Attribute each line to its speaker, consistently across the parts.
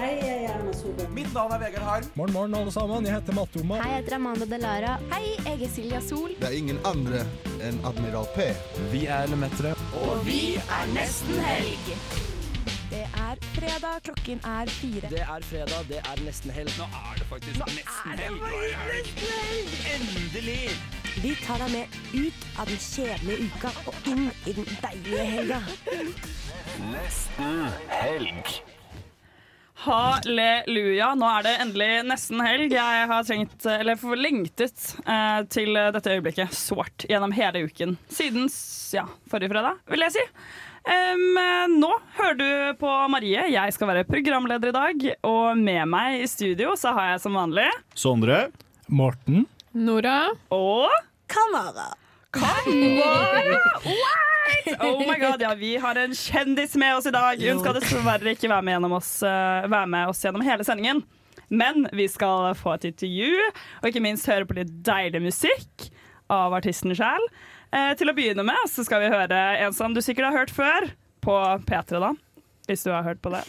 Speaker 1: Hei, jeg er Erna Solberg.
Speaker 2: Mitt navn er Vegard Harm.
Speaker 3: Morgen, morgen, alle sammen. Jeg heter Matte Oma.
Speaker 4: Hei, jeg heter Amanda Delara. Hei, jeg er Silja Sol.
Speaker 5: Det er ingen andre enn Admiral P.
Speaker 3: Vi er Lemetere.
Speaker 1: Og vi er nesten helg.
Speaker 4: Det er fredag, klokken er fire.
Speaker 2: Det er fredag, det er nesten helg. Nå er det faktisk nesten helg. Endelig!
Speaker 6: Vi tar deg med ut av den kjedelige uka og inn i den deilige helga.
Speaker 7: Halleluja. Nå er det endelig nesten helg. Jeg har trengt, eller for- lengtet eh, til dette øyeblikket svart gjennom hele uken. Siden s- ja, forrige fredag, vil jeg si. Em, eh, nå hører du på Marie. Jeg skal være programleder i dag. Og med meg i studio så har jeg som vanlig
Speaker 8: Sondre.
Speaker 3: Morten.
Speaker 9: Nora.
Speaker 7: og
Speaker 6: Kamera.
Speaker 7: Oh my god, ja, vi har en kjendis med oss i dag. Hun skal dessverre ikke være med, gjennom oss, eh, være med oss gjennom hele sendingen. Men vi skal få et intervju, og ikke minst høre på litt deilig musikk av artisten sjæl. Eh, til å begynne med så skal vi høre en som du sikkert har hørt før, på P3, da. Hvis du har hørt på det.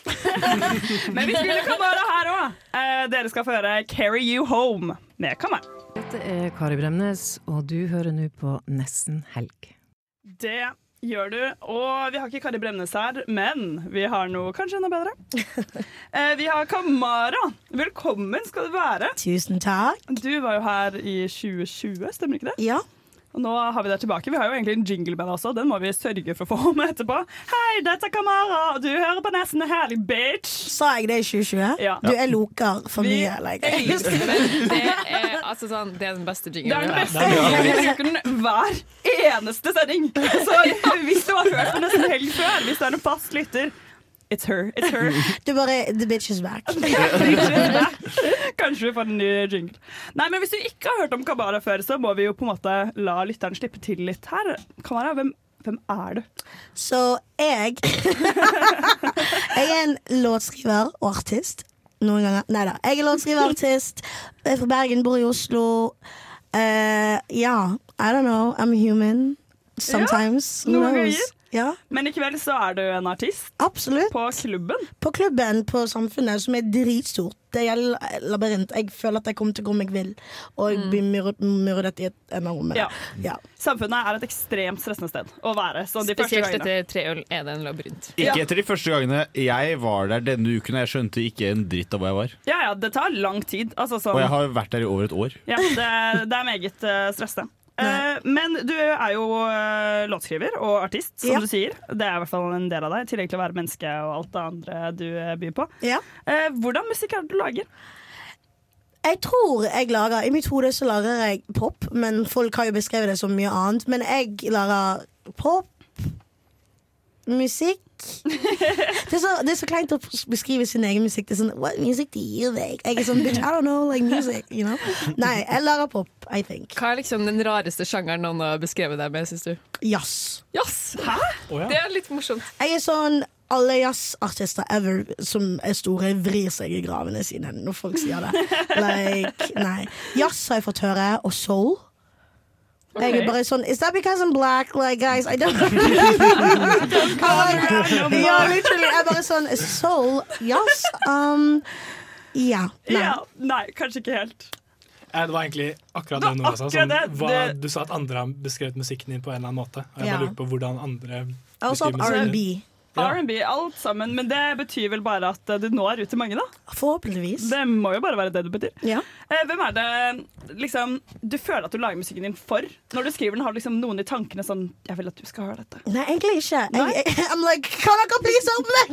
Speaker 7: Men vi spiller Kamara her òg. Eh, dere skal få høre 'Carry You Home' med Kamara.
Speaker 10: Dette er Kari Bremnes, og du hører nå på Nesten helg.
Speaker 7: Det gjør du. Og vi har ikke Kari Bremnes her, men vi har noe kanskje enda bedre. Eh, vi har Kamara. Velkommen skal du være.
Speaker 6: Tusen takk.
Speaker 7: Du var jo her i 2020, stemmer ikke det?
Speaker 6: Ja.
Speaker 7: Og nå har vi deg tilbake. Vi har jo egentlig en jingle med deg også, den må vi sørge for å få med etterpå. Hei, dette er Kamara, og du hører på Nesten Herlig, bitch!
Speaker 6: Sa jeg det i 2020?
Speaker 7: Ja.
Speaker 6: Du, jeg loker for
Speaker 7: Vi-
Speaker 6: mye. Like.
Speaker 7: Jeg elsker det.
Speaker 9: Det er, altså, sånn, det er den beste
Speaker 7: Det er
Speaker 9: jinglen.
Speaker 7: den beste jinglen. Vi bruker den hver eneste sending. Så hvis du har hørt på Nesten Helg før, hvis du er en fast lytter, it's her, it's her.
Speaker 6: Du bare The bitch is back.
Speaker 7: Kanskje vi får en ny jingle. Nei, men Hvis du ikke har hørt om Kamara før, så må vi jo på en måte la lytteren slippe til litt her. Kamara, hvem, hvem er du?
Speaker 6: Så jeg Jeg er en låtskriver og artist. Noen ganger. Nei da. Jeg er låtskriver og artist. Jeg er fra Bergen, bor i Oslo. Eh, ja. I don't know. I'm human. Sometimes. Who
Speaker 7: noen
Speaker 6: knows?
Speaker 7: ganger.
Speaker 6: Ja,
Speaker 7: Men i kveld så er du en artist
Speaker 6: absolutt.
Speaker 7: på klubben.
Speaker 6: På klubben på Samfunnet, som er dritstort. Det gjelder labyrint. Jeg føler at jeg kommer til hvor jeg vil, og jeg blir myrdet, myrdet i et enorme.
Speaker 7: Ja.
Speaker 6: Ja.
Speaker 7: Samfunnet er et ekstremt stressende sted å være. Sånn de første
Speaker 9: Spesielt
Speaker 7: gangene.
Speaker 9: etter tre øl er det en labyrint.
Speaker 7: Ja.
Speaker 8: Ikke etter de første gangene jeg var der denne uken, og jeg skjønte ikke en dritt av hvor jeg var.
Speaker 7: Ja, ja, det tar lang tid. Altså, sånn,
Speaker 8: Og jeg har vært der i over et år.
Speaker 7: ja, det, er- det er meget eh, stressende. Eh, men du er jo eh, låtskriver og artist, som
Speaker 6: Ja.
Speaker 7: du sier. Det er i hvert fall en del av deg, i tillegg til å være menneske og alt det andre du eh, byr på.
Speaker 6: ja.
Speaker 7: Eh, hvordan musikk er det du lager?
Speaker 6: Jeg tror jeg lager I mitt hode så lager jeg pop, men folk har jo beskrevet det som mye annet. Men jeg lager pop, musikk det er, så, det er så kleint å beskrive sin egen musikk. Det er sånn, What music do you like? Jeg er sånn, bitch, I don't know, like music, you know? Nei, jeg lager pop, I think.
Speaker 9: Hva er liksom den rareste sjangeren noen har beskrevet deg med, syns du?
Speaker 6: Jazz.
Speaker 9: Jazz!
Speaker 3: Å, ja.
Speaker 9: Det er litt morsomt.
Speaker 6: Jeg er sånn alle jazzartister ever som er store, vrir seg i gravene sine når folk sier det. Like, nei. Jazz har jeg fått høre, og soul. Jeg
Speaker 7: Ok.
Speaker 6: er bare sånn Is that because I'm black? Like, guys, I don't Ja, literally. Jeg er bare sånn Soul, jazz um, Ja. Nei.
Speaker 7: Ja, nei, kanskje ikke helt.
Speaker 3: Ja, Eh, det var egentlig akkurat
Speaker 7: Det
Speaker 3: det
Speaker 7: var
Speaker 3: Nora sa.
Speaker 7: akkurat
Speaker 3: Sånn,
Speaker 7: det.
Speaker 3: hva,
Speaker 7: Det-
Speaker 3: du sa at andre har beskrevet musikken din på en eller annen måte. Og jeg
Speaker 6: Ja.
Speaker 3: bare lurer på hvordan andre
Speaker 6: Jeg er også
Speaker 3: beskriver
Speaker 6: opp
Speaker 3: musikken din.
Speaker 6: R&B.
Speaker 3: Ja.
Speaker 7: R&B, alt sammen. Men det betyr vel bare at eh, du når ut til mange, da.
Speaker 6: Forhåpentligvis.
Speaker 7: Det må jo bare være det det betyr.
Speaker 6: Ja.
Speaker 7: Eh, hvem er det liksom, du føler at du lager musikken din for? Når du skriver den, har du liksom noen i tankene sånn Jeg vil at du skal høre dette.
Speaker 6: Nei, egentlig ikke.
Speaker 7: Nei?
Speaker 6: Jeg, jeg, I'm like, kan dere please åpne?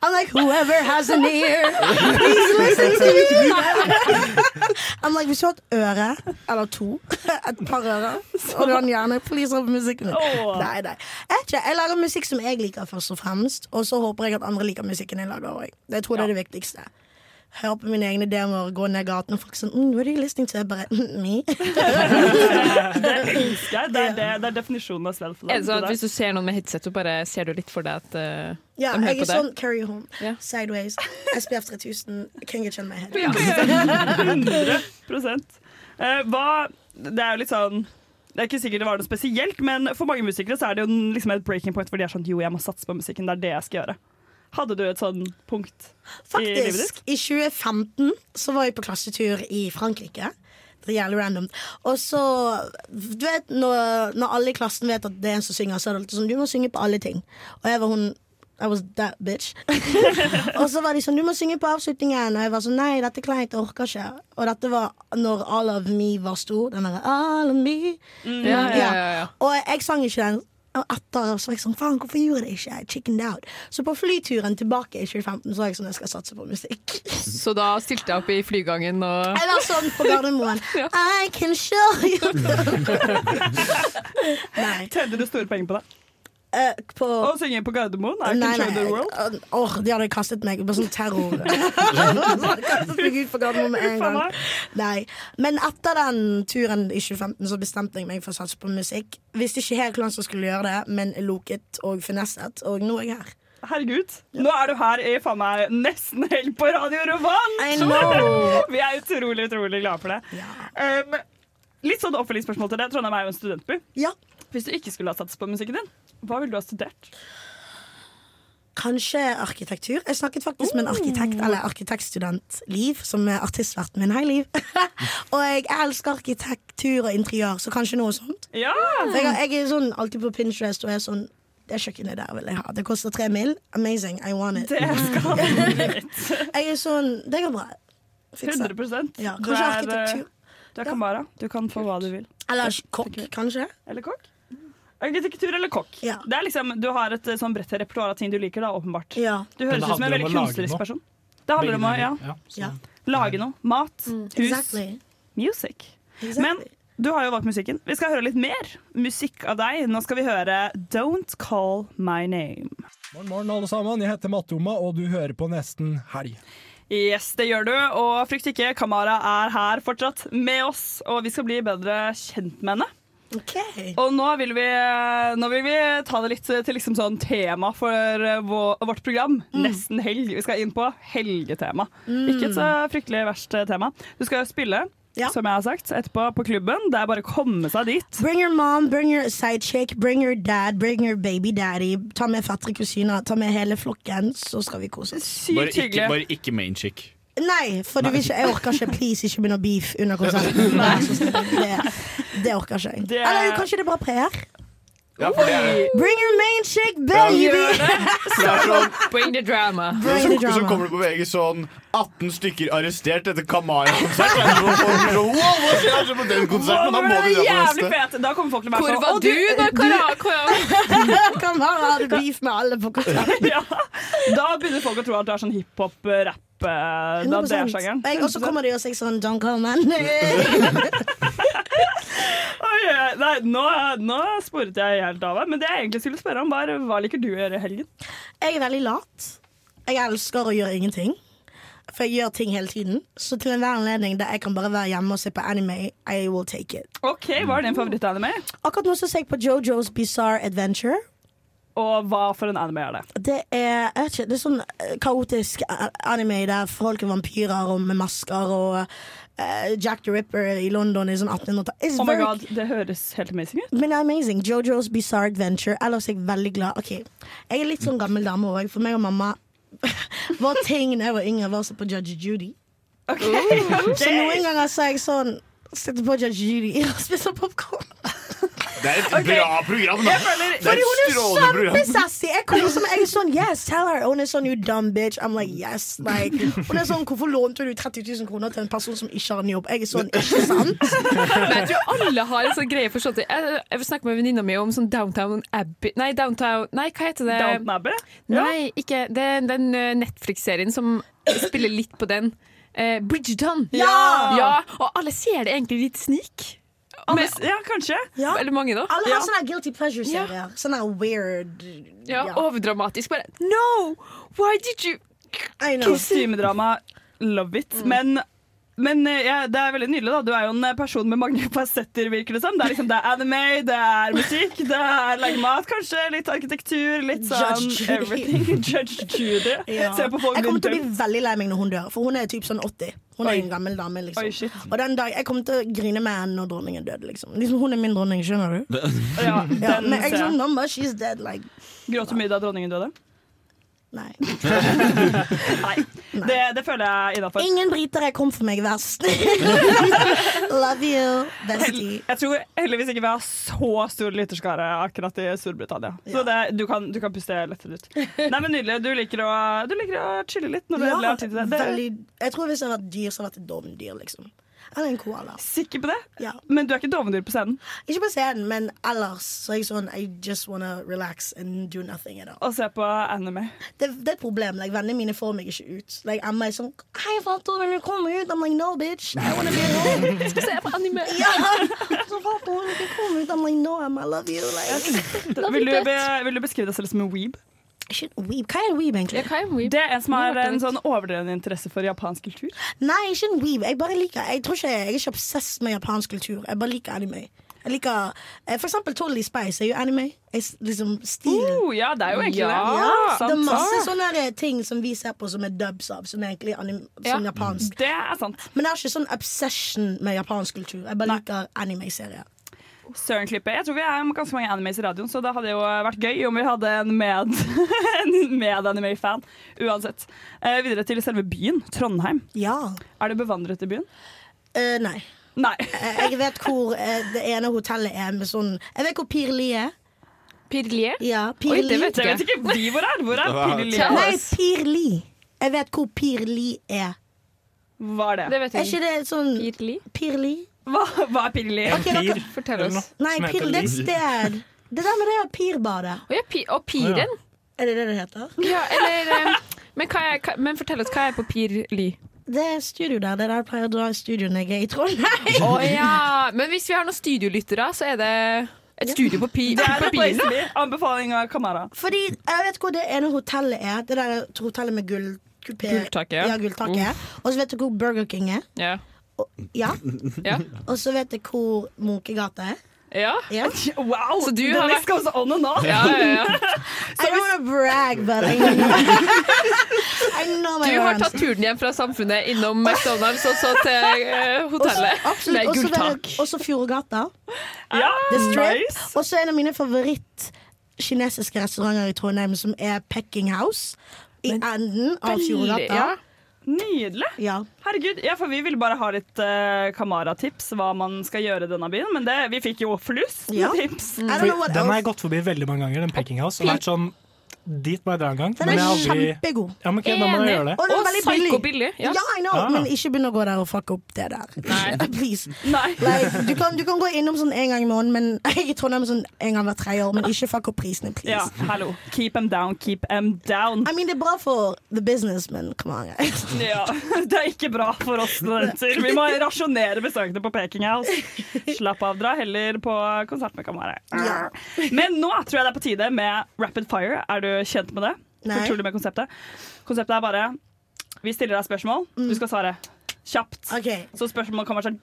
Speaker 6: I'm like, whoever has an ear, please listen to me. I'm like, hvis du har et øre, eller to, et par ører, og du har en hjerne, please åpne musikken min.
Speaker 7: Åh.
Speaker 6: Nei, nei. Jeg, vet ikke, jeg lager musikk som jeg liker først og fremst, og så håper jeg at andre liker musikken jeg lager også. Jeg tror det er det viktigste. Hør på mine egne demoer, gå ned gaten, og folk sånn, mm, what are you listening to? Jeg bare, mm, me.
Speaker 7: Det elsker jeg. Det er, det, det er definisjonen av self
Speaker 9: Er det sånn at Hvis du ser noen med headset, så bare ser du litt for deg at eh,
Speaker 6: Ja,
Speaker 9: de
Speaker 6: jeg
Speaker 9: hører
Speaker 6: er
Speaker 9: på deg?
Speaker 6: sånn carry home,
Speaker 9: Ja.
Speaker 6: sideways, SPF 3000, can get you in my head.
Speaker 7: 100 Eh, hva, Det er jo litt sånn Det er ikke sikkert det var noe spesielt, men for mange musikere så er det jo en- liksom et breaking point hvor de er sånn jo, jeg må satse på musikken, det er det jeg skal gjøre. Hadde du et sånn punkt? I livet
Speaker 6: Faktisk,
Speaker 7: ditt?
Speaker 6: i 2015 så var jeg på klassetur i Frankrike. Det er jævlig random. Og så, du vet, når, når alle i klassen vet at det er en som synger, så er det alltid sånn, du må synge på alle ting. Og jeg var hun, I was that bitch. og så var de sånn, du må synge på avslutningen. Og jeg var sånn, nei, dette er kleint, jeg orker ikke. Og dette var når All of Me var stor. Den derre All of Me.
Speaker 9: Ja, ja, ja, ja.
Speaker 6: Og jeg sang ikke den. Og etter så var jeg sånn, faen, hvorfor gjorde jeg det ikke? Jeg chickened out. Så på flyturen tilbake i 2015 så var jeg sånn, jeg skal satse på musikk.
Speaker 9: Så da stilte jeg opp i flygangen og
Speaker 6: Eller sånn på Gardermoen. I can show you. nei.
Speaker 7: Tjente du store penger på det?
Speaker 6: eh, på
Speaker 7: Å synge på Gardermoen? Oh, I
Speaker 6: Nei,
Speaker 7: can show
Speaker 6: nei.
Speaker 7: the world?
Speaker 6: eh, åh, de hadde kastet meg. Bare sånn terror. kastet meg ut på Gardermoen med en
Speaker 7: Faen
Speaker 6: gang.
Speaker 7: meg.
Speaker 6: Nei. Men etter den turen i 2015 så bestemte jeg meg for å satse på musikk. Visste ikke helt hvordan jeg skulle gjøre det, men loket og finesset, og nå er jeg her.
Speaker 7: Herregud, nå er du her i faen meg nesten helt på Radio Rovan!
Speaker 6: I know.
Speaker 7: Vi er utrolig, utrolig glade for det. Um, litt sånn oppfølgingsspørsmål til det. Trondheim er jo en studentby.
Speaker 6: Ja.
Speaker 7: Hvis du ikke skulle ha satset på musikken din, hva ville du ha studert?
Speaker 6: Kanskje arkitektur. Jeg snakket faktisk med en arkitekt eller arkitektstudent, Liv, som er artistverten min. Hei, Liv. og jeg elsker arkitektur og interiør, så kanskje noe sånt.
Speaker 7: Ja!
Speaker 6: Jeg, har- jeg er sånn alltid på Pinterest og er sånn Det kjøkkenet der vil jeg ha. Det koster tre mil. Amazing. I want it.
Speaker 7: Det skal
Speaker 6: Jeg er sånn Det går bra. Fiks det.
Speaker 7: 100
Speaker 6: Ja,
Speaker 7: Du
Speaker 6: kanskje
Speaker 7: er,
Speaker 6: arkitektur.
Speaker 7: eh, Du er Kamara. Du kan få hva du vil.
Speaker 6: Eller kokk, kanskje.
Speaker 7: Eller kokk. Arkitektur eller kokk.
Speaker 6: Ja.
Speaker 7: Det er liksom, du har et eh, sånn bredt repertoar av ting du liker, da, åpenbart.
Speaker 6: Ja.
Speaker 7: Du
Speaker 3: Men
Speaker 7: høres ut
Speaker 3: det
Speaker 7: som en
Speaker 3: handler
Speaker 7: veldig
Speaker 3: om å lage
Speaker 7: kunstnerisk
Speaker 3: noe.
Speaker 7: person. Det handler om å ja,
Speaker 3: så-
Speaker 6: Ja.
Speaker 7: lage noe. Mat, hus,
Speaker 6: Mm, Exactly.
Speaker 7: music.
Speaker 6: exactly.
Speaker 7: Men du har jo valgt musikken. Vi skal høre litt mer musikk av deg. Nå skal vi høre Don't Call My Name.
Speaker 11: Morgen, morgen, alle sammen. Jeg heter Matoma, og du hører på Nesten Helg.
Speaker 7: Yes, det gjør du. Og frykt ikke, Kamara er her fortsatt med oss. Og vi skal bli bedre kjent med henne.
Speaker 6: OK.
Speaker 7: Og nå vil vi, nå vil vi ta det litt til liksom sånn tema for vår, vårt program.
Speaker 6: Mm.
Speaker 7: Nesten helg. Vi skal inn på helgetema. Ikke et så fryktelig verst eh, tema. Du skal spille,
Speaker 6: Ja.
Speaker 7: som jeg har sagt, etterpå på klubben. Det er bare å komme seg dit.
Speaker 6: Bring your mom, bring your side chick, bring your dad, bring your baby daddy. Ta med fettere kusiner, ta med hele flokken, så skal vi kose oss.
Speaker 8: Bare
Speaker 7: Sykt
Speaker 8: ikke,
Speaker 7: hyggelig.
Speaker 8: bare ikke main chick.
Speaker 6: Nei, for du vil ikke, jeg orker ikke please ikke begynne å beef under konserten. Vær så snill. Det, det orker ikke jeg.
Speaker 7: Det-
Speaker 6: Eller jo, kanskje det er bra PR?
Speaker 8: Ja, for det er,
Speaker 6: Bring your main chick, baby!
Speaker 8: det er sånn
Speaker 9: Bring the drama.
Speaker 6: Bring the
Speaker 8: Så, så kommer
Speaker 6: drama.
Speaker 8: det på VG sånn 18 stykker arrestert etter Kamaya-konsert. Og så får vi sånn, Wow, hva skjer altså på den konserten? Da
Speaker 7: Wow,
Speaker 8: må
Speaker 7: det
Speaker 8: vi
Speaker 7: er
Speaker 8: dra på
Speaker 7: jævlig
Speaker 8: neste.
Speaker 7: fet. Da kommer folk til å være
Speaker 9: Hvor
Speaker 7: sånn,
Speaker 9: var
Speaker 7: «Å,
Speaker 9: du da, Kara? Kara?
Speaker 6: Kan være hadde beef med alle på konserten.
Speaker 7: ja. Da begynner folk å tro at du er sånn hiphop-rapp. eh, Da det er
Speaker 6: 100%.
Speaker 7: sjangeren.
Speaker 6: Jeg- Og så kommer de og sier sånn Don't call man.
Speaker 7: Oi, eh, nei, nå, nå sporet jeg helt av her, men det jeg egentlig skulle spørre om, var hva liker du å gjøre i helgen?
Speaker 6: Jeg er veldig lat. Jeg elsker å gjøre ingenting. For jeg gjør ting hele tiden. Så til enhver anledning der jeg kan bare være hjemme og se på anime, I will take it.
Speaker 7: OK, hva er din favorittanime?
Speaker 6: Akkurat nå så ser jeg på Jojo's Bizarre Adventure.
Speaker 7: Og hva for en anime er det?
Speaker 6: Det er, jeg vet ikke, det er sånn eh, kaotisk a- anime der folk er vampyrer og med masker og eh, Jack the Ripper i London i sånn 1800-tallet. It's
Speaker 7: Oh my
Speaker 6: very-
Speaker 7: god, Det høres helt amazing ut.
Speaker 6: Men det er amazing. Jojo's Bizarre Adventure. Ellers er jeg veldig glad. Ok, Jeg er litt sånn gammel dame òg, for meg og mamma Vår ting da jeg var yngre, var å se på Judge Judy. Så noen ganger så er jeg sånn Sitter på Judge Judy og spiser popkorn.
Speaker 8: Det er et bra program, da.
Speaker 7: Jeg føler,
Speaker 8: Det er
Speaker 6: Hun
Speaker 8: et
Speaker 6: er
Speaker 8: strålende program.
Speaker 6: kjempesassy! Jeg koser meg. Jeg er sånn yes, tell her. Og hun er sånn you dumb bitch. I'm like yes. Like. Hun er sånn hvorfor lånte du 30 000 kroner til en person som ikke har en jobb? Jeg er sånn ikke sant?
Speaker 9: Men jeg tror alle har en sånn greie for sånt. Jeg, jeg snakker med venninna mi om sånn Downtown Abbey Nei, Downtown Nei, hva heter det?
Speaker 7: Downton Abbey?
Speaker 9: Nei, ikke Det er den eh, Netflix-serien som spiller litt på den. Eh, Bridgerton!
Speaker 6: Ja!
Speaker 9: Ja, Og alle ser det egentlig litt snik.
Speaker 7: Alle, s- ja, kanskje.
Speaker 6: Ja.
Speaker 9: Eller mange, da.
Speaker 6: Alle
Speaker 7: Ja.
Speaker 6: har sånne her guilty pleasure-serier. Sånne her weird
Speaker 9: Ja, Overdramatisk. Bare No! Why did you
Speaker 6: I know. Mm.
Speaker 7: Kostymedrama, love it. Men Men eh, ja, det er veldig nydelig, da. Du er jo en eh, person med mange fasetter, virker det som. Det er, liksom, det er anime, det er musikk, det er lage mat, kanskje. Litt arkitektur, litt sånn
Speaker 6: Judge Judy.
Speaker 7: everything. Judge Judy.
Speaker 6: Ja.
Speaker 7: Se på folk
Speaker 6: Jeg kommer til å
Speaker 7: rundt
Speaker 6: bli veldig lei meg når hun dør, for hun er typ sånn 80. Hun er en gammel dame, liksom.
Speaker 7: Oi, shit.
Speaker 6: og den dag, jeg kommer til å grine med henne når dronningen døde, liksom. liksom. Hun er min dronning, skjønner du?
Speaker 7: Ja,
Speaker 6: Ja,
Speaker 7: den
Speaker 6: men jeg
Speaker 7: ser
Speaker 6: er
Speaker 7: jeg.
Speaker 6: sånn number, she's dead, like.
Speaker 7: Gråt du mye da dronningen døde?
Speaker 6: Nei.
Speaker 7: Nei. Det, det føler jeg innafor.
Speaker 6: Ingen briter jeg kom for meg, vær snill. Love you, bestie.
Speaker 7: Jeg tror heldigvis ikke vi har så stor lytterskare akkurat i Storbritannia. Så det, du, kan, du kan puste lettere ut. Nei, men Nydelig. Du liker å, du liker å chille litt når du
Speaker 6: Ja,
Speaker 7: endelig har tid til det. det
Speaker 6: veldig, jeg tror hvis jeg hadde vært dyr, så hadde jeg vært et dovendyr, liksom. Eller en koala.
Speaker 7: sikker på det?
Speaker 6: Ja.
Speaker 7: Men du er ikke dovendyr på scenen?
Speaker 6: Ikke på scenen, men ellers så er jeg sånn I just wanna relax and do nothing at all.
Speaker 7: Og ser på anime.
Speaker 6: Det, det er et problem. Like, Vennene mine får meg ikke ut. Like, Emma er sånn Hei, Fato, vil du komme ut? I'm like, no, bitch. I wanna be alone.
Speaker 9: Jeg skal se på anime!
Speaker 6: ja. Så Fato, vil du ikke komme ut? I'm like, no, Emma, I love you. Like,
Speaker 7: Vil du, be, vil du beskrive deg selv som en weeb?
Speaker 6: shit, weeb. Hva er en weeb, egentlig?
Speaker 9: Jeg kan jo weeb.
Speaker 7: Det er en som
Speaker 9: Nå
Speaker 7: har
Speaker 9: hørte jeg
Speaker 7: en
Speaker 9: litt.
Speaker 7: sånn overdreven interesse for japansk kultur.
Speaker 6: Nei, ikke en weeb. Jeg bare liker Jeg tror ikke jeg er ikke obsess med japansk kultur. Jeg bare liker anime. Jeg liker eh, For eksempel Totally Spice er jo anime. Jeg, s- liksom stilen.
Speaker 7: Oh, ja, det er jo egentlig det.
Speaker 6: Ja, det er
Speaker 7: sant,
Speaker 6: masse
Speaker 7: sant.
Speaker 6: sånne der ting som vi ser på som er dubs av, som er egentlig anim
Speaker 9: Ja.
Speaker 6: som japansk.
Speaker 7: Det er sant.
Speaker 6: Men jeg har ikke sånn obsession med japansk kultur. Jeg bare liker anime-serier.
Speaker 7: Søren Klippe. Jeg tror vi er ganske mange animes i radioen, så det hadde jo vært gøy om vi hadde en med, en med anime-fan. Uansett. Eh, videre til selve byen, Trondheim.
Speaker 6: Ja.
Speaker 7: Er du bevandret i byen?
Speaker 6: Eh, nei.
Speaker 7: Nei.
Speaker 6: Eh, Jeg vet hvor eh, det ene hotellet er med sånn Jeg vet hvor Pirli er.
Speaker 9: Pirlier?
Speaker 6: Ja,
Speaker 9: Oi, det
Speaker 6: Pirli.
Speaker 9: vet
Speaker 7: Jeg vet ikke vi hvor er. Hvor er Pirli?
Speaker 9: Tja.
Speaker 6: Nei, Pirli. Jeg vet hvor Pirli er.
Speaker 7: Hva er det?
Speaker 9: Det vet
Speaker 6: Er
Speaker 9: jeg
Speaker 6: ikke
Speaker 9: ikke.
Speaker 6: det sånn
Speaker 9: Pirli?
Speaker 6: Pirli?
Speaker 7: Hva, hva er Pirli?
Speaker 3: En
Speaker 6: Ok, dere-
Speaker 3: pir
Speaker 9: Fortell
Speaker 3: eller
Speaker 9: oss.
Speaker 3: noe
Speaker 6: Nei,
Speaker 3: som heter
Speaker 6: Pirli det er et
Speaker 3: Liv.
Speaker 6: sted. Det der med det pirbadet.
Speaker 9: Å ja, pi og piren.
Speaker 6: Er det det det heter?
Speaker 9: Ja, eller eh, men, hva er, hva, men fortell oss, hva er på Pir Li?
Speaker 6: Det er studio der. Det er der jeg pleier å dra i studio når jeg er i Trondheim.
Speaker 9: Å ja. Men hvis vi har noen studiolyttere, så er det et studio på, pi,
Speaker 7: Det er
Speaker 9: på
Speaker 7: en place
Speaker 9: Piren, da?
Speaker 7: to be. Anbefaling av Kamara.
Speaker 6: Fordi jeg vet hvor det ene hotellet er. Det der hotellet med gull... kupé-
Speaker 9: Gulltaket, Mm.
Speaker 6: Ja,
Speaker 9: ja.
Speaker 6: gulltaket. er. Og så vet du hvor Burger King er.
Speaker 9: Ja.
Speaker 6: Og, ja.
Speaker 9: Ja.
Speaker 6: Og så vet jeg hvor Munkegata er.
Speaker 9: ja.
Speaker 6: Ja.
Speaker 7: Wow!
Speaker 9: Så du
Speaker 7: den
Speaker 9: har vært-
Speaker 7: skal også on and off.
Speaker 9: Ja, ja, ja.
Speaker 6: I don't wanna brag, but I know, I know my
Speaker 9: Du har
Speaker 6: orange.
Speaker 9: tatt turen hjem fra samfunnet innom McDonald's og så til eh, hotellet.
Speaker 6: Absolutt.
Speaker 9: Med
Speaker 6: Også vet
Speaker 9: gulltak.
Speaker 6: jeg- Også Fjordgata.
Speaker 7: Ja,
Speaker 6: The Strip.
Speaker 7: nice.
Speaker 6: Og så en av mine favoritt kinesiske restauranter i Trondheim, som er Pecking House. I enden av Fjordgata.
Speaker 9: Ja.
Speaker 7: Nydelig.
Speaker 6: Ja.
Speaker 7: Herregud, ja, for Vi ville bare ha litt eh, Kamara-tips hva man skal gjøre i denne byen. Men det, vi fikk jo flust med
Speaker 6: Ja.
Speaker 7: tips.
Speaker 6: I don't know
Speaker 3: For
Speaker 6: what
Speaker 3: Den har jeg
Speaker 6: else.
Speaker 3: gått forbi veldig mange ganger, den Peking House. Og vært sånn dit må jeg dra en gang.
Speaker 6: Den er
Speaker 3: Men jeg har aldri
Speaker 6: kjempegod.
Speaker 3: Ja, men ok, da må jeg gjøre det.
Speaker 6: Og den er
Speaker 9: Og
Speaker 6: veldig billig.
Speaker 9: psykobillig.
Speaker 6: Ja,
Speaker 9: Ja.
Speaker 6: I know,
Speaker 3: Ah.
Speaker 6: men ikke begynn å gå der og fucke opp det der. Please.
Speaker 7: Nei.
Speaker 6: Like, du, kan, du kan gå innom sånn en gang i måneden, men jeg er i Trondheim sånn en gang hver tredje år, men ikke fuck opp prisene, please.
Speaker 7: Ja, hallo. Keep them down, keep them down.
Speaker 6: I mean, det er bra for the business, men come on, guys.
Speaker 7: Ja, Det er ikke bra for oss studenter. Vi må rasjonere besøkene på Peking House. Slapp av, dra heller på konsert med Kamara. Men nå tror jeg det er på tide med Rapid Fire. Er du kjent med det?
Speaker 6: Nei.
Speaker 7: Fortrolig med konseptet? Konseptet er bare Vi stiller deg spørsmål, du skal svare kjapt.
Speaker 6: Mm. Ok.
Speaker 7: Så spørsmålet kommer sånn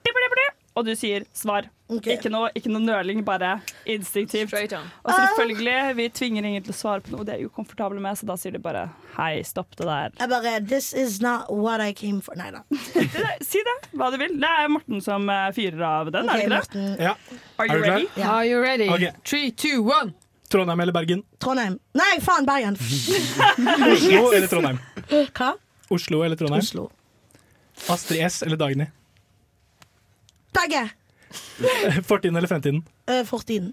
Speaker 7: og du sier svar.
Speaker 6: Ok.
Speaker 7: Ikke, noe, ikke noe nøling, bare instinktivt.
Speaker 9: Straight on.
Speaker 7: Og
Speaker 6: Ah.
Speaker 7: selvfølgelig, vi tvinger ingen til å svare på noe de er ukomfortable med, så da sier de bare hei, stopp det der.
Speaker 6: Jeg bare This is not what I came for. Nei da.
Speaker 7: Det der- Si det, hva du vil. Det er Morten som eh, fyrer av den,
Speaker 6: Ok,
Speaker 7: er det ikke det?
Speaker 6: Morten.
Speaker 3: Ja.
Speaker 7: Are
Speaker 3: Er
Speaker 7: you
Speaker 3: du klar?
Speaker 7: ready?
Speaker 6: Ja.
Speaker 9: Are you ready?
Speaker 3: Ok.
Speaker 9: Three, two, one.
Speaker 3: Trondheim eller Bergen?
Speaker 6: Trondheim. Nei, faen, Bergen.
Speaker 3: Oslo eller Trondheim?
Speaker 6: Hva?
Speaker 3: Oslo eller Trondheim?
Speaker 6: Oslo.
Speaker 3: Astrid S eller Dagny?
Speaker 6: Begge.
Speaker 3: Fortiden eller fremtiden?
Speaker 6: Uh, fortiden.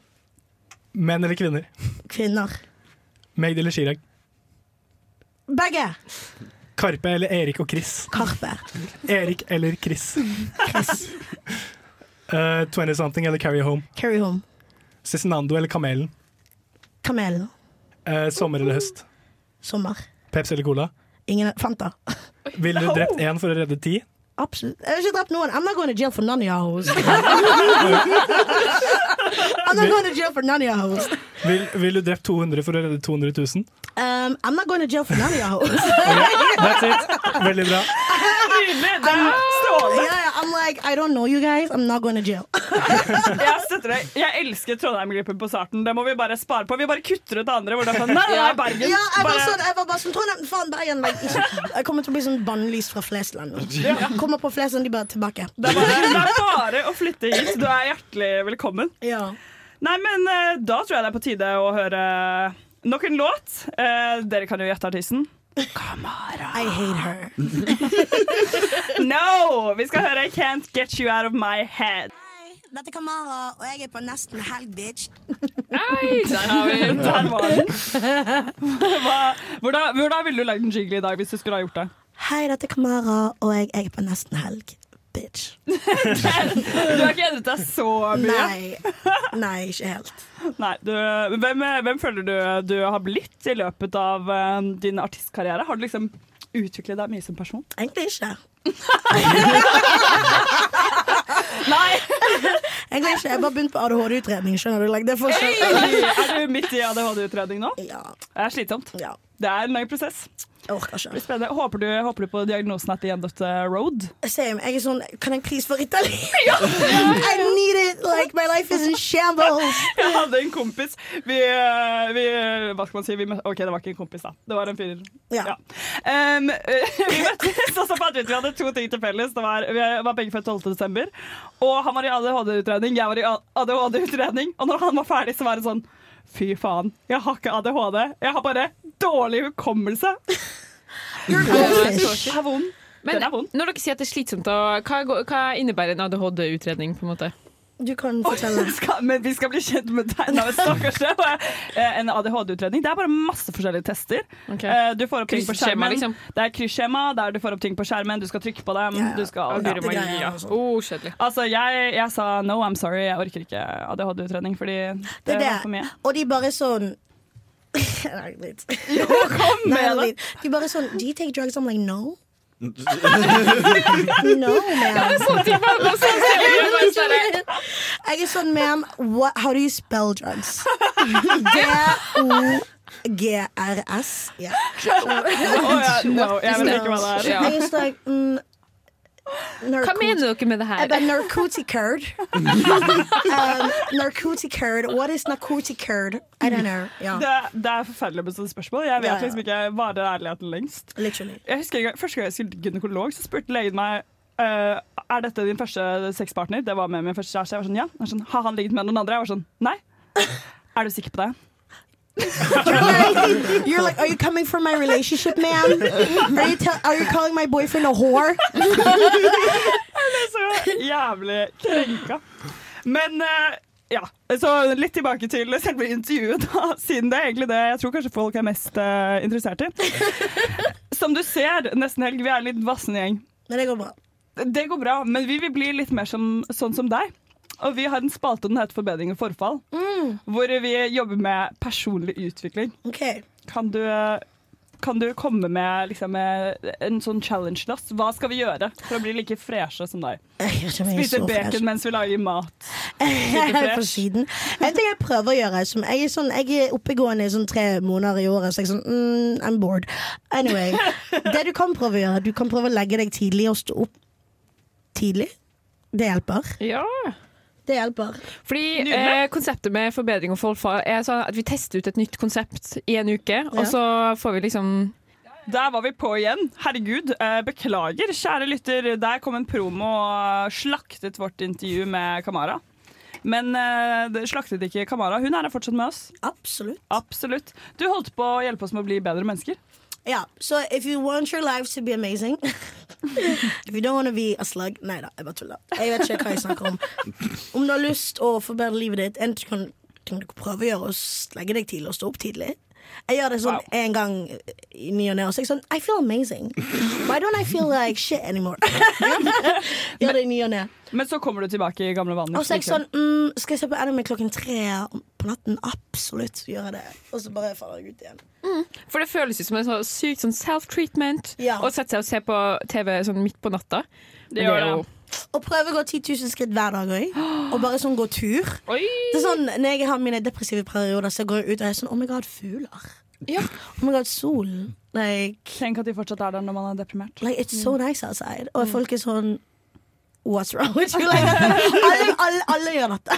Speaker 3: Menn eller kvinner?
Speaker 6: Kvinner.
Speaker 3: Magd eller Chirag?
Speaker 6: Begge.
Speaker 3: Karpe eller Erik og Chris?
Speaker 6: Karpe.
Speaker 3: Erik eller Chris? Eh, 20 something eller Carry Home?
Speaker 6: Carry home.
Speaker 3: Cezinando eller Kamelen?
Speaker 6: Kamelen.
Speaker 3: Eh, sommer eller høst?
Speaker 6: Sommer.
Speaker 3: Pepsi eller Cola?
Speaker 6: Ingen Fanta.
Speaker 3: Ville du drept én for å redde ti?
Speaker 6: Absolutt. Jeg har ikke drept noen. I'm not going to jail for none of your hoes. I'm not going to jail for none of your hoes.
Speaker 3: Vil- Ville du drept 200 for å redde 200 000?
Speaker 6: Um, I'm not going to jail for none of your hoes.
Speaker 3: That's it. Veldig bra.
Speaker 7: Nydelig! Det er
Speaker 6: Ah.
Speaker 7: strålende.
Speaker 6: Yeah, I'm like, I don't know you guys. I'm not going to jail.
Speaker 7: Jeg støtter deg. Jeg elsker Trondheim-glippen på starten. Det må vi bare spare på. Vi bare kutter ut det andre. Hvor det er sånn, nei, nei, nei, Bergen.
Speaker 6: Ja, jeg var
Speaker 7: Bare-
Speaker 6: sånn, jeg var bare sånn Trondheim, faen, Bergen. Like, ikke, jeg kommer til å bli sånn bannlyst fra Flesland. Jeg Kommer på Flesland, de bare tilbake.
Speaker 7: Det er, bare, det er bare å flytte hit. Du er hjertelig velkommen.
Speaker 6: Ja.
Speaker 7: Nei, men eh, da tror jeg det er på tide å høre eh, nok en låt. Eh, dere kan jo gjette artisten.
Speaker 6: I hate her.
Speaker 7: No! Vi skal høre Can't Get You Out of My Head.
Speaker 6: Dette er Kamara, og jeg er på nesten helg, bitch.
Speaker 9: Nei, der har vi den.
Speaker 7: Der var den. Hva, hvordan, hvordan ville du lagd en jingle i dag hvis du skulle ha gjort det?
Speaker 6: Hei, dette er Kamara, og jeg, jeg er på nesten helg, bitch.
Speaker 7: Du har ikke endret deg så mye.
Speaker 6: Nei. Nei, ikke helt.
Speaker 7: Nei, du, hvem, hvem føler du du har blitt i løpet av eh, din artistkarriere? Har du liksom utviklet deg mye som person?
Speaker 6: Egentlig ikke.
Speaker 7: Nei!
Speaker 6: Egentlig ikke. Jeg bare begynte på ADHD-utredning, skjønner du. Like, det er fortsatt
Speaker 7: Er du midt i ADHD-utredning nå?
Speaker 6: Ja.
Speaker 7: Det er slitsomt.
Speaker 6: ja.
Speaker 7: Det er en lang prosess.
Speaker 6: Jeg orker
Speaker 7: Det
Speaker 6: ikke.
Speaker 7: blir spennende. Håper du, håper du på diagnosen at the end of the road?
Speaker 6: Same. Jeg er sånn Kan jeg please få Ritalin? I need it! Like, my life is in shambles.
Speaker 7: Jeg hadde en kompis vi, eh, vi, Hva skal man si? Vi mø- OK, det var ikke en kompis, da. Det var en fyr.
Speaker 6: Ja.
Speaker 7: Em, eh, vi møttes, og så fant vi ut vi hadde to ting til felles. Det var, vi var begge født 12. desember. Og han var i ADHD-utredning, jeg var i ADHD-utredning. Og når han var ferdig, så var det sånn Fy faen, jeg har ikke ADHD. Jeg har bare dårlig hukommelse.
Speaker 6: Goldfish.
Speaker 7: Det er vond.
Speaker 9: Men
Speaker 7: Den er vond.
Speaker 9: når dere sier at det er slitsomt, da, hva, går- hva innebærer en ADHD-utredning? på en måte?
Speaker 6: Du kan fortelle.
Speaker 7: Skal, men vi skal bli kjent med deg nå, stakkars. deg. Og, eh, En ADHD-utredning. Det er bare masse forskjellige tester.
Speaker 9: Ok.
Speaker 7: Eh, Du får opp ting på
Speaker 9: Krysskjema,
Speaker 7: skjermen.
Speaker 9: liksom.
Speaker 7: Det er krysskjema der du får opp ting på skjermen. Du skal trykke på dem.
Speaker 6: Ja, ja.
Speaker 7: Du skal,
Speaker 9: Å,
Speaker 7: ja.
Speaker 9: Guri
Speaker 6: det greier jeg
Speaker 9: Maria.
Speaker 6: også.
Speaker 9: Oh, kjedelig.
Speaker 7: Altså, jeg, jeg sa no, I'm sorry, jeg orker ikke ADHD-utredning, fordi
Speaker 6: Det
Speaker 7: det
Speaker 6: er
Speaker 7: var for
Speaker 6: det.
Speaker 7: mye.
Speaker 6: Og de bare sånn Nei, litt.
Speaker 7: Jo, kom
Speaker 6: Nei,
Speaker 7: med det!
Speaker 6: litt. De bare sånn Do you take drugs? I'm like, no. No, man.
Speaker 9: Sånn ting man må se- se- bare sånn der-
Speaker 6: Jeg er sånn, ma'am, what- how do you spell drugs? D-O-G-R-S. Yeah.
Speaker 7: Å ja, no, jeg vet ikke hva det er.
Speaker 9: Ja.
Speaker 6: Jeg er sånn mm,
Speaker 9: Hva mener dere med det
Speaker 6: Jeg
Speaker 9: her?
Speaker 6: bare narcoticurd. um, narcoticurd. What is narcoticurd? I don't know. Ja,
Speaker 7: Det, det er forferdelig med sånne spørsmål. Jeg
Speaker 6: Ja, ja.
Speaker 7: vet liksom ikke varer ærligheten lengst.
Speaker 6: literally.
Speaker 7: Jeg husker en gang, Første gang jeg skulle til gynekolog, så spurte legen meg eh, er dette din første sexpartner. Det var med min første kjæreste. Jeg var sånn, ja. Han er sånn, Har han ligget med noen andre? Jeg var sånn, nei. Er du sikker på det?
Speaker 6: You're like, are you coming for my relationship, ma'am? Are you, tell- are you calling my boyfriend a whore?
Speaker 7: så jævlig krenka. Men eh, ja, så litt tilbake til selve intervjuet, da, siden det er egentlig det jeg tror kanskje folk er mest eh, interessert i. Som du ser, nesten helg, vi er en litt vassende gjeng.
Speaker 6: Men det går bra.
Speaker 7: Det går bra, men vi vil bli litt mer som, sånn som deg. Og vi har en spalte den heter Forbedring og forfall, hvor vi jobber med personlig utvikling.
Speaker 6: Ok.
Speaker 7: Kan du, eh, kan du komme med liksom, eh, en sånn challenge til oss? Hva skal vi gjøre for å bli like freshe som deg?
Speaker 6: Jeg vet ikke om jeg er
Speaker 7: Spise
Speaker 6: så fresh.
Speaker 7: bacon mens vi lager mat.
Speaker 6: På siden. En ting jeg prøver å gjøre som Jeg er, sånn, jeg er oppegående i sånn tre måneder i året, så jeg er sånn mm, I'm bored. Anyway. Det du kan prøve å gjøre, du kan prøve å legge deg tidlig og stå opp tidlig. Det hjelper.
Speaker 9: Ja.
Speaker 6: Det hjelper.
Speaker 9: Fordi eh, Konseptet med forbedring og forfall er sånn at vi tester ut et nytt konsept i en uke, og så får vi liksom
Speaker 7: Der var vi på igjen. Herregud, eh, beklager, kjære lytter. Der kom en promo og slaktet vårt intervju med Kamara. Men eh, det slaktet ikke Kamara. Hun er her fortsatt med oss.
Speaker 6: Absolutt.
Speaker 7: Absolutt. Du holdt på å hjelpe oss med å bli bedre mennesker.
Speaker 6: Ja, så if you want your life to be amazing If you don't want to be a slug Nei da, jeg bare tuller. Jeg vet ikke hva jeg snakker om. Om du har lyst å forbedre livet ditt, en ting ting du kan prøve å gjøre, er å s- legge deg tidlig og stå opp tidlig. Jeg gjør det sånn
Speaker 7: Wow.
Speaker 6: en gang i ny og ne. Og så er jeg sånn I feel amazing. Why don't I feel like shit anymore? gjør det i ny og ne.
Speaker 7: Men så kommer du tilbake i gamle vaner.
Speaker 6: Og så er jeg sånn mm, Skal jeg se på anime klokken tre på natten? Absolutt, gjør jeg det. Og så bare faller jeg ut igjen.
Speaker 9: For det føles jo som en sånn sykt sånn self-treatment
Speaker 6: Ja.
Speaker 9: å sette seg og se på TV sånn midt på natta.
Speaker 7: Det
Speaker 9: Men
Speaker 7: gjør
Speaker 9: er
Speaker 7: det.
Speaker 9: jo-
Speaker 6: Og prøve å gå 10 000 skritt hver dag òg. Og bare sånn gå tur.
Speaker 9: Oi!
Speaker 6: Det er sånn, Når jeg har mine depressive perioder, så går jeg ut og er sånn Oh my god, fugler. Oh my god, solen. Like,
Speaker 7: Tenk at de fortsatt er der når man er deprimert.
Speaker 6: like, it's so nice outside. Og folk er sånn What's wrong with you? Like, alle, alle, alle gjør dette.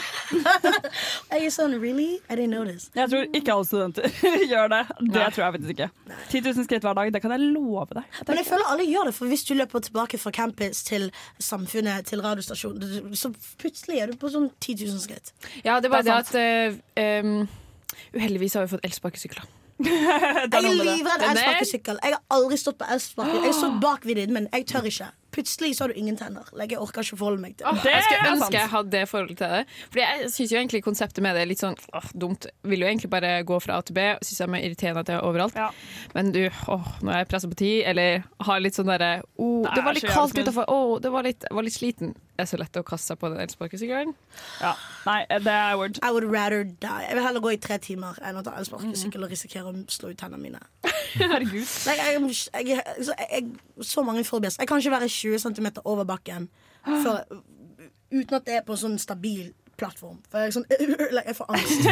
Speaker 6: Jeg er sånn Really? I didn't know this.
Speaker 7: Jeg tror ikke alle studenter gjør det. Det tror jeg faktisk ikke. 10 000 skritt hver dag, det kan jeg love deg. Det er
Speaker 6: Men jeg
Speaker 7: ikke-
Speaker 6: føler alle gjør det, for hvis du løper tilbake fra campus til samfunnet, til radiostasjonen, så plutselig er du på sånn 10 000 skritt.
Speaker 9: Ja, det er bare
Speaker 6: Det
Speaker 9: det,
Speaker 6: er
Speaker 9: at eh, em, Uheldigvis har vi fått elsparkesykler.
Speaker 7: Det er noe med
Speaker 6: Jeg er
Speaker 7: det.
Speaker 6: livredd
Speaker 9: Den er-
Speaker 6: elsparkesykkel. Jeg har aldri stått på elsparkesykkel. Jeg har stått bak ved din, men jeg tør ikke. Plutselig så har du ingen tenner. Like, jeg orker ikke forholde meg til det.
Speaker 7: Det
Speaker 9: jeg
Speaker 7: er
Speaker 9: skulle
Speaker 7: sant.
Speaker 9: ønske jeg hadde det forholdet til det. Fordi jeg syns jo egentlig konseptet med det er litt sånn åh, dumt. Vil jo egentlig bare gå fra A til B. Syns jeg er irriterende at jeg er overalt.
Speaker 7: Ja.
Speaker 9: Men du, åh, nå er jeg pressa på tid, eller har litt sånn derre oh,
Speaker 7: Det
Speaker 9: Det
Speaker 7: er
Speaker 9: var litt
Speaker 7: så jævlig
Speaker 9: kaldt
Speaker 7: smooth.
Speaker 9: utafor, åh, det var litt, jeg var litt sliten. Det er så lett å kaste seg på den elsparkesykkelen.
Speaker 7: Ja. Nei, det er word.
Speaker 6: I would rather die. Jeg vil heller gå i tre timer enn å ta elsparkesykkel og risikere å slå ut tennene mine.
Speaker 7: Herregud.
Speaker 6: Like, jeg, jeg, så, jeg, så mange fobier. Jeg kan ikke være 20 cm over bakken for, uten at det er på en sånn stabil plattform. For jeg, er sånn, like, jeg får angst.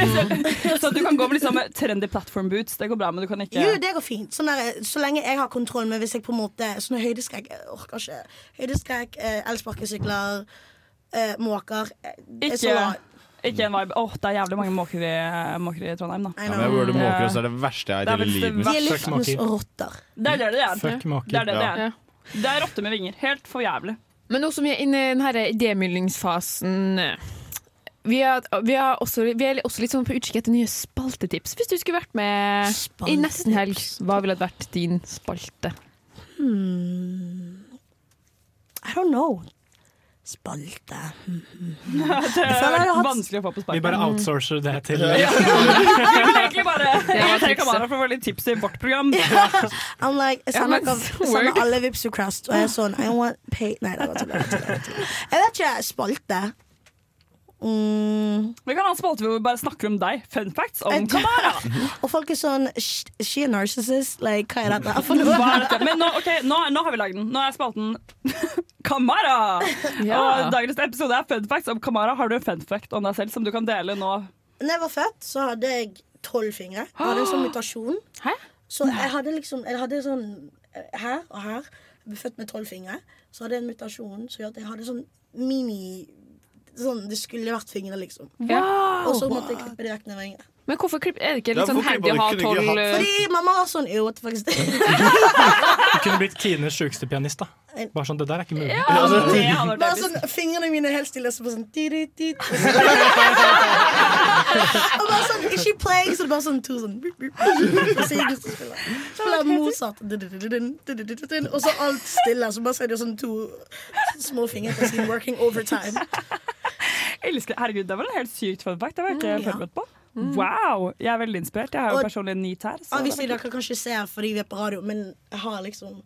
Speaker 7: Så du kan gå med liksom trendy platform boots, det går bra, men du kan ikke
Speaker 6: Jo, det går fint. Sånn der, så lenge jeg har kontroll, men hvis jeg på en måte Sånn høydeskrekk Jeg orker ikke. Høydeskrekk, eh, elsparkesykler, eh, måker eh, jeg er så
Speaker 7: Ikke,
Speaker 6: la-
Speaker 7: ikke en vibe. Åh, det er jævlig mange måker i, måker i Trondheim, da.
Speaker 6: I
Speaker 8: Ja,
Speaker 6: know.
Speaker 8: men jeg burde
Speaker 7: Det-
Speaker 8: måke, så er det verste jeg
Speaker 7: Det er
Speaker 8: har i hele
Speaker 7: vel det
Speaker 8: livet mitt.
Speaker 6: Mm. De er
Speaker 3: Fuck
Speaker 6: luftens
Speaker 3: måker.
Speaker 6: rotter.
Speaker 7: Det er det det er.
Speaker 3: Fuck
Speaker 7: Det er
Speaker 3: måker.
Speaker 7: det det
Speaker 9: Ja.
Speaker 7: er. Det er rotter med vinger. Helt for jævlig.
Speaker 9: Men nå som vi er inne i den her idémyldningsfasen vi er, vi, er også, vi er også litt sånn på utkikk etter nye spaltetips. Hvis du skulle vært med i nesten helg, hva ville vært din spalte?
Speaker 6: Hmm. I don't know. Spalte.
Speaker 7: Det
Speaker 6: føler
Speaker 7: er
Speaker 6: jeg har hatt-
Speaker 7: vanskelig å få på
Speaker 3: Vi
Speaker 7: sparket.
Speaker 3: bare outsourcer det til
Speaker 7: Vi vil egentlig bare invitere
Speaker 9: tipset.
Speaker 7: Kamara for å få litt tips i vårt program.
Speaker 6: I'm like, jeg sender,
Speaker 9: men
Speaker 6: dere- jeg
Speaker 9: word.
Speaker 6: sender alle Vips og Crest, og jeg er sånn I want pay Nei, det var tull. det var tull, det var tull. Jeg vet ikke. Spalte. Mm.
Speaker 7: Vi kan ha en spalte hvor vi bare snakker om deg. Fun facts om
Speaker 6: Jeg-
Speaker 7: Kamara.
Speaker 6: Og folk er sånn "Sh- She a narcissist? Like, hva er dette for
Speaker 7: Hva
Speaker 6: noe?
Speaker 7: er dette? Men nå, ok, nå, nå har vi lagd den. Nå er spalten Kamara! Og dagens episode er fun facts om Kamara. Har du en fun fact om deg selv som du kan dele nå?
Speaker 6: Når jeg var født, så hadde jeg tolv fingre. Jeg hadde en sånn mutasjon.
Speaker 9: Hæ?
Speaker 6: Så jeg hadde liksom Jeg hadde sånn eh, her og her. Jeg ble født med tolv fingre. Så hadde jeg en mutasjon som gjorde at jeg hadde sånn mini Sånn, Det skulle vært fingre, liksom. Og så måtte jeg klippe det vekk når jeg var yngre.
Speaker 9: Men hvorfor klipp, er det ikke
Speaker 8: Ja,
Speaker 9: litt sånn
Speaker 8: hvorfor
Speaker 9: handy å ha
Speaker 8: kunne du ikke
Speaker 9: tolv
Speaker 8: hatt-
Speaker 9: eh,
Speaker 6: Fordi mamma var sånn Jo, what the fuck is this?
Speaker 3: Du kunne blitt Kines sjukeste pianist, da. Bare sånn, det der er ikke mulig.
Speaker 7: Det hadde vært
Speaker 6: Bare
Speaker 7: episk.
Speaker 6: sånn, fingrene mine er helt stille, og så bare sånn «Di-di-di-di». Og bare sånn Is she playing? Så det er bare sånn to sånn «bup, bup, bup», Og så gikk det så spiller Spiller Mozart «du-du-du-du-dun, du-du-du-du-dun», Og så alt stille, så bare ser du sånn to små fingre på siden working overtime.
Speaker 7: Elsker. Herregud, det var en helt sykt fun fact. Det var jeg ikke
Speaker 6: Mm, ja.
Speaker 7: forberedt på. Wow! Jeg er veldig inspirert. Jeg har jo
Speaker 6: Og-
Speaker 7: personlig en nit her. Så
Speaker 6: Obviously, dere kan ikke se fordi vi er på radio, men jeg har liksom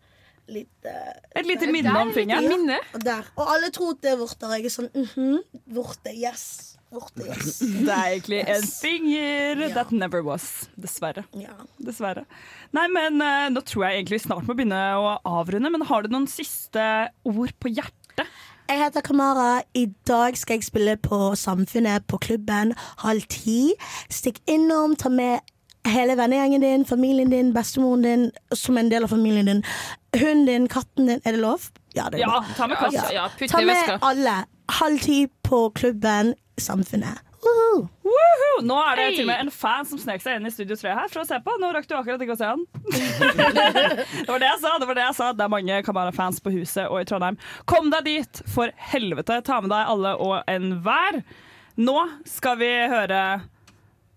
Speaker 6: litt eh,
Speaker 7: et lite minne om fingeren.
Speaker 9: minne?
Speaker 6: og der. Og alle tror at det er vorter. Jeg er sånn mhm, vorte, yes. Vorte, yes.
Speaker 7: Det er egentlig en
Speaker 6: Yes.
Speaker 7: finger
Speaker 6: Ja.
Speaker 7: that never was. Dessverre.
Speaker 6: Ja.
Speaker 7: Dessverre. Nei, men eh, nå tror jeg egentlig vi snart må begynne å avrunde, men har du noen siste ord på hjertet?
Speaker 6: Jeg heter Kamara. I dag skal jeg spille på Samfunnet på klubben halv ti. Stikk innom, ta med hele vennegjengen din, familien din, bestemoren din, som en del av familien din. Hunden din, katten din. Er det lov? Ja, altså, det er
Speaker 7: Ja,
Speaker 6: lov.
Speaker 7: ta med kast.
Speaker 9: Ja, ja, putt
Speaker 6: Ta
Speaker 9: det i
Speaker 6: med
Speaker 9: veska.
Speaker 6: alle. Halv ti på klubben Samfunnet. Woohoo!
Speaker 7: Woohoo! Nå er det
Speaker 9: Hei!
Speaker 7: til og med en fan som snek seg inn i Studio 3 her for å se på. Nå rakk du akkurat ikke å se han. det var det jeg sa. Det var det jeg sa. Det er mange Kamara-fans på huset og i Trondheim. Kom deg dit, for helvete. Ta med deg alle og enhver. Nå skal vi høre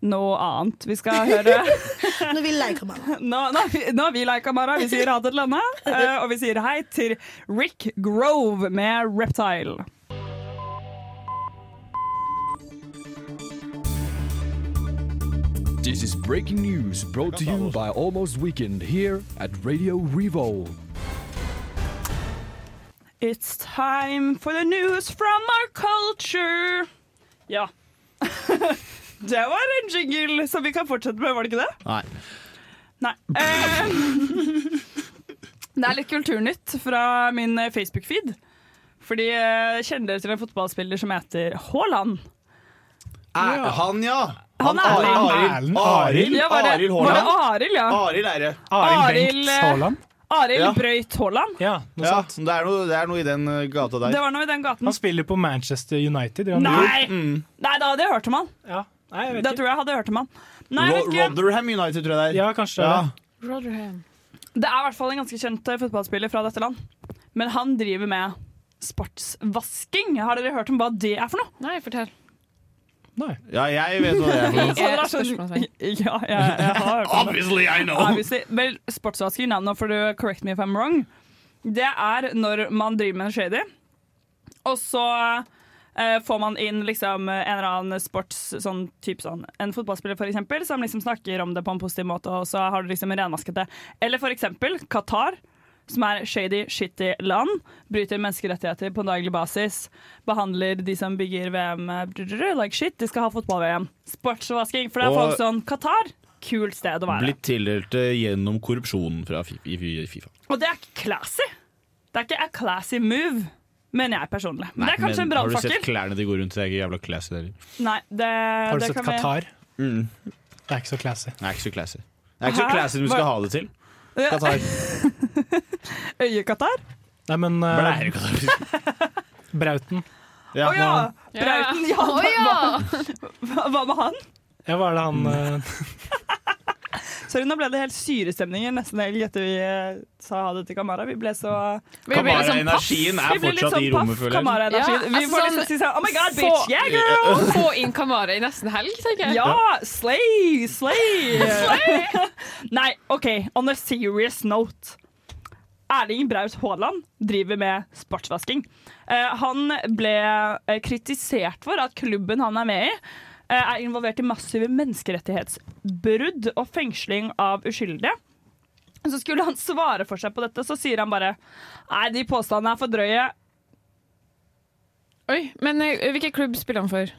Speaker 7: noe annet. Vi skal høre
Speaker 6: Nå vil jeg Kamara.
Speaker 7: Nå, nå, nå er vi lei Kamara. Vi sier ha det til Anna. eh, Og vi sier hei til Rick Grove med Reptile.
Speaker 12: This is breaking news brought to you by Almost Weekend here at Radio Revolve.
Speaker 7: It's time for the news from our culture. Ja. det var en jingle som vi kan fortsette med, var det ikke det?
Speaker 8: Nei.
Speaker 7: Nei. Eh, det er litt kulturnytt fra min eh, Facebook-feed. Fordi eh, kjenner dere til en fotballspiller som heter Haaland?
Speaker 8: Er han, ja!
Speaker 7: Han
Speaker 8: Han
Speaker 7: Arild.
Speaker 8: Arild. Arild. Arild.
Speaker 7: Ja, var det-
Speaker 8: Arild
Speaker 7: Var det
Speaker 8: Haaland.
Speaker 7: Arild, ja?
Speaker 8: Arild er det.
Speaker 7: Arild, eh, Arild
Speaker 8: Ja.
Speaker 7: Brøyt Haaland.
Speaker 8: Ja, så det, er noe, det er noe i den eh, gata der.
Speaker 7: Det var noe i den gaten.
Speaker 3: Han spiller på Manchester United. gjør han det?
Speaker 7: Nei!
Speaker 8: Mm.
Speaker 7: Nei, da hadde jeg hørt om han. da tror jeg jeg hadde hørt om han. Nei, jeg
Speaker 8: Ro-
Speaker 7: vet ikke.
Speaker 8: Rotherham United, tror jeg det er.
Speaker 3: Ja, kanskje det
Speaker 8: Ja.
Speaker 3: er det.
Speaker 7: Det er i hvert fall en ganske kjent eh, fotballspiller fra dette land. Men han driver med sportsvasking. Har dere hørt om hva det er for noe?
Speaker 9: Nei, fortell. Eh,
Speaker 8: Ja, jeg vet hva det er. for noe.
Speaker 7: Sandra, skjønner- Ja, jeg, jeg har hørt om det.
Speaker 8: Obviously, I know.
Speaker 7: Obviously. Vel, sportsvasking, now for to correct me if I'm wrong, det er når man driver med en shady, og så eh, får man inn liksom en eller annen sports, sånn type sånn, en fotballspiller for eksempel, som liksom snakker om det på en positiv måte, og så har du liksom renvasket det. Eller for eksempel Qatar, som er shady, shitty land, bryter menneskerettigheter på en daglig basis, behandler de som bygger VM eh, drrrr, like shit, de skal ha fotball-VM. Sportsvasking, for det er
Speaker 8: Og-
Speaker 7: folk sånn, Qatar, kult sted å være.
Speaker 8: Blitt tildelt eh, gjennom korrupsjon fra Fi- i Fi- i Fifa.
Speaker 7: Og det er ikke classy. Det er ikke a classy move, mener jeg personlig. Men det er kanskje en
Speaker 8: Men Har du sett
Speaker 7: brannfakkel.
Speaker 8: klærne de går rundt i? Det er ikke jævla classy. det heller.
Speaker 7: Nei, det,
Speaker 3: Har du
Speaker 7: det
Speaker 3: sett
Speaker 7: kan vi-
Speaker 3: Qatar?
Speaker 8: Mm.
Speaker 3: Det er ikke så classy.
Speaker 8: Det er ikke så classy. Det er ikke
Speaker 7: Hæ?
Speaker 8: så classy du skal
Speaker 7: Hva-
Speaker 8: ha det til.
Speaker 7: Ja.
Speaker 8: Qatar.
Speaker 7: Øyekatar?
Speaker 3: Nei, men eh, Brauten.
Speaker 8: Ja.
Speaker 7: Å ja! Brauten, ja.
Speaker 9: Å ja.
Speaker 7: Hva, hva, hva med han?
Speaker 3: Ja, hva er det han eh,
Speaker 7: Sorry, nå ble det helt syrestemning i nesten helg etter vi eh, sa ha det til Kamara. Vi ble så
Speaker 9: Vi ble litt sånn paff.
Speaker 8: Kamara-energien er
Speaker 7: Vi ble litt
Speaker 8: fortsatt
Speaker 7: sånn
Speaker 8: i rommet,
Speaker 7: paff,
Speaker 8: føler jeg.
Speaker 7: Kamara-energi.
Speaker 9: Ja,
Speaker 7: vi
Speaker 9: altså
Speaker 7: får
Speaker 9: sånn-
Speaker 7: liksom si sånn Oh my God,
Speaker 9: få-
Speaker 7: bitch! Yeah, girl!
Speaker 9: Få inn Kamara i nesten helg, tenker jeg.
Speaker 7: Ja! Slay! Slay! Nei, OK, on a serious note. Erling Braut Haaland driver med sportsvasking. Eh, han ble eh, kritisert for at klubben han er med i, eh, er involvert i massive menneskerettighetsbrudd og fengsling av uskyldige. Så skulle han svare for seg på dette, så sier han bare Nei, de påstandene er for drøye.
Speaker 9: Oi, men eh, hvilken klubb spiller han for?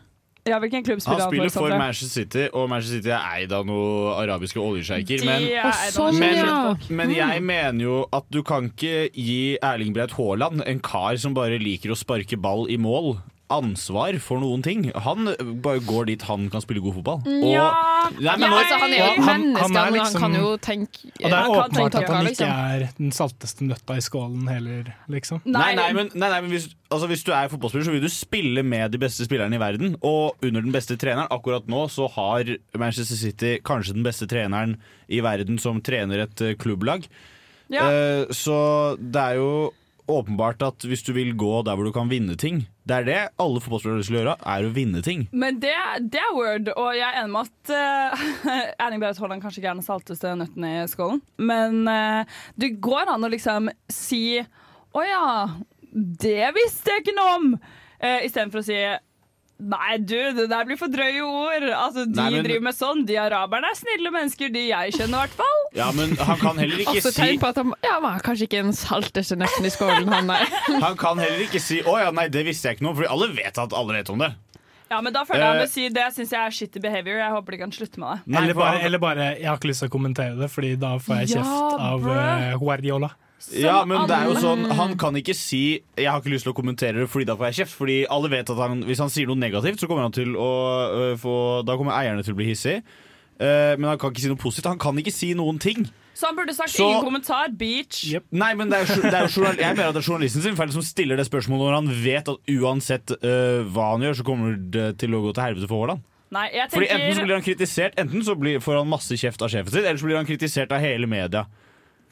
Speaker 7: Ja, hvilken klubb
Speaker 8: Han
Speaker 7: spiller han,
Speaker 8: spiller for
Speaker 7: Sondre?
Speaker 8: Manchester City, og Manchester City er eid av noen arabiske oljesjeiker.
Speaker 7: De
Speaker 8: Men,
Speaker 7: er eid av
Speaker 9: noen
Speaker 8: men,
Speaker 9: arabiske folk.
Speaker 8: men jeg mener jo at du kan ikke gi Erling Braut Haaland, en kar som bare liker å sparke ball i mål, ansvar for noen ting. Han bare går dit han kan spille god fotball.
Speaker 9: Ja,
Speaker 8: Og, nei, men
Speaker 9: ja,
Speaker 8: nå-
Speaker 9: altså, han er jo
Speaker 3: Og
Speaker 9: et
Speaker 3: han-
Speaker 9: menneske,
Speaker 3: han er
Speaker 9: men han
Speaker 3: liksom-
Speaker 9: kan jo tenke
Speaker 3: Og det er
Speaker 9: kan
Speaker 3: åpenbart
Speaker 9: tenke liksom.
Speaker 3: at han
Speaker 9: tanker,
Speaker 7: liksom.
Speaker 3: ikke er den salteste nøtta i skålen heller, liksom.
Speaker 8: Nei, nei, men, nei, nei, men hvis, altså, hvis du er fotballspiller, så vil du spille med de beste spillerne i verden. Og under den beste treneren. Akkurat nå så har Manchester City kanskje den beste treneren i verden som trener et eh, klubblag.
Speaker 7: Ja.
Speaker 8: Eh, så det er jo åpenbart at hvis du vil gå der hvor du kan vinne ting Det er det alle fotballspillere skal gjøre, er å vinne ting.
Speaker 7: Men det, det er word, og jeg er enig med at eh, Erling Braut Haaland kanskje ikke er den salteste nøtten i skålen. Men eh, det går an å liksom si Å ja, det visste jeg ikke noe om! Uh, Istedenfor å si Nei, du, det der blir for drøye ord. Altså, De
Speaker 8: Nei, men-
Speaker 7: driver med sånn. De araberne er snille mennesker, de jeg kjenner i hvert fall.
Speaker 8: Ja, men han kan heller ikke
Speaker 9: Altså,
Speaker 8: si
Speaker 9: tegn på at han ja, han er kanskje ikke den salteste nøtten i skålen, han der.
Speaker 8: Han kan heller ikke si 'Å ja, nei, det visste jeg ikke noe om', for alle vet at alle vet om det.
Speaker 7: Ja, men da føler jeg han
Speaker 8: Eh.
Speaker 7: vil si det syns jeg er shitty behavior. Jeg håper de kan slutte med det.
Speaker 8: Nei,
Speaker 3: eller,
Speaker 8: for
Speaker 3: bare,
Speaker 8: han-
Speaker 3: eller bare 'jeg har ikke lyst til å kommentere det', Fordi da får jeg
Speaker 7: Ja,
Speaker 3: kjeft av
Speaker 7: bruh.
Speaker 3: eh, Guardiola.
Speaker 8: Ja, men det er jo
Speaker 7: alle-
Speaker 8: sånn Han kan ikke si 'jeg har ikke lyst til å kommentere det', fordi da får jeg kjeft. Fordi alle vet at han, Hvis han sier noe negativt, så kommer han til å øh, få Da kommer eierne til å bli hissige. Eh, men han kan ikke si noe positivt. Han kan ikke si noen ting.
Speaker 7: Så han burde sagt
Speaker 8: Så-
Speaker 7: ingen kommentar. Beach.
Speaker 8: Nei, men det er, jo- det er jo journal, Jeg mener at det er journalisten sin feil som stiller det spørsmålet når han vet at uansett øh, hva han gjør, så kommer det til å gå til helvete for Haaland.
Speaker 7: Nei, jeg
Speaker 8: Fordi
Speaker 7: tenker
Speaker 8: Enten så blir han kritisert Enten så blir, får han masse kjeft av sjefen sin, eller så blir han kritisert av hele media.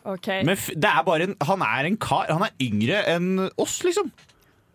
Speaker 7: Ok.
Speaker 8: Men f det er bare en, han er en kar. Han er yngre enn oss, liksom.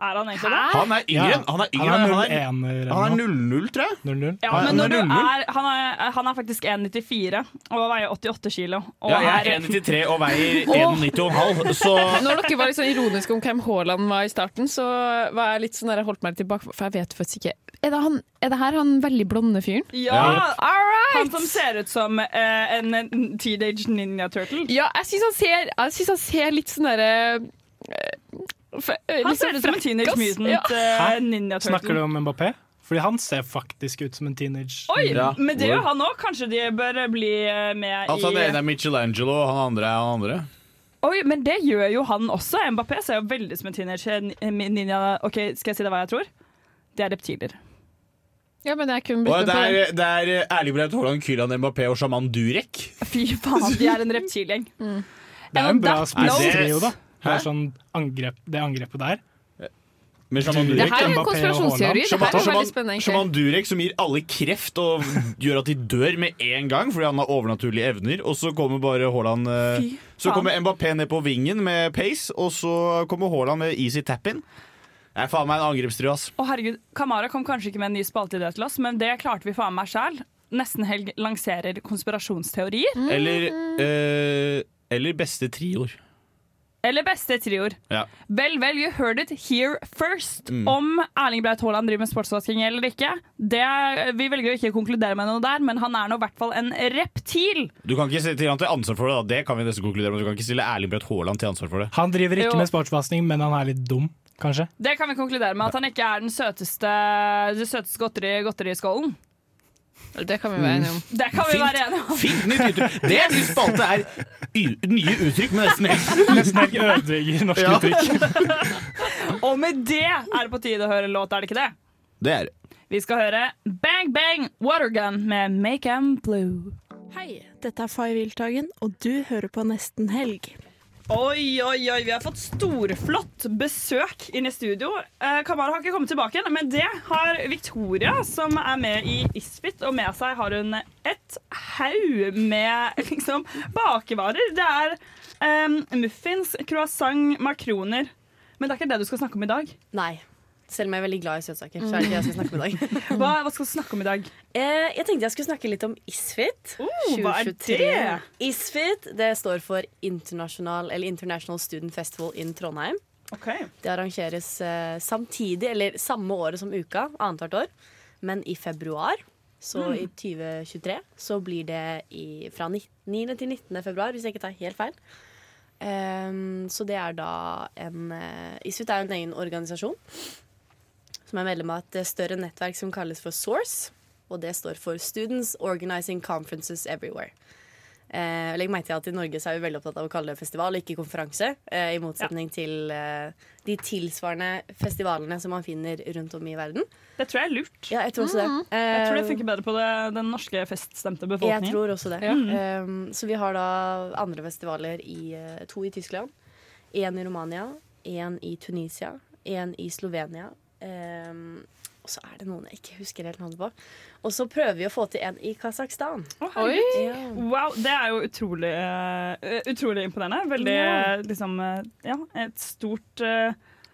Speaker 7: Er han egentlig det?
Speaker 8: Han er yngre
Speaker 3: Ja.
Speaker 8: enn Han er yngre
Speaker 3: Han er
Speaker 8: enn-
Speaker 3: 01-er.
Speaker 8: Han er 00, tror jeg.
Speaker 3: 0-0.
Speaker 7: Ja, men når du er, han, er, han er faktisk 1,94 og veier 88 kilo. Og
Speaker 8: Ja, jeg
Speaker 7: er-
Speaker 8: er 1,93 og veier 1,90,5, så
Speaker 9: Når dere var litt sånn ironiske om hvem Haaland var i starten, så var jeg litt sånn der, jeg holdt meg litt tilbake, for jeg vet faktisk ikke Er det, han, er det her han veldig blonde fyren?
Speaker 7: ja,
Speaker 9: All right!
Speaker 7: Han som ser ut som eh, en, en teenage ninja turtle.
Speaker 9: Ja, jeg syns han ser Jeg synes han ser litt sånn derre eh, fe- eh,
Speaker 7: Han
Speaker 9: litt sånn
Speaker 7: ser ut som en teenage
Speaker 9: frekkas.
Speaker 7: mutant
Speaker 9: Ja.
Speaker 7: eh,
Speaker 3: Hæ?
Speaker 7: ninja turtle.
Speaker 3: Snakker du om Mbappé? Fordi han ser faktisk ut som en teenage.
Speaker 7: Oi,
Speaker 8: Ja,
Speaker 7: men det gjør
Speaker 8: word.
Speaker 7: han òg. Kanskje de bør bli eh, med
Speaker 8: Altså Han ene
Speaker 7: i
Speaker 8: er Michelangelo, og han andre er han andre.
Speaker 7: Oi, men det gjør jo han også. Mbappé ser jo eh, veldig som en teenager. Ninja, ok, Skal jeg si deg hva jeg tror? Det er reptiler.
Speaker 9: Ja, men jeg kunne
Speaker 8: Og det
Speaker 9: blitt med på
Speaker 8: er, det er eh, Erling Braut Haaland, Kylian Mbappé og sjaman Durek.
Speaker 7: Fy faen, de er en reptilgjeng.
Speaker 3: Det er jo en bra
Speaker 7: That
Speaker 3: spissetrio, da.
Speaker 7: blows.
Speaker 3: Det, er sånn angrep, det angrepet der.
Speaker 8: Med sjaman
Speaker 3: Det
Speaker 8: Durek.
Speaker 9: her er en
Speaker 8: eh, Mbappé og Haaland.
Speaker 9: konspirasjonsteori. Det her er
Speaker 8: Sjaman-
Speaker 9: veldig spennende, egentlig.
Speaker 8: Sjaman Durek som gir alle kreft og gjør at de dør med en gang fordi han har overnaturlige evner. Og så kommer bare Haaland eh,
Speaker 7: Fy
Speaker 8: Så
Speaker 7: faen.
Speaker 8: kommer Mbappé ned på vingen med pace, og så kommer Haaland med easy tap-in. Det er faen meg en angrepstrio, ass.
Speaker 7: Å herregud, Kamara kom kanskje ikke med en ny spalteidé til oss, men det klarte vi faen meg sjæl. Nesten helg lanserer konspirasjonsteorier.
Speaker 8: Eller,
Speaker 13: Mm.
Speaker 8: eh, eller beste trioer.
Speaker 7: Eller beste trioer.
Speaker 8: Ja.
Speaker 7: Vel, vel, you heard it here first.
Speaker 8: Mm.
Speaker 7: Om Erling Braut Haaland driver med sportsvasking eller ikke, det, vi velger å ikke konkludere med noe der, men han er nå i hvert fall en reptil.
Speaker 8: Du kan ikke stille han til ansvar for det, da. det kan vi nesten konkludere med. Du kan ikke stille Erling Braut Haaland til ansvar for det.
Speaker 3: Han driver ikke
Speaker 7: Jo.
Speaker 3: med sportsvasking, men han er litt dum, kanskje.
Speaker 7: Det kan vi konkludere med, at han ikke er den søteste, det søteste godteri, godteriskålen.
Speaker 9: den. Det kan vi være enige om.
Speaker 7: Det kan vi være enige om.
Speaker 8: Fint nytt uttrykk! Det er ny spalte er y- nye uttrykk med nesten helt.
Speaker 3: Nesten helt ødelegger norske
Speaker 8: Ja.
Speaker 3: uttrykk.
Speaker 7: Og med det er det på tide å høre en låt, er det ikke det?
Speaker 8: Det er det.
Speaker 7: Vi skal høre Bang Bang Watergun med Make 'em Blue.
Speaker 1: Hei, dette er Fay Wiltagen, og du hører på Nesten Helg.
Speaker 7: Oi, oi, oi, vi har fått storflott besøk inn i studio. Eh, Kamara har ikke kommet tilbake igjen, men det har Victoria, som er med i Isfit. Og med seg har hun et haug med liksom, bakevarer. Det er eh, muffins, croissant, makroner. Men det er ikke det du skal snakke om i dag.
Speaker 13: Nei. Selv om jeg er veldig glad i søtsaker, så er det ikke det jeg skal snakke om i dag.
Speaker 7: Hva, hva skal du snakke om i dag?
Speaker 13: Eh, jeg tenkte jeg skulle snakke litt om ISFIT.
Speaker 7: Mm, hva er
Speaker 13: 2023.
Speaker 7: det?
Speaker 13: ISFIT det står for International, eller International Student Festival in Trondheim. Det arrangeres eh, samtidig, eller samme året som uka, annethvert år. Men i februar, så
Speaker 14: Mm.
Speaker 13: i 2023, så blir det i, fra ni- 9. til 19. februar, hvis jeg ikke tar helt feil. Ehm, så det er da en uh, ISFIT er jo en egen organisasjon som er medlem av et større nettverk som kalles for SOURCE. Og det står for Students Organizing Conferences Everywhere. Eh, legg merke til at I Norge så er vi veldig opptatt av å kalle det festival, ikke konferanse. Eh, I motsetning til eh, de tilsvarende festivalene som man finner rundt om i verden.
Speaker 7: Det tror jeg er lurt.
Speaker 13: Ja, jeg tror også det.
Speaker 7: Mm. Jeg tror det
Speaker 13: Eh,
Speaker 7: funker bedre på det, den norske feststemte befolkningen.
Speaker 13: jeg tror også det.
Speaker 7: Ja.
Speaker 13: Um, så vi har da andre festivaler i eh, to i Tyskland, én i Romania, én i Tunisia, én i Slovenia. Um, og så er det noen jeg ikke husker helt navnet på. Og så prøver vi å få til en i Kasakhstan.
Speaker 7: Herregud.
Speaker 13: Ja.
Speaker 7: Wow, det er jo utrolig, eh, utrolig imponerende. Veldig
Speaker 13: Ja.
Speaker 7: eh, liksom eh, Ja, et stort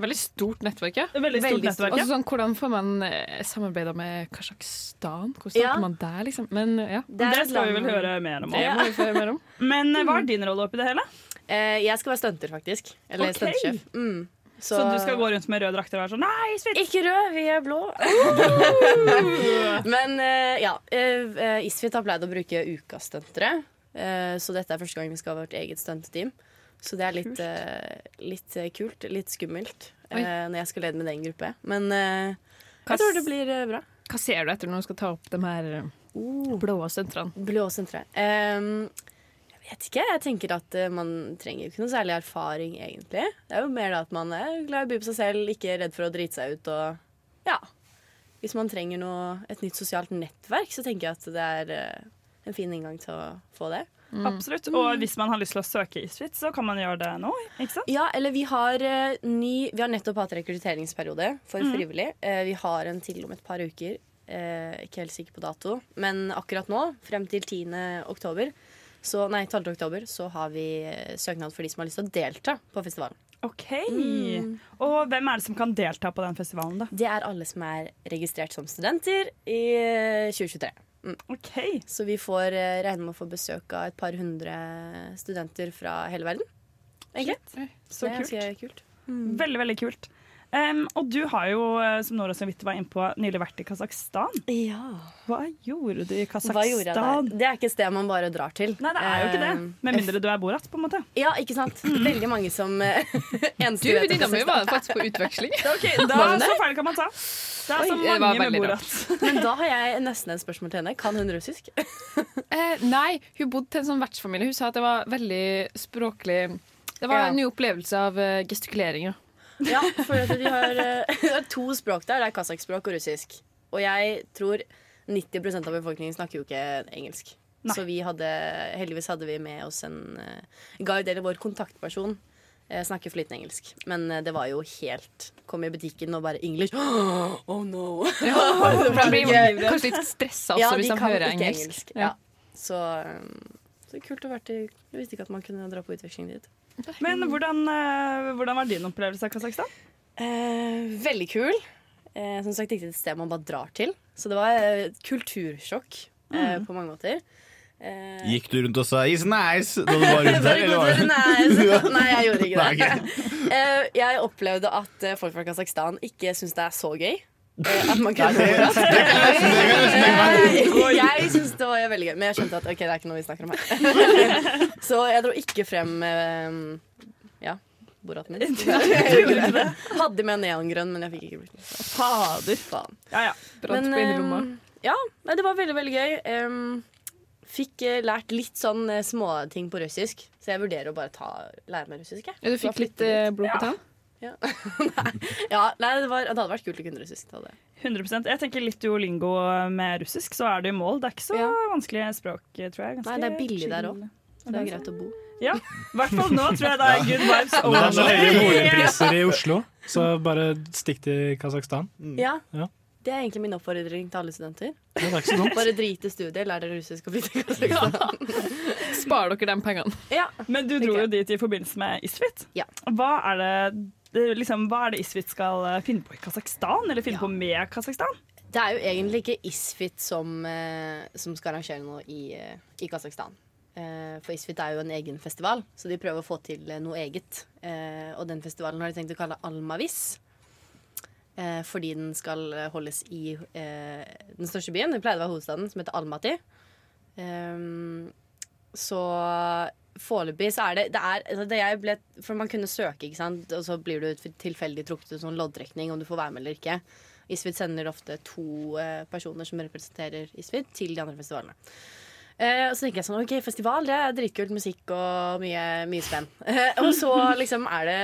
Speaker 7: Veldig stort nettverk, ja. Veldig stort nettverk,
Speaker 9: Også
Speaker 7: ja.
Speaker 9: sånn, hvordan får man eh, samarbeida med Kasjokstan? Hvordan starter
Speaker 7: Ja.
Speaker 9: man der, liksom? Men ja.
Speaker 7: Det, skal vi vel høre mer om.
Speaker 9: Det må vi få høre mer om.
Speaker 7: Men eh, hva
Speaker 13: Mm.
Speaker 7: er din rolle oppi det hele?
Speaker 13: Eh, jeg skal være stunter, faktisk. Eller
Speaker 7: Ok.
Speaker 13: stuntsjef. Mm.
Speaker 7: Så, du skal gå rundt med røde drakter og være sånn Nei, svitt!
Speaker 13: Ikke rød, vi er blå. Men eh, ja, uh, Isfit har pleid å bruke ukastuntere. eh, så dette er første gang vi skal ha vårt eget stunteteam. Så det er litt, eh, litt eh, kult, litt skummelt,
Speaker 9: Oi.
Speaker 13: eh, når jeg skal lede med den gruppe. Men eh, jeg tror det blir eh, bra.
Speaker 9: Hva ser du etter når du skal ta opp de her eh,
Speaker 13: oh.
Speaker 9: blå sentrene?
Speaker 13: Blå sentre. Ehm, jeg vet ikke. Jeg tenker at eh, man trenger ikke noe særlig erfaring, egentlig. Det er jo mer da at man er glad i å by på seg selv, ikke redd for å drite seg ut og Ja. Hvis man trenger noe, et nytt sosialt nettverk, så tenker jeg at det er eh, en fin inngang til å få det.
Speaker 7: Absolutt.
Speaker 13: Mm.
Speaker 7: Og hvis man har lyst til å søke Isfit, så kan man gjøre det nå. Ikke sant?
Speaker 13: Ja, eller vi har, eh, ny, vi har nettopp hatt rekrutteringsperiode for
Speaker 7: Mhm.
Speaker 13: frivillig. Eh, vi har en til om et par uker. Eh, ikke helt sikker på dato. Men akkurat nå, frem til 10. oktober, så, nei, 12. oktober, så har vi eh, søknad for de som har lyst til å delta på festivalen.
Speaker 7: OK.
Speaker 13: Mm.
Speaker 7: Og hvem er det som kan delta på den festivalen, da?
Speaker 13: Det er alle som er registrert som studenter i eh, 2023. Mm. Så vi får eh, regne med å få besøk av et par hundre studenter fra hele verden. Egentlig.
Speaker 7: Så
Speaker 13: det er
Speaker 7: kult.
Speaker 13: ganske kult.
Speaker 7: Veldig, veldig kult. Em, og du har jo, eh, som Nora så vidt var innpå, nylig vært i Kasakhstan. Hva gjorde du i
Speaker 13: Hva gjorde jeg
Speaker 7: Kasakhstan?
Speaker 13: der? Det er ikke et sted man bare drar til. Eh,
Speaker 7: Nei, det er jo ikke det. Med mindre du er borat, på en måte.
Speaker 13: Ja, ikke sant? Veldig mange som eh, eneste
Speaker 9: Du,
Speaker 13: vet at
Speaker 9: venninna mi
Speaker 13: det
Speaker 9: var
Speaker 13: stemmer.
Speaker 9: faktisk på utveksling.
Speaker 7: Ok, da,
Speaker 13: Var hun
Speaker 7: så
Speaker 13: det?
Speaker 7: feil kan man ta. Det er
Speaker 13: Oi,
Speaker 7: så
Speaker 13: det
Speaker 9: var
Speaker 7: mange med
Speaker 9: veldig
Speaker 7: borat.
Speaker 13: Men da har jeg nesten et spørsmål til henne. Kan hun russisk?
Speaker 9: Eh, nei, hun bodde til en sånn vertsfamilie. Hun sa at det var veldig språklig Det var
Speaker 13: Ja.
Speaker 9: en ny opplevelse av eh, gestikulering. Ja.
Speaker 13: Ja, for at de har, eh, det er to språk der. Det er kasakhspråk og russisk. Og jeg tror 90 av befolkningen snakker jo ikke engelsk. Så vi hadde, heldigvis hadde vi med oss en eh, guide, eller vår kontaktperson, eh, snakker flytende engelsk. Men eh, det var jo helt Kom i butikken og bare English. Oh no! Det var
Speaker 9: for da blir
Speaker 13: gøy.
Speaker 9: man kanskje litt stresset også
Speaker 13: ja,
Speaker 9: Altså, hvis
Speaker 13: de
Speaker 9: man
Speaker 13: kan
Speaker 9: hører
Speaker 13: ikke
Speaker 9: engelsk.
Speaker 13: engelsk.
Speaker 9: Ja.
Speaker 13: Ja. Så, um, så kult å være til Jeg visste ikke at man kunne dra på utveksling dit.
Speaker 7: Men hvordan, eh, hvordan var din opplevelse av Kasakhstan?
Speaker 13: Eh, veldig kul. Eh, som sagt, ikke et sted man bare drar til. Så det var eh, et kultursjokk eh, på mange måter. Eh,
Speaker 8: Gikk du rundt og sa 'is nice' da du var rundt der?
Speaker 13: Very
Speaker 8: eller
Speaker 13: good,
Speaker 8: var det-
Speaker 13: very nice. Nei, jeg gjorde ikke
Speaker 8: Nei,
Speaker 13: det. Eh, jeg opplevde at eh, folk fra Kasakhstan ikke syns det er så gøy. Eh, at man kan
Speaker 8: Nei, det-
Speaker 13: mora.
Speaker 8: det kan jeg nesten- det kan jeg nesten tenke meg.
Speaker 13: Eh, Jeg syns det var veldig gøy, men jeg skjønte at ok, det er ikke noe vi snakker om her. Så jeg dro ikke frem eh, ja, boraten min. Hadde med neongrønn, men jeg fikk ikke brukt den.
Speaker 7: Fader.
Speaker 13: Ja, ja.
Speaker 9: Brant på innerlommet.
Speaker 13: ehm, ja, nei, det var veldig, veldig gøy. Em, fikk eh, lært litt sånn eh, småting på russisk, så jeg vurderer å bare ta, lære meg russisk. Jeg.
Speaker 9: Ja, du fikk
Speaker 13: Bare flytte
Speaker 9: litt, eh,
Speaker 13: dit.
Speaker 9: blod på
Speaker 13: Ja.
Speaker 9: tann?
Speaker 13: Ja. ja, nei, det, var, det hadde vært kult å kunne russisk. Det hadde. jeg.
Speaker 7: 100 Jeg tenker litt duolingo med russisk, så er du i mål. Det er ikke så vanskelig språk, tror jeg.
Speaker 13: Nei, det er billig der òg, så det er greit å bo.
Speaker 7: Ja, i hvert fall nå tror jeg det er good vibes
Speaker 3: Men det er så høye boligpriser i
Speaker 7: only.
Speaker 3: Oslo, så bare stikk til Kasakhstan.
Speaker 13: Ja,
Speaker 3: Ja.
Speaker 13: Det er egentlig min oppfordring til alle studenter.
Speaker 3: det er ikke så dumt.
Speaker 13: Bare drit i studiet, lær dere russisk og flytte i Kasakhstan.
Speaker 9: Sparer dere de pengene?
Speaker 7: Men du dro jo dit i forbindelse med Isfit. Hva er det, det liksom, hva er det Isfit skal eh, finne på i Kasakhstan, eller finne på med Kasakhstan?
Speaker 13: Det er jo egentlig ikke ISFIT som, eh, som skal arrangere noe i, eh, i Kasakhstan. Eh, for ISFIT er jo en egen festival, så de prøver å få til eh, noe eget. Eh, og den festivalen har de tenkt å kalle Almavis. Eh, fordi den skal eh, holdes i eh, den største byen. Det pleide å være hovedstaden, som heter Almaty. Ehm, så foreløpig så er det, det, er, altså det jeg ble, For man kunne søke, ikke sant? og så blir du tilfeldig trukket ut sånn loddtrekning om du får være med eller ikke. Isfit sender ofte to eh, personer som representerer Isfit, til de andre festivalene. Eh, og så tenker jeg sånn OK, festival, det er dritkult musikk og mye, mye spenn. Eh, og så liksom er det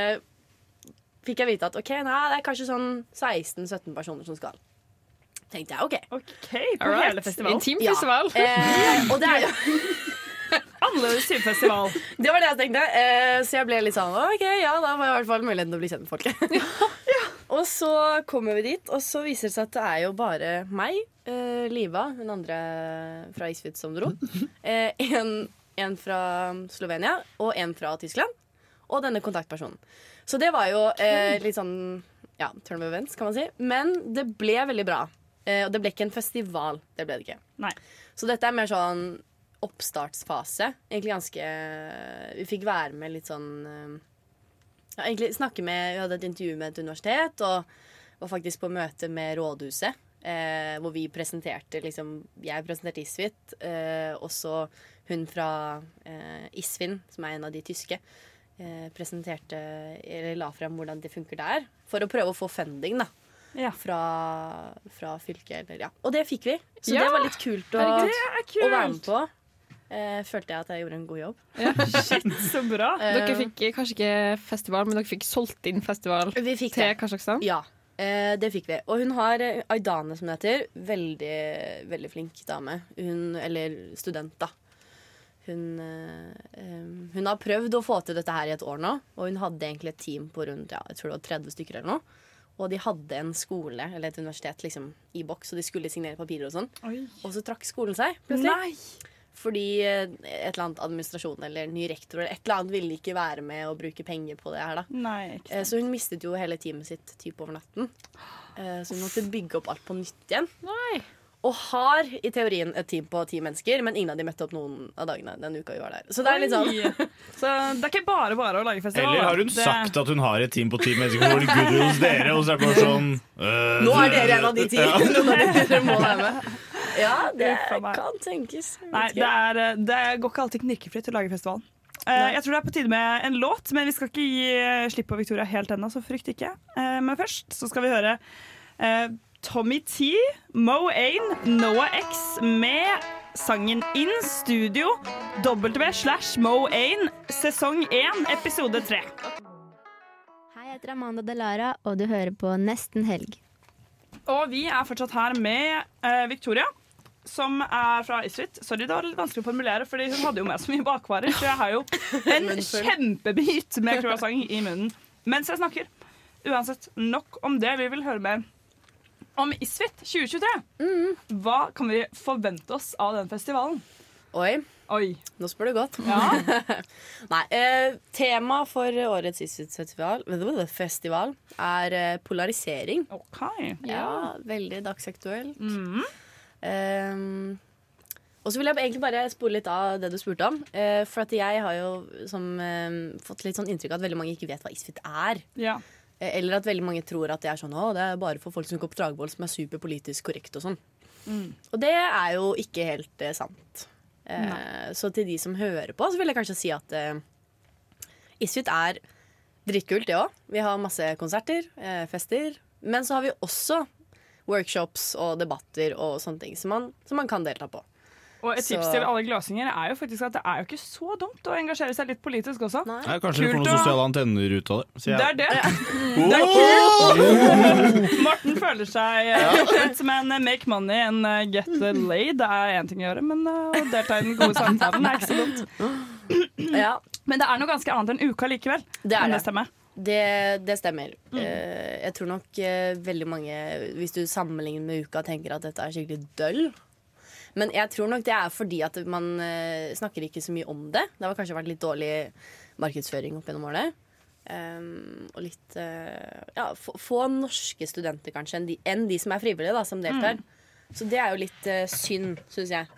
Speaker 13: Fikk jeg vite at OK, nei, det er kanskje sånn 16-17 personer som skal. Tenkte jeg OK.
Speaker 7: Hei, på hele festivalen.
Speaker 13: Ja. Eh, og det er jo
Speaker 7: Annerledes type festival.
Speaker 13: Det var det jeg tenkte. Eh, så jeg ble litt sånn OK, ja, da var jeg i hvert fall muligheten til å bli kjent med folket. Og så kommer vi dit, og så viser det seg at det er jo bare meg, eh, Liva, hun andre fra Isfit som dro, eh, en, en fra Slovenia og en fra Tyskland, og denne kontaktpersonen. Så det var jo eh, litt sånn ja, turn of events, kan man si. Men det ble veldig bra. Eh, og det ble ikke en festival. Det ble det ikke. Så dette er mer sånn oppstartsfase. Egentlig ganske Vi fikk være med litt sånn eh, ja, egentlig snakke med Vi hadde et intervju med et universitet, og var faktisk på møte med Rådhuset. Eh, hvor vi presenterte liksom Jeg presenterte Isfit, eh, og så hun fra eh, Isfin, som er en av de tyske, eh, presenterte Eller la frem hvordan det funker der. For å prøve å få funding, da. Fra, fra fylket, eller ja. Og det fikk vi. Så
Speaker 7: Ja!
Speaker 13: det var litt kult å,
Speaker 7: Herregud, det er kult!
Speaker 13: å være med på. Eh, følte jeg at jeg gjorde en god jobb.
Speaker 7: Shit, så bra.
Speaker 9: Dere fikk eh, kanskje ikke festival, men dere fikk solgt inn festival til Kasakhstan?
Speaker 13: Ja, eh, det fikk vi. Og hun har eh, Aydane, som det heter. Veldig, veldig flink dame. Hun, eller student, da. Hun, eh, eh, hun har prøvd å få til dette her i et år nå, og hun hadde egentlig et team på rundt ja, jeg tror det var 30 stykker eller noe. Og de hadde en skole, eller et universitet, liksom, i boks, og de skulle signere papirer og sånn. Og så trakk skolen seg, plutselig. Fordi eh, et eller annet administrasjon eller ny rektor eller et eller annet ville ikke være med og bruke penger på det her, da.
Speaker 7: Nei, ikke
Speaker 13: Eh, Så hun mistet jo hele teamet sitt typ over natten. Eh, Så hun måtte bygge opp alt på nytt igjen. Og har i teorien et team på ti mennesker, men ingen av de møtte opp noen av dagene den uka vi var der. Så det er litt sånn
Speaker 7: Oi. Så det er ikke bare bare å lage festival.
Speaker 8: Eller har hun
Speaker 7: Det-
Speaker 8: sagt at hun har et team på ti mennesker hvor det er good hos dere? Og så er det bare sånn øh,
Speaker 13: Nå er dere en av de ti!
Speaker 8: Ja.
Speaker 13: Noen av dere må være med. Ja, det
Speaker 7: Uff a meg.
Speaker 13: kan tenkes. Jeg vet
Speaker 7: Nei,
Speaker 13: ikke.
Speaker 7: det, er, eh, det går ikke alltid knirkefritt å lage festival. Eh, jeg tror det er på tide med en låt, men vi skal ikke gi eh, slipp på Victoria helt ennå, så frykt ikke. Eh, men først så skal vi høre eh, Tommy T, Mo Ain, Noah X med sangen In Studio W slash Mo Ain, sesong 1, episode 3.
Speaker 14: Hei, jeg heter Amanda Delara, og du hører på Nesten helg.
Speaker 7: Og vi er fortsatt her med eh, Victoria, som er fra Isfit. Sorry, det var litt vanskelig å formulere, Fordi hun hadde jo med så mye bakvarer. Så jeg har jo en
Speaker 13: Munnfull.
Speaker 7: kjempebit med croissant i munnen mens jeg snakker. Uansett, nok om det. Vi vil høre mer om Isfit 2023. Hva kan vi forvente oss av den festivalen?
Speaker 13: Oi. Nå spør du godt. Nei, eh, tema for årets Isfjordsfestival festival, er eh, polarisering. Ja, veldig dagsaktuelt.
Speaker 7: Mm.
Speaker 13: Ehm, og så vil jeg egentlig bare spole litt av det du spurte om. eh, for at jeg har jo som, eh, fått litt sånn inntrykk av at veldig mange ikke vet hva Isfit er.
Speaker 7: Ja.
Speaker 13: Eh, Eller at veldig mange tror at det er sånn Å, det er bare for folk som går på Dragvoll som er superpolitisk korrekt og sånn. Og det er jo ikke helt eh, sant. Eh,
Speaker 7: Nei.
Speaker 13: så til de som hører på, så vil jeg kanskje si at eh, Isfit er dritkult, det òg. Vi har masse konserter, eh, fester. Men så har vi også workshops og debatter og sånne ting som man, som man kan delta på.
Speaker 7: Og et tips
Speaker 13: Så-
Speaker 7: til alle gløsinger er jo faktisk at det er jo ikke så dumt å engasjere seg litt politisk også.
Speaker 8: Nei, kanskje du får
Speaker 7: Kult
Speaker 8: noen
Speaker 7: å-
Speaker 8: sosiale antenner ut av det. sier
Speaker 7: Det er
Speaker 8: jeg.
Speaker 7: det.
Speaker 8: Oh!
Speaker 7: Det er kult! Morten føler seg eh,
Speaker 8: Ja.
Speaker 7: litt som en eh, make money and eh, get laid. Det er én ting å gjøre, men eh, å delta i den gode samtalen er ikke så dumt.
Speaker 13: Ja.
Speaker 7: Men det er noe ganske annet enn uka likevel.
Speaker 13: Det er
Speaker 7: om
Speaker 13: det.
Speaker 7: stemmer.
Speaker 13: Det, det stemmer. Eh, jeg tror nok eh, veldig mange, hvis du sammenligner med uka, tenker at dette er skikkelig døll. Men jeg tror nok det er fordi at man eh, snakker ikke så mye om det. Det har kanskje vært litt dårlig markedsføring opp gjennom årene. Ehm, og litt eh, Ja, få, få norske studenter, kanskje, enn de, enn de som er frivillige, da, som deltar.
Speaker 7: Mm.
Speaker 13: Så det er jo litt eh, synd, syns jeg.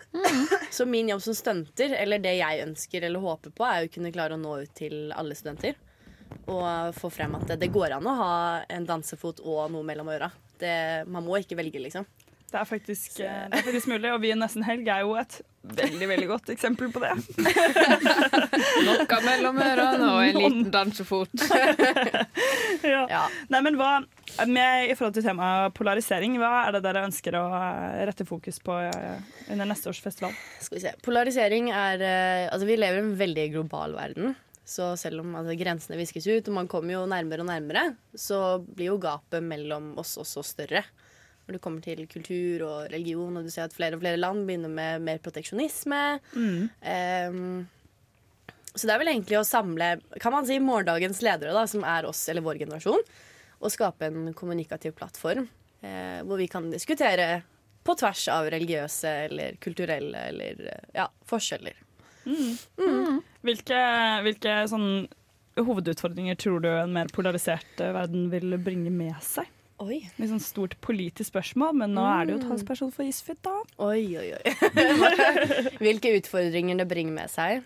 Speaker 13: Så min jobb som stunter, eller det jeg ønsker eller håper på, er jo å kunne klare å nå ut til alle studenter. Og få frem at det, det går an å ha en dansefot og noe mellom øra. Det, man må ikke velge, liksom.
Speaker 7: Det er faktisk, eh, det er faktisk mulig, og vi i Nesten Helg er jo et veldig veldig godt eksempel på det.
Speaker 9: Noe mellom ørene og en liten dansefot.
Speaker 7: ja. Nei, men hva, med, I forhold til temaet polarisering, hva er det dere ønsker å eh, rette fokus på eh, under neste års festival?
Speaker 13: Skal vi se. Polarisering er eh, Altså, vi lever i en veldig global verden. Så selv om altså, grensene viskes ut, og man kommer jo nærmere og nærmere, så blir jo gapet mellom oss også større. Når det kommer til kultur og religion, og du ser at flere og flere land begynner med mer proteksjonisme. Ehm, så det er vel egentlig å samle kan man si, morgendagens ledere, da, som er oss eller vår generasjon, og skape en kommunikativ plattform eh, hvor vi kan diskutere på tvers av religiøse eller kulturelle eller eh, ja, forskjeller.
Speaker 7: Hvilke, hvilke sånn hovedutfordringer tror du en mer polarisert eh, verden vil bringe med seg?
Speaker 13: Oi.
Speaker 7: Litt sånn stort politisk spørsmål, men nå er det jo
Speaker 13: Mm.
Speaker 7: talsperson for Isfit, da.
Speaker 13: Oi, oi, oi. Hvilke utfordringer det bringer med seg.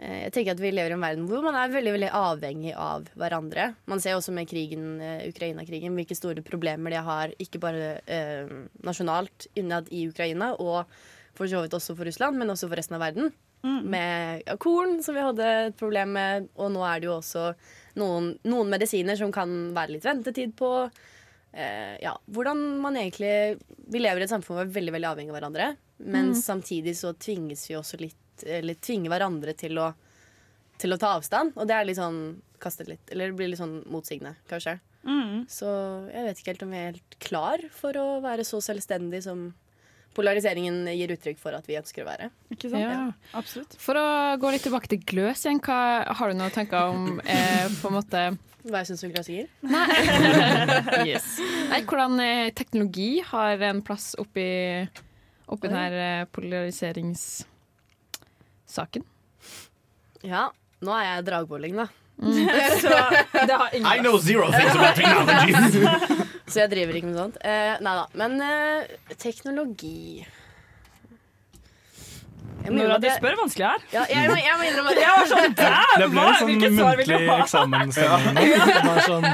Speaker 13: Eh, Jeg tenker at Vi lever i en verden hvor man er veldig veldig avhengig av hverandre. Man ser også med krigen, eh, Ukraina-krigen hvilke store problemer de har, ikke bare eh, nasjonalt innad i Ukraina, og for så vidt også for Russland, men også for resten av verden. Med ja, korn, som vi hadde et problem med, og nå er det jo også noen, noen medisiner som kan være litt ventetid på. Eh, ja, hvordan man egentlig Vi lever i et samfunn hvor vi er veldig veldig avhengig av hverandre. Men
Speaker 6: Mm.
Speaker 13: samtidig så tvinges vi også litt Eller tvinger hverandre til å, til å ta avstand. Og det er litt sånn kastet litt Eller det blir litt sånn motsigende, kanskje. Så jeg vet ikke helt om vi er helt klar for å være så selvstendig som polariseringen gir uttrykk for at vi ønsker å være.
Speaker 7: Ikke
Speaker 9: sant? Ja.
Speaker 7: Absolutt.
Speaker 9: For å gå litt tilbake til gløs igjen, hva har du noen tanker om eh, på en måte
Speaker 13: Hva jeg syns om glasier?
Speaker 9: yes. Nei, Hvordan eh, teknologi har en plass oppi,
Speaker 13: Oi.
Speaker 9: oppi eh, denne polariseringssaken?
Speaker 13: Ja, nå er jeg dragbolling, da.
Speaker 7: Så det har ingen
Speaker 8: I know zero things about technology.
Speaker 13: Så jeg driver ikke med sånt. Eh, nei da. Men eh, teknologi Jeg må
Speaker 7: Nora,
Speaker 13: innrømme
Speaker 7: du
Speaker 13: at jeg-
Speaker 7: spør vanskelig her.
Speaker 13: Ja, jeg, må- jeg må innrømme at
Speaker 7: Jeg var sånn, "Damn,
Speaker 3: Det ble
Speaker 7: hva-
Speaker 3: en sånn
Speaker 7: hvilket svar vil du
Speaker 3: muntlig
Speaker 7: ha?"
Speaker 3: eksamensstemning. nå. Det var Sånn,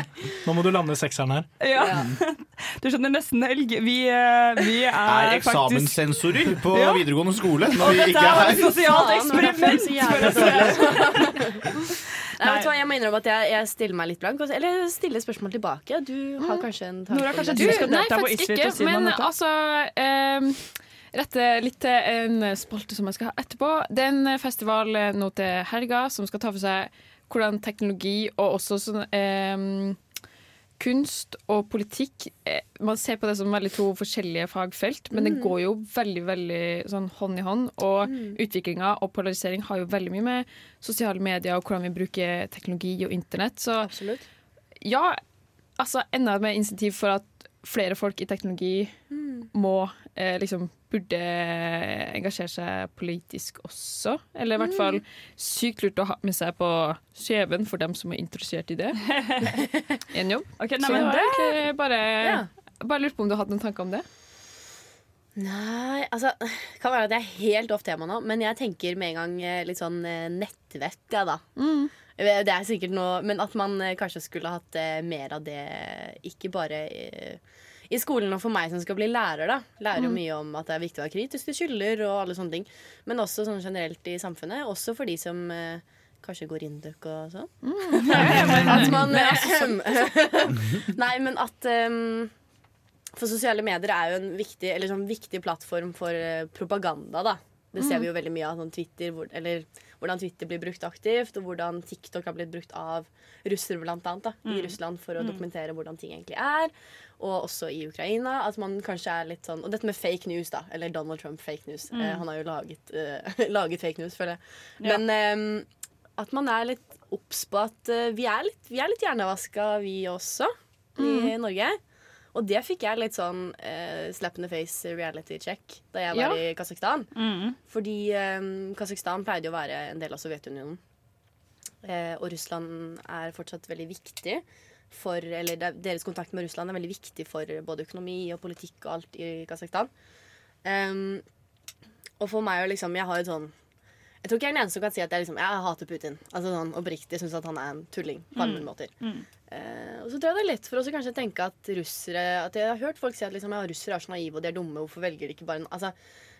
Speaker 3: nå må du lande sekseren her.
Speaker 7: Ja. Du skjønner, nesten helg. Vi, eh, vi er,
Speaker 8: Er
Speaker 7: faktisk
Speaker 8: eksamenssensorer på
Speaker 7: Ja.
Speaker 8: videregående skole
Speaker 7: Og
Speaker 8: når vi
Speaker 7: dette
Speaker 8: ikke
Speaker 7: er
Speaker 8: er
Speaker 13: altså
Speaker 7: et sosialt eksperiment! spør jeg selv.
Speaker 13: Nei, vet du hva, jeg må innrømme at jeg, jeg stiller meg litt blank. og så- Eller jeg stiller spørsmål tilbake. Du har kanskje en tanke
Speaker 7: Mm. Nora,
Speaker 13: om
Speaker 7: kanskje
Speaker 13: det?
Speaker 7: du skal
Speaker 9: Nei,
Speaker 7: delta på
Speaker 9: faktisk
Speaker 7: Isfit
Speaker 9: ikke,
Speaker 7: og si noe om
Speaker 9: men
Speaker 7: dette?
Speaker 9: altså ehm, Rette litt til en spalte som jeg skal ha etterpå. Det er en festival eh, nå til helga som skal ta for seg hvordan teknologi og også sånn ehm, kunst og politikk eh, Man ser på det som veldig to forskjellige fagfelt, men det
Speaker 14: Mm.
Speaker 9: går jo veldig veldig sånn hånd i hånd. Og
Speaker 14: Mm.
Speaker 9: utviklinga og polarisering har jo veldig mye med sosiale medier og hvordan vi bruker teknologi og internett. Så ja, altså enda mer insentiv for at flere folk i teknologi må eh, liksom burde eh, engasjere seg politisk også. Eller i hvert
Speaker 14: Mm.
Speaker 9: fall sykt lurt å ha med seg på skjeven for dem som er interessert i det. En jobb.
Speaker 7: Ok, nei,
Speaker 9: Så
Speaker 7: men
Speaker 9: jeg har
Speaker 7: det-
Speaker 9: egentlig bare,
Speaker 7: Eh,
Speaker 13: Ja.
Speaker 9: bare lurt på om du hadde noen tanker om det.
Speaker 13: Nei, altså det Kan være at jeg er helt off tema nå, men jeg tenker med en gang eh, litt sånn eh, nettvett, ja da.
Speaker 14: Mm.
Speaker 13: Eh, Det er sikkert noe Men at man eh, kanskje skulle hatt eh, mer av det, ikke bare eh, i skolen og for meg som skal bli lærer, da. Lærer jo
Speaker 14: Mm.
Speaker 13: mye om at det er viktig å være kritisk til skylder og alle sånne ting. Men også sånn generelt i samfunnet. Også for de som eh, kanskje går induk og sånn.
Speaker 14: Mm.
Speaker 13: at man eh,
Speaker 14: Men altså,
Speaker 13: Nei, men at ehm, for sosiale medier er jo en viktig, eller sånn viktig plattform for eh, propaganda, da. Det ser
Speaker 14: Mm.
Speaker 13: vi jo veldig mye av sånn Twitter, hvor, eller hvordan Twitter blir brukt aktivt, og hvordan TikTok har blitt brukt av russere, blant annet, da, i
Speaker 14: Mm.
Speaker 13: Russland for å
Speaker 14: Mm.
Speaker 13: dokumentere hvordan ting egentlig er. Og også i Ukraina. At man kanskje er litt sånn Og dette med fake news, da. Eller Donald Trump fake news.
Speaker 14: Mm.
Speaker 13: Eh, han har jo laget, eh, laget fake news, føler jeg.
Speaker 14: Ja.
Speaker 13: Men ehm, at man er litt obs på at eh, vi er litt, vi er litt hjernevaska, vi også, i
Speaker 14: Mm.
Speaker 13: Norge. Og det fikk jeg litt sånn eh, slap in the face reality check da jeg var
Speaker 14: Ja.
Speaker 13: i Kasakhstan.
Speaker 14: Mm.
Speaker 13: Fordi um, Kasakhstan pleide jo å være en del av Sovjetunionen. Eh, og Russland er fortsatt veldig viktig for Eller det- deres kontakt med Russland er veldig viktig for både økonomi og politikk og alt i Kasakhstan. Em, og for meg å liksom Jeg har et sånn Jeg tror ikke jeg er den eneste som kan si at jeg liksom Jeg hater Putin. Altså sånn oppriktig syns at han er en tulling på alle
Speaker 14: Mm.
Speaker 13: mulige måter. Eh, og så tror jeg det er lett for oss å kanskje tenke at russere At jeg har hørt folk si at liksom, ja, russere er så naive og de er dumme, hvorfor velger de ikke bare en altså,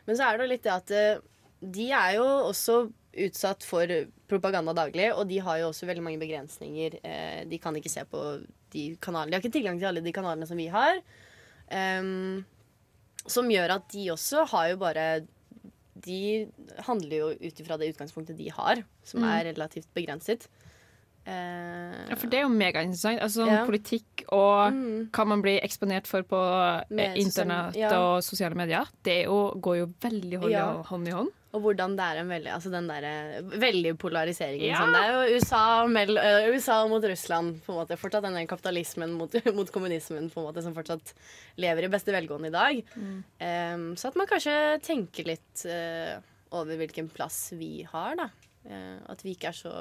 Speaker 13: Men så er det jo litt det at eh, de er jo også utsatt for propaganda daglig, og de har jo også veldig mange begrensninger. Eh, de kan ikke se på de kanalene De har ikke tilgang til alle de kanalene som vi har. Ehm, som gjør at de også har jo bare De handler jo ut ifra det utgangspunktet de har, som
Speaker 9: Mm.
Speaker 13: er relativt begrenset. Eh,
Speaker 9: Ja, for det er jo megainteressant. Altså, sånn
Speaker 13: Ja. Mm.
Speaker 9: Politikk og hva man blir eksponert for på eh,
Speaker 13: Med sosiale-
Speaker 9: internett
Speaker 13: ja.
Speaker 9: og sosiale medier, det er jo, går jo veldig hånd, i
Speaker 13: Ja.
Speaker 9: hånd i hånd.
Speaker 13: Og hvordan det er en veldig, altså den der, eh, veldig polariseringen.
Speaker 9: Ja.
Speaker 13: Sånn. Det er jo USA, mell- eh, USA mot Russland, på en måte. Fortsatt den der kapitalismen mot, mot kommunismen, på en måte, som fortsatt lever i beste velgående i dag.
Speaker 7: Mm.
Speaker 13: Em, så at man kanskje tenker litt eh, over hvilken plass vi har, da. Eh, at vi ikke er så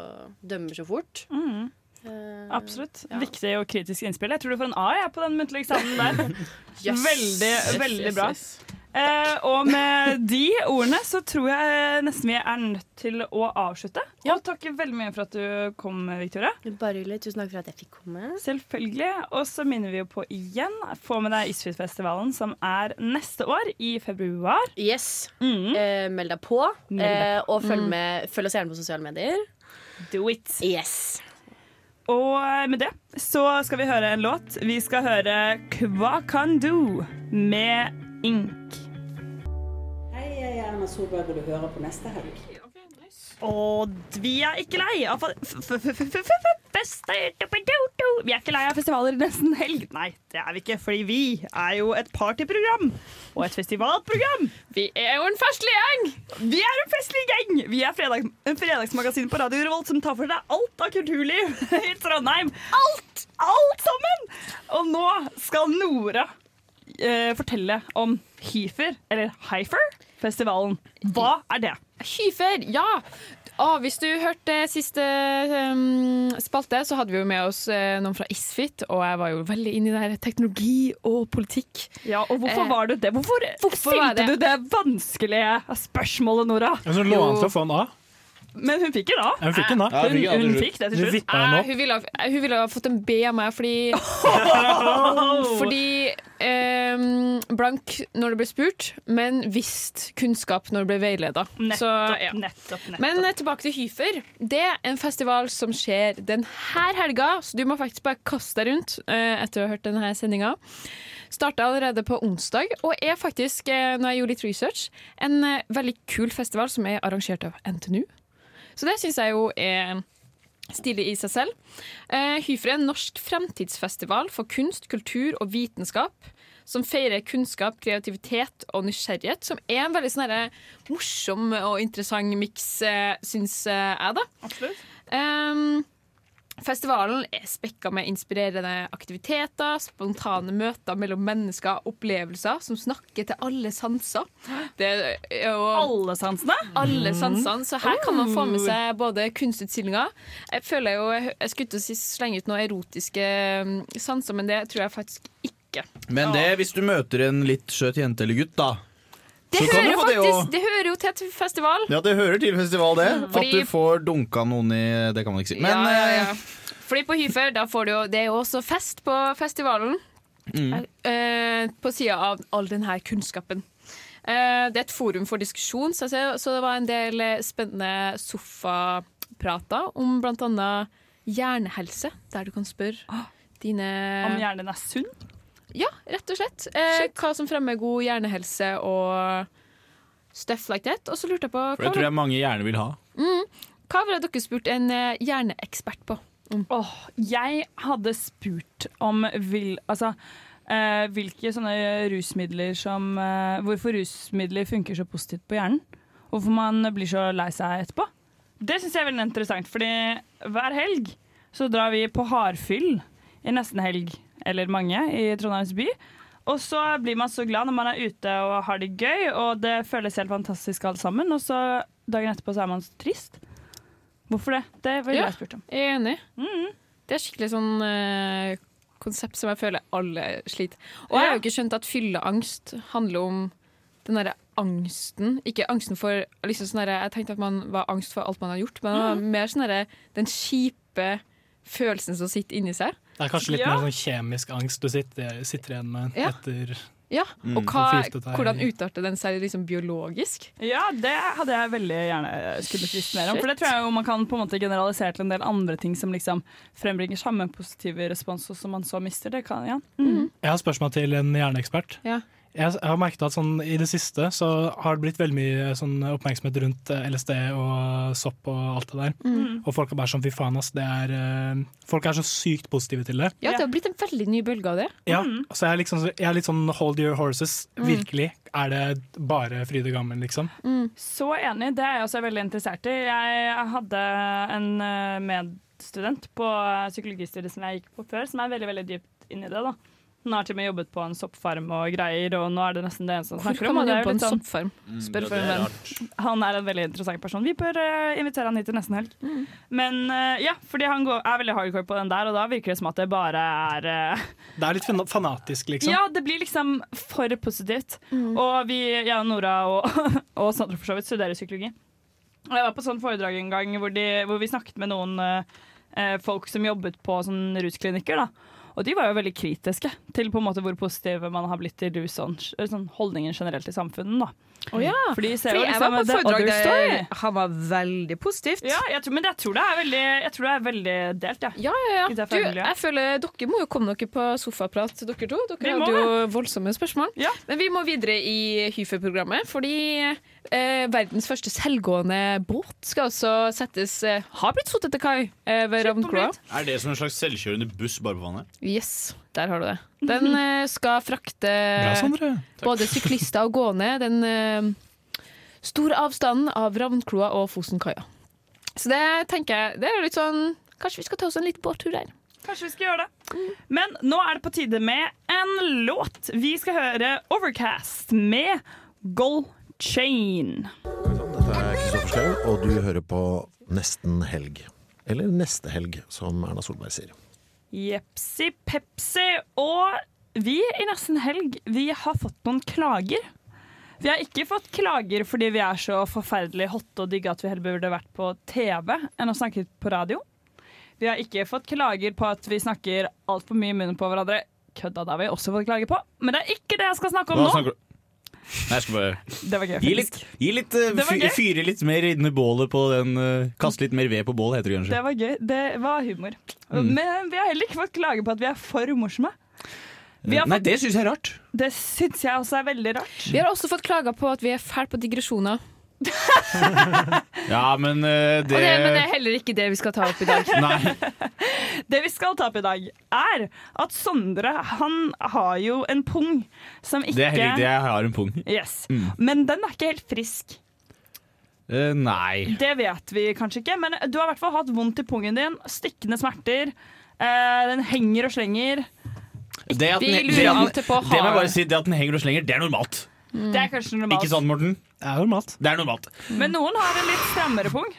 Speaker 13: dømmer så fort. Eh,
Speaker 7: Mm. Absolutt. Viktig og kritisk innspill. Jeg tror du får en A jeg, på den muntlige eksamen der.
Speaker 14: Yes.
Speaker 7: Veldig,
Speaker 14: Yes,
Speaker 7: veldig
Speaker 14: yes,
Speaker 7: bra.
Speaker 14: yes.
Speaker 7: Eh, og med de ordene så tror jeg nesten vi er nødt til å avslutte. Og takke veldig mye for at du kom, Victoria.
Speaker 13: Bare hyggelig. Tusen takk for at jeg fikk komme.
Speaker 7: Selvfølgelig. Og så minner vi jo på igjen. Få med deg Isfjordfestivalen, som er neste år, i februar.
Speaker 13: Yes. Eh, meld deg på.
Speaker 7: Mm. Meld deg
Speaker 13: eh,
Speaker 7: på.
Speaker 13: og følg,
Speaker 7: Mm.
Speaker 13: med, følg oss gjerne på sosiale medier.
Speaker 7: Do it.
Speaker 13: Yes.
Speaker 7: Og med det så skal vi høre en låt. Vi skal høre Hva kan du med Ink.
Speaker 15: Hei, jeg er Erna Solberg, og du hører på neste helg.
Speaker 7: Og vi er ikke lei av fa- f- f- f- f- f- fester. Du-ba-du-du. Vi er ikke lei av festivaler nesten helg. Nei, det er vi ikke, fordi vi er jo et partyprogram. Og et festivalprogram.
Speaker 9: Vi er jo en festlig gjeng!
Speaker 7: Vi er en festlig gjeng! Vi er fredag, en fredagsmagasin på Radio Revolt som tar for deg alt av kulturliv i Trondheim. Alt! Alt sammen! Og nå skal Nora eh, fortelle om Hyfer, eller Hyfer-festivalen. Hva er det?
Speaker 9: Skyfer, ja! Å, hvis du hørte siste um, spalte, så hadde vi jo med oss eh, noen fra Isfit, og jeg var jo veldig inne i det her teknologi og politikk.
Speaker 7: Ja, og hvorfor var du det? Hvorfor,
Speaker 9: var
Speaker 7: stilte
Speaker 9: det?
Speaker 7: du det vanskelige spørsmålet, Nora?
Speaker 3: Men så lå han til å få en A.
Speaker 7: Men hun fikk en A.
Speaker 3: Ja, hun fikk en A. Ja, hun
Speaker 7: Hun,
Speaker 3: fikk en A til
Speaker 7: hun
Speaker 3: slutt.
Speaker 7: fikk det til
Speaker 3: Du
Speaker 7: slutt.
Speaker 3: vippet henne opp.
Speaker 9: Eh, Hun ville, ha- hun ville ha fått en B av meg fordi
Speaker 7: Oh.
Speaker 9: Fordi em, blank når det ble spurt, men visst kunnskap når det ble veileda.
Speaker 7: Nettopp,
Speaker 9: Så, ja.
Speaker 7: nettopp, nettopp.
Speaker 9: Men eh, tilbake til Hyfer. Det er en festival som skjer denne helga, så du må faktisk bare kaste deg rundt eh, etter å ha hørt denne sendinga. Starta allerede på onsdag, og er faktisk, eh, når jeg gjorde litt research, en eh, veldig kul festival som er arrangert av NTNU. Så det syns jeg jo er Stilig i seg selv. Eh, Hyfri er en norsk fremtidsfestival for kunst, kultur og vitenskap. Som feirer kunnskap, kreativitet og nysgjerrighet. Som er en veldig sånn herre morsom og interessant miks, eh, syns eh, jeg, da.
Speaker 7: Absolutt.
Speaker 9: Ehm, festivalen er spekka med inspirerende aktiviteter, spontane møter mellom mennesker, opplevelser som snakker til alle sanser. Det er jo
Speaker 7: Alle sansene?
Speaker 9: Alle sansene, så her kan man få med
Speaker 7: Oh.
Speaker 9: seg både kunstutstillinger Jeg føler jo, jeg skulle til å si slenge ut noen erotiske mm, sanser, men det tror jeg faktisk ikke.
Speaker 8: Men det, hvis du møter en litt skjøt jente eller gutt, da
Speaker 9: Det,
Speaker 8: Så kan
Speaker 9: hører,
Speaker 8: du få det
Speaker 9: faktisk,
Speaker 8: jo.
Speaker 9: det hører jo til et festival.
Speaker 8: Ja, det hører til festival, det.
Speaker 9: Fordi-
Speaker 8: At du får dunka noen i Det kan man ikke si. Men eh,
Speaker 9: ja, ja, ja. Fordi på Hyfer, da får du jo Det er jo også fest på festivalen.
Speaker 8: Mm.
Speaker 9: Eh, på sida av all denne kunnskapen. Eh, det er et forum for diskusjon, så, jeg ser- så det var en del eh, spennende sofaprater om bl.a. hjernehelse, der du kan spørre dine
Speaker 7: Om hjernen din er sunn?
Speaker 9: Ja, rett og slett. Eh, hva som fremmer god hjernehelse og stuff like that. Og så lurte jeg på
Speaker 8: For det
Speaker 9: var
Speaker 8: tror jeg mange gjerne vil ha.
Speaker 9: Mm. Hva ville dere spurt en eh, hjerneekspert på?
Speaker 7: Åh, jeg hadde spurt om vil, altså, eh, hvilke sånne rusmidler som eh, Hvorfor rusmidler funker så positivt på hjernen. og Hvorfor man blir så lei seg etterpå. Det syns jeg er veldig interessant, fordi hver helg så drar vi på hardfyll i nesten helg, eller mange, i Trondheims by. Og så blir man så glad når man er ute og har det gøy, og det føles helt fantastisk alt sammen. Og så dagen etterpå så er man så trist. Hvorfor det? Det ville
Speaker 9: Ja,
Speaker 7: jeg spurt om.
Speaker 9: Jeg er enig. Det er skikkelig sånn eh, konsept som jeg føler alle sliter. Og jeg har jo ikke skjønt at fylleangst handler om den derre angsten. Ikke angsten for liksom sånn derre- Jeg tenkte at man var angst for alt man har gjort, men det var mer sånn derre den kjipe følelsen som sitter inni seg.
Speaker 3: Det er kanskje litt
Speaker 9: Ja.
Speaker 3: mer sånn kjemisk angst du sitter, sitter igjen med
Speaker 9: Ja.
Speaker 3: etter
Speaker 9: Ja,
Speaker 3: Mm.
Speaker 9: og hva,
Speaker 3: Forgiftet deg.
Speaker 9: hvordan utarter den seg liksom biologisk?
Speaker 7: Ja, det hadde jeg veldig gjerne skulle spist mer om. For det
Speaker 9: Shit.
Speaker 7: tror jeg jo man kan på en måte generalisere til en del andre ting som liksom frembringer samme positive respons, og som man så mister. Det kan, ja.
Speaker 3: Jeg har spørsmål til en hjerneekspert.
Speaker 9: Ja.
Speaker 3: Jeg jeg har merket at sånn, I det siste så har det blitt veldig mye sånn, oppmerksomhet rundt eh, LSD og sopp og alt det der.
Speaker 9: Mm.
Speaker 3: Og folk er bare sånn fy faen, ass. Det er, eh, folk er så sykt positive til det.
Speaker 9: Ja, det har blitt en veldig ny bølge av det.
Speaker 3: Ja, så jeg er, liksom, jeg er litt sånn hold your horses.
Speaker 9: Mm.
Speaker 3: Virkelig. Er det bare fryd og gammen, liksom?
Speaker 7: Så enig. Det er jeg også veldig interessert i. Jeg hadde en eh, medstudent på eh, psykologistudiet som jeg gikk på før, som er veldig veldig dypt inni det. da. Hun har til og med jobbet på en soppfarm og greier, og nå er det nesten det eneste han
Speaker 9: Hvorfor
Speaker 7: snakker
Speaker 9: kan
Speaker 7: om. og
Speaker 9: man
Speaker 7: det er
Speaker 9: jobbe
Speaker 7: jo
Speaker 9: på en
Speaker 7: litt sånn-
Speaker 9: soppfarm? Spør
Speaker 7: Ja,
Speaker 9: for
Speaker 7: det
Speaker 9: en
Speaker 7: er
Speaker 9: venn.
Speaker 7: Han er en veldig interessant person. Vi bør eh, invitere han hit til nesten helg.
Speaker 9: Mm.
Speaker 7: Men eh, ja, fordi han går, er veldig hardcore på den der, og da virker det som at det bare er eh,
Speaker 3: Det er litt fan- fanatisk, liksom.
Speaker 7: Ja, det blir liksom for positivt.
Speaker 9: Mm.
Speaker 7: Og vi, jeg og Nora og, og Sandra for så vidt studerer psykologi. Og jeg var på sånn foredrag en gang hvor, de, hvor vi snakket med noen eh, folk som jobbet på sånn rusklinikker. da. Og de var jo veldig kritiske til på en måte hvor positive man har blitt til rus og sånn holdningen generelt i samfunnet. da.
Speaker 9: Å ja.
Speaker 7: Fordi de ser
Speaker 9: Fordi
Speaker 7: jo
Speaker 9: jeg
Speaker 7: liksom
Speaker 9: var på
Speaker 7: the
Speaker 9: foredrag
Speaker 7: other
Speaker 9: der
Speaker 7: story.
Speaker 9: han var veldig positivt.
Speaker 7: Ja, jeg tror, men jeg tror, det er veldig, jeg tror det er veldig delt, ja.
Speaker 9: ja,
Speaker 7: I
Speaker 9: ja.
Speaker 7: det
Speaker 9: Du,
Speaker 7: fagmiljøet.
Speaker 9: jeg føler dere må jo komme dere på sofaprat, dere to.
Speaker 7: Vi
Speaker 9: Dere
Speaker 7: må
Speaker 9: hadde jo voldsomme spørsmål. Men vi må videre i Hyfer-programmet, fordi eh, verdens første selvgående båt skal altså settes eh, Har blitt satt til kai eh, ved Ravnkloa.
Speaker 8: Er det som en slags selvkjørende buss bare på vannet?
Speaker 9: Yes, der har du det. Den eh, skal frakte
Speaker 3: sånn,
Speaker 9: både syklister og gående den eh, store avstanden av Ravnkloa og Fosenkaia. Så det tenker jeg Det er jo litt sånn Kanskje vi skal ta oss en liten båttur her.
Speaker 7: Kanskje vi skal gjøre det. Men nå er det på tide med en låt. Vi skal høre Overcast med Gold Chain.
Speaker 14: Dette er Kristoffer Schau, og du hører på Nesten helg. Eller Neste helg, som Erna Solberg sier.
Speaker 7: Jepsi pepsi. Og vi i nesten helg, vi har fått noen klager. Vi har ikke fått klager fordi vi er så forferdelig hotte og digge at vi heller burde vært på TV enn å snakke på radio. Vi har ikke fått klager på at vi snakker altfor mye i munnen på hverandre. Kødda, det har vi også fått klager på, men det er ikke det jeg skal snakke om
Speaker 8: Hva
Speaker 7: nå.
Speaker 8: snakker du Nei, jeg skal bare
Speaker 7: Det var gøy,
Speaker 8: Gi
Speaker 7: faktisk.
Speaker 8: litt, gi litt eh,
Speaker 7: Det var
Speaker 8: fy-
Speaker 7: gøy.
Speaker 8: Fyre litt mer inni bålet på den eh, Kaste litt mer ved på bålet, heter det kanskje.
Speaker 7: Det var gøy. Det var humor.
Speaker 8: Mm.
Speaker 7: Men vi har heller ikke fått klage på at vi er for morsomme. vi har
Speaker 8: Nei,
Speaker 7: fått-
Speaker 8: det syns jeg er rart.
Speaker 7: Det syns jeg også er veldig rart.
Speaker 9: Vi har også fått klager på at vi er fæle på digresjoner.
Speaker 8: Ja, men eh,
Speaker 9: Og
Speaker 8: det,
Speaker 9: det, men det er heller ikke det vi skal ta opp i dag.
Speaker 8: Nei.
Speaker 7: Det vi skal ta opp i dag, er at Sondre han har jo en pung som ikke
Speaker 8: det er heller ikke det. Jeg har en pung.
Speaker 7: Yes.
Speaker 8: Mm.
Speaker 7: Men den er ikke helt frisk.
Speaker 8: Eh, nei.
Speaker 7: Det vet vi kanskje ikke, men du har i hvert fall hatt vondt i pungen din. Stikkende smerter. Eh, den henger og slenger.
Speaker 8: Det at
Speaker 7: Vi
Speaker 8: den,
Speaker 7: lurer
Speaker 8: det at
Speaker 7: alltid
Speaker 8: den,
Speaker 7: på,
Speaker 8: det må
Speaker 7: har-
Speaker 8: jeg bare si, det at den henger og slenger, det er normalt.
Speaker 7: Det er kanskje normalt.
Speaker 8: Ikke sånn- sant, Morten? Det er normalt. Det er normalt.
Speaker 7: Men noen har en litt strammere pung.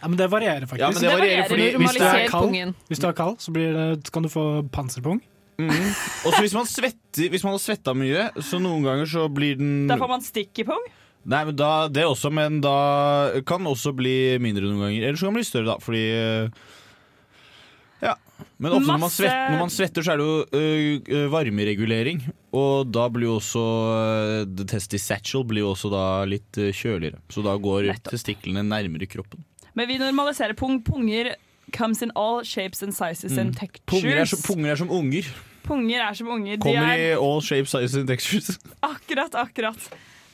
Speaker 3: Ja, men det varierer faktisk.
Speaker 8: Ja, men det Det varierer, varierer. fordi
Speaker 3: hvis du er
Speaker 8: normaliserer
Speaker 3: kald,
Speaker 8: pungen.
Speaker 3: hvis du er kald så blir det, kan du få panserpung.
Speaker 8: Mm. Og så hvis man svetter Hvis man har svetta mye, så noen ganger så blir den
Speaker 7: Da får man stikk i pung.
Speaker 8: Nei, men da, Det også, men da kan den også bli mindre noen ganger. Eller så kan den bli større, da, fordi eh, Ja. Men ofte når man,
Speaker 7: Masse-
Speaker 8: svetter, når man svetter, så er det jo eh, eh, varmeregulering. Og da blir jo også eh, the testy satchel blir jo også da litt eh, kjøligere. Så da går testiklene nærmere kroppen.
Speaker 7: Men vi normaliserer pung. Punger comes in all shapes and sizes and
Speaker 8: Mm. Punger, er
Speaker 7: textures.
Speaker 8: som, punger er som unger.
Speaker 7: Punger er som unger. De
Speaker 8: Kommer
Speaker 7: er
Speaker 8: i all shapes, sizes and textures.
Speaker 7: Akkurat, akkurat.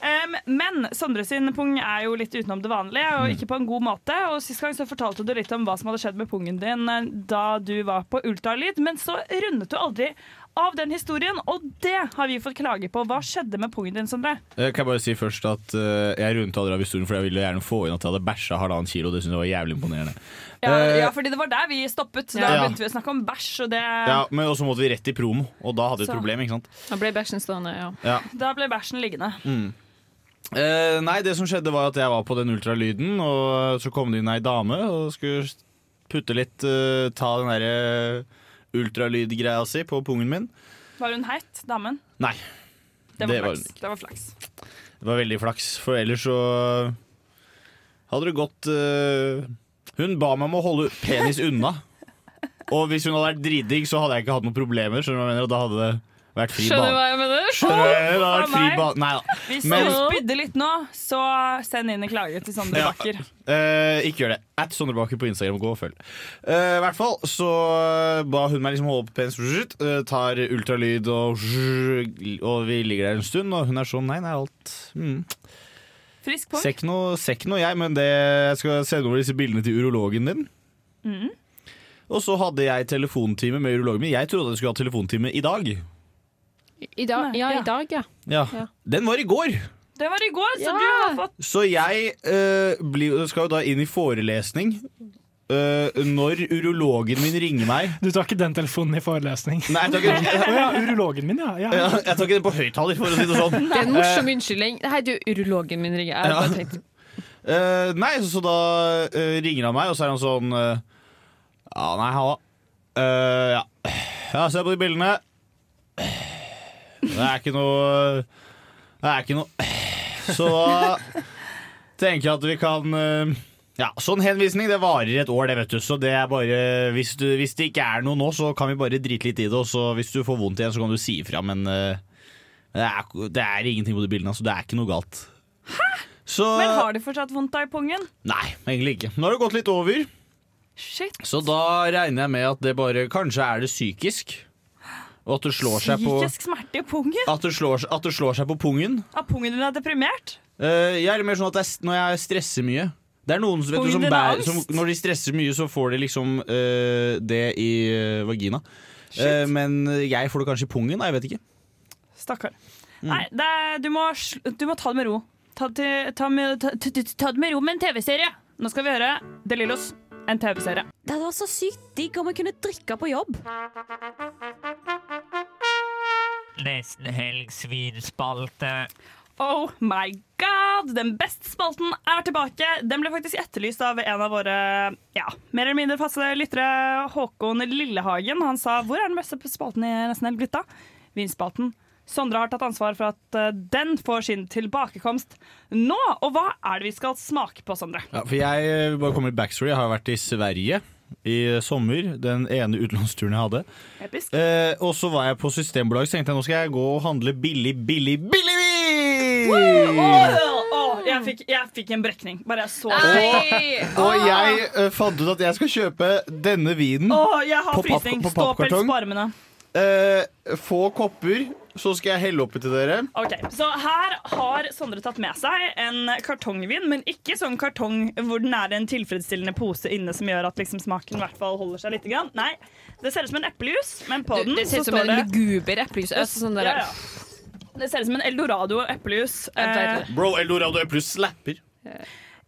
Speaker 7: Em, men Sondre sin pung er jo litt utenom det vanlige, og
Speaker 8: Mm.
Speaker 7: ikke på en god måte. Og Sist gang så fortalte du litt om hva som hadde skjedd med pungen din eh, da du var på ultralyd, men så rundet du aldri av den historien, og det har vi fått klage på. Hva skjedde med pungen din, Sondre?
Speaker 8: Jeg Eh, kan bare si først at eh, jeg rundet aldri av historien, for jeg ville gjerne få inn at jeg hadde bæsja halvannen kilo. Det synes jeg var jævlig imponerende.
Speaker 7: Ja,
Speaker 8: Eh,
Speaker 7: ja, fordi det var der vi stoppet. Da
Speaker 8: Ja.
Speaker 7: begynte vi å snakke om bæsj, og det
Speaker 8: ja, men også måtte vi rett i promo, og da hadde vi et
Speaker 7: Så.
Speaker 8: problem, ikke sant?
Speaker 9: Da ble bæsjen stående, ja.
Speaker 8: Ja.
Speaker 7: Da ble bæsjen liggende.
Speaker 8: Mm. Eh, nei, det som skjedde var at jeg var på den ultralyden, og så kom det inn ei dame og skulle putte litt eh, Ta den derre ultralydgreia si på pungen min.
Speaker 7: Var hun heit, damen?
Speaker 8: Nei.
Speaker 7: Det var,
Speaker 8: Det var hun
Speaker 7: flaks. det var flaks.
Speaker 8: Det var veldig flaks, for ellers så hadde det gått eh, Hun ba meg om å holde penis unna. Og hvis hun hadde vært dritdigg, så hadde jeg ikke hatt noen problemer. Skjønner du hva jeg mener? Og da hadde det vært fri
Speaker 9: Skjønner
Speaker 8: bane.
Speaker 9: du hva jeg mener?
Speaker 8: Skjønner du hva jeg mener? Da hadde det vært
Speaker 7: Å, nei.
Speaker 8: fri bane. Nei da.
Speaker 7: Hvis
Speaker 8: Men-
Speaker 7: du spydde litt nå, så send inn en klage til Sondre
Speaker 8: Ja.
Speaker 7: Bakker.
Speaker 8: Eh, ikke gjør det. At Sondre Baker på Instagram. Gå og følg. Eh, I hvert fall så ba hun meg liksom holde på penis, eh, tar ultralyd og Og vi ligger der en stund, og hun er sånn Nei, nei, alt mm.
Speaker 7: Frisk pung.
Speaker 8: Ser ikke noe, ser ikke noe jeg, men det, jeg skal sende over disse bildene til urologen din.
Speaker 7: Mm.
Speaker 8: Og så hadde jeg telefontime med urologen min. Jeg trodde jeg skulle ha telefontime i dag.
Speaker 9: I dag, ja, i dag, ja.
Speaker 8: Ja.
Speaker 9: Ja.
Speaker 8: Den var i går!
Speaker 7: Det var i går, så du har fått
Speaker 8: Så jeg eh, blir, skal jo da inn i forelesning. eh, når urologen min ringer meg
Speaker 3: Du tar ikke den telefonen i forelesning.
Speaker 8: Nei, jeg tar ikke
Speaker 3: Å ja, urologen min, ja. ja.
Speaker 8: Ja, jeg tar ikke den på høyttaler, for å si det sånn.
Speaker 9: Det er en morsom unnskyldning. Nei, det er jo urologen min ringer. Jeg bare tenkte
Speaker 8: Eh, eh, nei, så, så da eh, ringer han meg, og så er han sånn eh, Ja, nei, halla. Eh, ja. ja, se på de bildene. Det er ikke noe Det er ikke noe Så da tenker jeg at vi kan eh, ja, Sånn henvisning det varer et år, det vet du. Så det er bare, hvis, du, hvis det ikke er noe nå, så kan vi bare drite litt i det. Og så hvis du får vondt igjen, så kan du si ifra. Men eh, det, er, det er ingenting på de bildene. Altså, det er ikke noe galt. Så
Speaker 7: Men har du fortsatt vondt da i pungen?
Speaker 8: Nei, egentlig ikke. Nå har det gått litt over.
Speaker 7: Shit.
Speaker 8: Så da regner jeg med at det bare Kanskje er det psykisk. Og at det slår seg på
Speaker 7: Psykisk smerte i pungen?
Speaker 8: At det slår, at det slår seg på pungen.
Speaker 7: At pungen din er deprimert?
Speaker 8: Eh, jeg er mer sånn at jeg, når jeg stresser mye Det er noen som, vet du, som,
Speaker 7: Pungen din har
Speaker 8: bærer,
Speaker 7: angst.
Speaker 8: som Når de stresser mye, så får de liksom eh, det i eh, vagina. Eh, men jeg får det kanskje i pungen. da, Jeg vet ikke.
Speaker 7: Stakkar.
Speaker 8: Mm.
Speaker 7: Nei, det er, du, må, sl- du må ta det med ro. Ta, det- ta, med- ta, ta, ta det med ro med en TV-serie. Nå skal vi høre De Lillos, en TV-serie.
Speaker 16: Det hadde vært så sykt digg om jeg kunne drikke på jobb.
Speaker 17: Nesten helg svinspalte.
Speaker 7: Oh my god! Den beste spalten er tilbake. Den ble faktisk etterlyst av en av våre ja, mer eller mindre faste lyttere, Håkon Lillehagen. Han sa 'Hvor er den beste spalten i Nesten Helt blitt av?' Vinspalten. Sondre har tatt ansvar for at eh, den får sin tilbakekomst nå. Og hva er det vi skal smake på, Sondre?
Speaker 8: Ja, for jeg eh, vil bare komme med backstory. Jeg har vært i Sverige i eh, sommer. Den ene utenlandsturen jeg hadde.
Speaker 7: Episk.
Speaker 8: Eh, og så var jeg på Systembolaget så tenkte jeg nå skal jeg gå og handle billig, billig, billig vin!
Speaker 7: Åh, åh, jeg, fikk, jeg fikk en brekning. Bare jeg så
Speaker 8: Nei!
Speaker 9: Ah!
Speaker 8: Og jeg eh, fant ut at jeg skal kjøpe denne vinen
Speaker 7: Åh, jeg har
Speaker 9: Ah!
Speaker 8: på, papp-
Speaker 7: frysning.
Speaker 8: på
Speaker 7: Ståpels
Speaker 8: pappkartong.
Speaker 7: på armene.
Speaker 8: eh, få kopper, så skal jeg helle oppi til dere.
Speaker 7: Ok, Så her har Sondre tatt med seg en kartongvin, men ikke sånn kartong hvor den er i en tilfredsstillende pose inne som gjør at liksom smaken i hvert fall holder seg litt. Grann. Nei, det ser ut som en eplejus, men på
Speaker 9: Du,
Speaker 7: den
Speaker 9: det ser
Speaker 7: så
Speaker 9: ut som
Speaker 7: står
Speaker 9: en
Speaker 7: det
Speaker 9: luguber eplejus. Altså, sånn der-
Speaker 7: ja, ja. Det ser ut som en eldorado eplejus. Eh,
Speaker 8: Bro, Eldorado Epler slapper.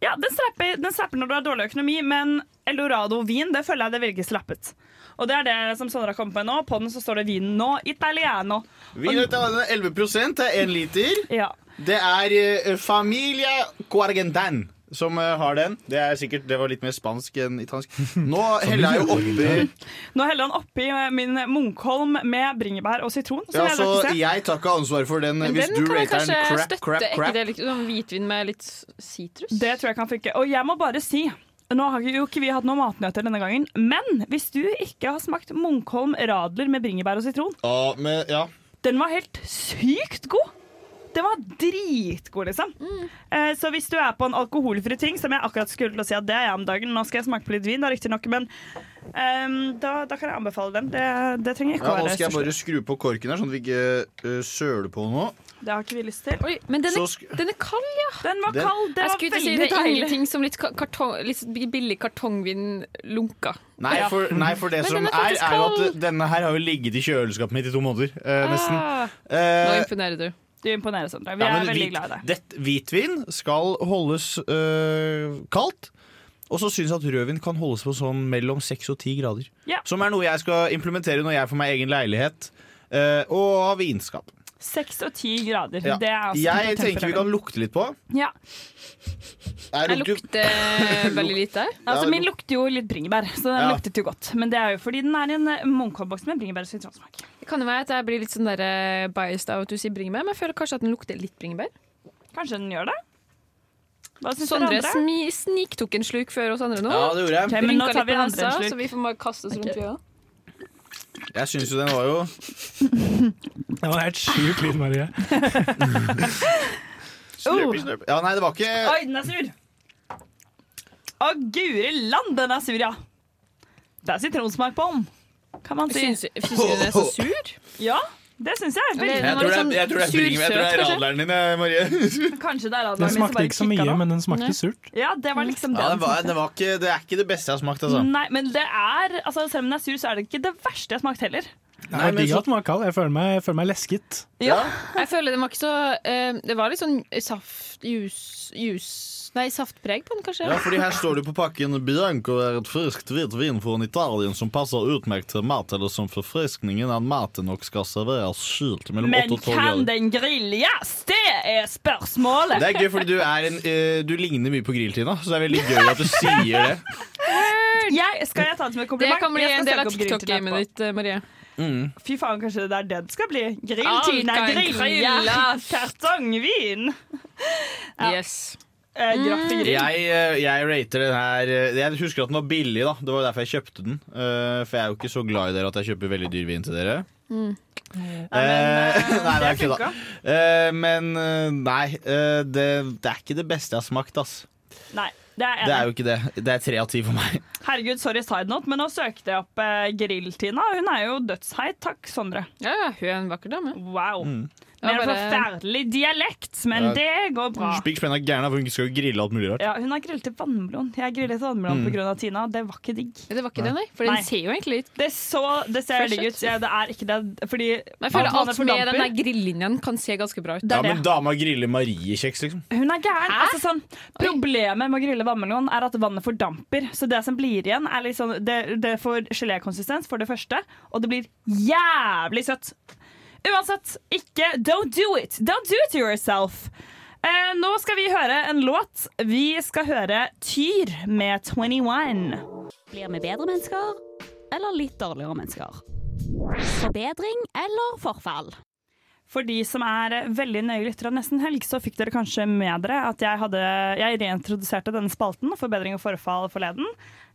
Speaker 7: ja, den strapper, den strapper når du har dårlig økonomi, men eldorado-vin det føler jeg det virker slappet. Og det er det som Sondre har kommet med nå. På den så står det vinen nå, italiano.
Speaker 8: Vin
Speaker 7: Og-
Speaker 8: ut av denne 11 det er én liter.
Speaker 7: Ja.
Speaker 8: Det er eh, Familia Cuargentan som eh, har den. Det er sikkert, det var litt mer spansk enn italiensk. Nå heller jeg jo oppi
Speaker 7: Nå heller han oppi eh, min Munkholm med bringebær og sitron. som
Speaker 8: ja,
Speaker 7: jeg
Speaker 8: så
Speaker 7: rakte.
Speaker 8: Jeg tar ikke ansvar for den
Speaker 9: Men
Speaker 8: hvis
Speaker 9: den
Speaker 8: du
Speaker 9: kan jeg
Speaker 8: rater
Speaker 9: kanskje
Speaker 8: den crap,
Speaker 9: støtte.
Speaker 8: crap,
Speaker 9: Ikke
Speaker 8: crap.
Speaker 9: det litt sånn hvitvin med litt sitrus?
Speaker 7: Det tror jeg kan funke. Og jeg må bare si nå har jo ikke vi hatt noen matnøtter denne gangen, men hvis du ikke har smakt Munkholm radler med bringebær og sitron
Speaker 8: Ja, men, ja.
Speaker 7: Den var helt sykt god! Den var dritgod, liksom.
Speaker 9: Mm.
Speaker 7: Eh, så hvis du er på en alkoholfri ting, som jeg akkurat skulle til å si at det er jeg om dagen Nå skal jeg smake på litt vin, da, riktignok, men ehm, da, da kan jeg anbefale den. Det, det trenger jeg
Speaker 8: Ja,
Speaker 7: ikke å
Speaker 8: nå
Speaker 7: være
Speaker 8: skal jeg
Speaker 7: størst.
Speaker 8: bare skru på korken her, sånn at vi ikke eh, søler på noe.
Speaker 7: Det har ikke vi lyst til.
Speaker 9: men den
Speaker 8: Så
Speaker 9: er,
Speaker 8: sk-
Speaker 9: den er kald, ja.
Speaker 7: Den
Speaker 8: var Den- kald, det
Speaker 9: jeg
Speaker 7: var
Speaker 9: skulle til å si,
Speaker 7: veldig
Speaker 9: det er
Speaker 7: deilig.
Speaker 9: ingenting som litt, ka- kartong, litt billig kartongvin lunka.
Speaker 8: Nei,
Speaker 9: Ja.
Speaker 8: for, nei, for det
Speaker 9: Men
Speaker 8: som
Speaker 9: den
Speaker 8: er,
Speaker 9: er, faktisk
Speaker 8: er jo at
Speaker 9: kald.
Speaker 8: denne her har jo ligget i kjøleskapet mitt i to måneder. eh, nesten.
Speaker 9: Ah.
Speaker 8: Eh,
Speaker 9: Nå imponerer du.
Speaker 7: Du imponerer, Sondre. Vi
Speaker 8: Ja, men
Speaker 7: er veldig
Speaker 8: hvit-
Speaker 7: glad i deg.
Speaker 8: dett- hvitvin skal holdes øh, kaldt. Og så syns jeg at rødvin kan holdes på sånn mellom 6 og 10 grader.
Speaker 7: Ja.
Speaker 8: Som er noe jeg skal implementere når jeg får meg egen leilighet øh, og har vinskap.
Speaker 7: Seks og ti grader.
Speaker 8: Ja.
Speaker 7: Det er altså
Speaker 8: Jeg
Speaker 7: temperaturen.
Speaker 8: tenker vi kan lukte litt på.
Speaker 7: ja.
Speaker 8: Jeg
Speaker 9: Jeg lukter eh, veldig lite.
Speaker 7: Altså, Min lukter jo litt bringebær, så den
Speaker 9: Ja.
Speaker 7: luktet jo godt. Men det er jo fordi den er i en eh, munkholmboks med bringebær og sitronsmak.
Speaker 9: Det kan jo være at jeg blir litt sånn der eh, biased av at du sier bringebær, men jeg føler kanskje at den lukter litt bringebær.
Speaker 7: Kanskje den gjør det? Hva syns dere
Speaker 9: Sondre
Speaker 7: andre?
Speaker 9: smi, sniktok en sluk før oss andre nå.
Speaker 8: Ja, det gjorde jeg. Ok, men nå
Speaker 9: Rynka
Speaker 7: tar
Speaker 9: litt
Speaker 7: vi
Speaker 9: på
Speaker 7: andre en
Speaker 9: nesa,
Speaker 7: slurk.
Speaker 9: Så vi får bare kaste oss rundt i øynene.
Speaker 8: Jeg syns jo den var jo
Speaker 3: Det var helt sjukt lyd, Marie.
Speaker 8: Slurpy, slurpy. Ja, nei, det var ikke
Speaker 7: Oi, den er sur! Å, guri land, den er sur, ja! Det er sitronsmak på den, kan man si.
Speaker 9: Syns- syns du den er så sur?
Speaker 7: Ja, det syns jeg.
Speaker 9: det-
Speaker 7: Veldig.
Speaker 9: den var litt sånn
Speaker 8: bringebær- jeg tror det er
Speaker 9: sursøt, kanskje?
Speaker 8: radleren din, eh, Marie.
Speaker 7: Kanskje det er radleren
Speaker 3: Den
Speaker 7: min som
Speaker 3: smakte
Speaker 7: bare
Speaker 3: ikke så
Speaker 7: kicka
Speaker 3: mye,
Speaker 7: nå.
Speaker 3: men den smakte surt.
Speaker 7: Ja, det var liksom det.
Speaker 8: Ja,
Speaker 7: den
Speaker 8: det, var,
Speaker 7: smakte.
Speaker 8: det, var ikke, det er ikke det beste jeg har smakt, altså.
Speaker 7: Nei, men det er altså, Selv om den er sur, så er det ikke det verste jeg har smakt heller.
Speaker 3: Nei,
Speaker 8: men
Speaker 3: digg
Speaker 8: så-
Speaker 3: at den var kald. Jeg føler meg, jeg føler meg lesket.
Speaker 9: Jeg føler den var ikke så eh, Det var litt sånn saft, jus, jus Nei, saftpreg på den, kanskje?
Speaker 8: Ja, fordi her står det på pakken Bianco er et friskt hvitvin fra Italien som passer utmerket til mat eller som forfriskning innan maten og skal serveres kylt mellom
Speaker 7: Men
Speaker 8: 8 og 12
Speaker 7: kan
Speaker 8: grader.
Speaker 7: den grilles? Det er spørsmålet!
Speaker 8: Det er gøy, fordi du, er en, eh, du ligner mye på Grilltina, så det er veldig gøy at du sier det.
Speaker 7: Jeg, skal jeg ta det som et
Speaker 9: Det
Speaker 7: kompliment?
Speaker 9: kan bli
Speaker 7: Jeg skal
Speaker 9: en del
Speaker 7: søke
Speaker 9: av
Speaker 7: opp grill til
Speaker 9: TikTok-gamet
Speaker 7: etterpå.
Speaker 9: ditt, eh, Marie.
Speaker 8: Mm.
Speaker 7: Fy faen, kanskje det er det det skal bli.
Speaker 9: Alt
Speaker 7: Grilltine,
Speaker 9: Ah, kan
Speaker 7: grille,
Speaker 9: grilles.
Speaker 7: kartongvin.
Speaker 9: Yes.
Speaker 7: Eh,
Speaker 9: Mm.
Speaker 7: graff i grill.
Speaker 8: Jeg, eh, jeg rater den her eh, Jeg husker at den var billig, da. Det var derfor jeg kjøpte den. Eh, For jeg er jo ikke så glad i dere at jeg kjøper veldig dyr vin til dere. Mm. Eh, nei, det er
Speaker 7: det
Speaker 8: ikke da. Eh, Men eh, nei, eh, det, det er ikke det beste jeg har smakt, ass.
Speaker 7: Nei, det er jeg
Speaker 8: Det er
Speaker 7: enig.
Speaker 8: jo ikke det. Det er tre av ti for meg.
Speaker 7: i. Herregud, sorry side note, men nå søkte jeg opp eh, Grill-Tina. Hun er jo dødsheit. Takk, Sondre.
Speaker 9: Ja, ja, hun er en vakker dame.
Speaker 7: Wow.
Speaker 9: Ja,
Speaker 7: Med en
Speaker 9: bare-
Speaker 7: forferdelig dialekt, men
Speaker 8: Mm. Ja.
Speaker 7: det går bra.
Speaker 8: Spikk spenn er gæren, for hun skal jo grille alt mulig rart.
Speaker 7: Ja, hun har grillet til vannmelon. Jeg grillet til vannmelon
Speaker 8: Mm.
Speaker 7: på grunn av Tina. Det var ikke digg.
Speaker 9: Det var ikke det, nei. For den ser jo egentlig litt
Speaker 7: Det, så, det ser
Speaker 9: fresh
Speaker 7: digg ut.
Speaker 9: ut.
Speaker 7: Ja, det er ikke det. Fordi
Speaker 9: Men jeg føler
Speaker 7: alt vannet
Speaker 9: alt med den der
Speaker 7: fordamper.
Speaker 9: grillinjen kan se ganske bra ut.
Speaker 8: Ja, men dama griller Marie-kjeks, liksom.
Speaker 7: Hun er gæren. Altså, sånn, problemet med å grille vannmelon er at vannet fordamper. Så det som blir igjen, er liksom, det, det får gelékonsistens, for det første, og det blir jævlig søtt. Uansett, ikke Don't do it! Don't do it to yourself! Eh, nå skal vi høre en låt. Vi skal høre Tyr med 21.
Speaker 16: Blir vi bedre mennesker eller litt dårligere mennesker? Forbedring eller forfall?
Speaker 7: For de som er eh, veldig nøye lyttere av Nesten Helg, så fikk dere kanskje med dere at jeg, hadde, jeg reintroduserte denne spalten, Forbedring og forfall, forleden.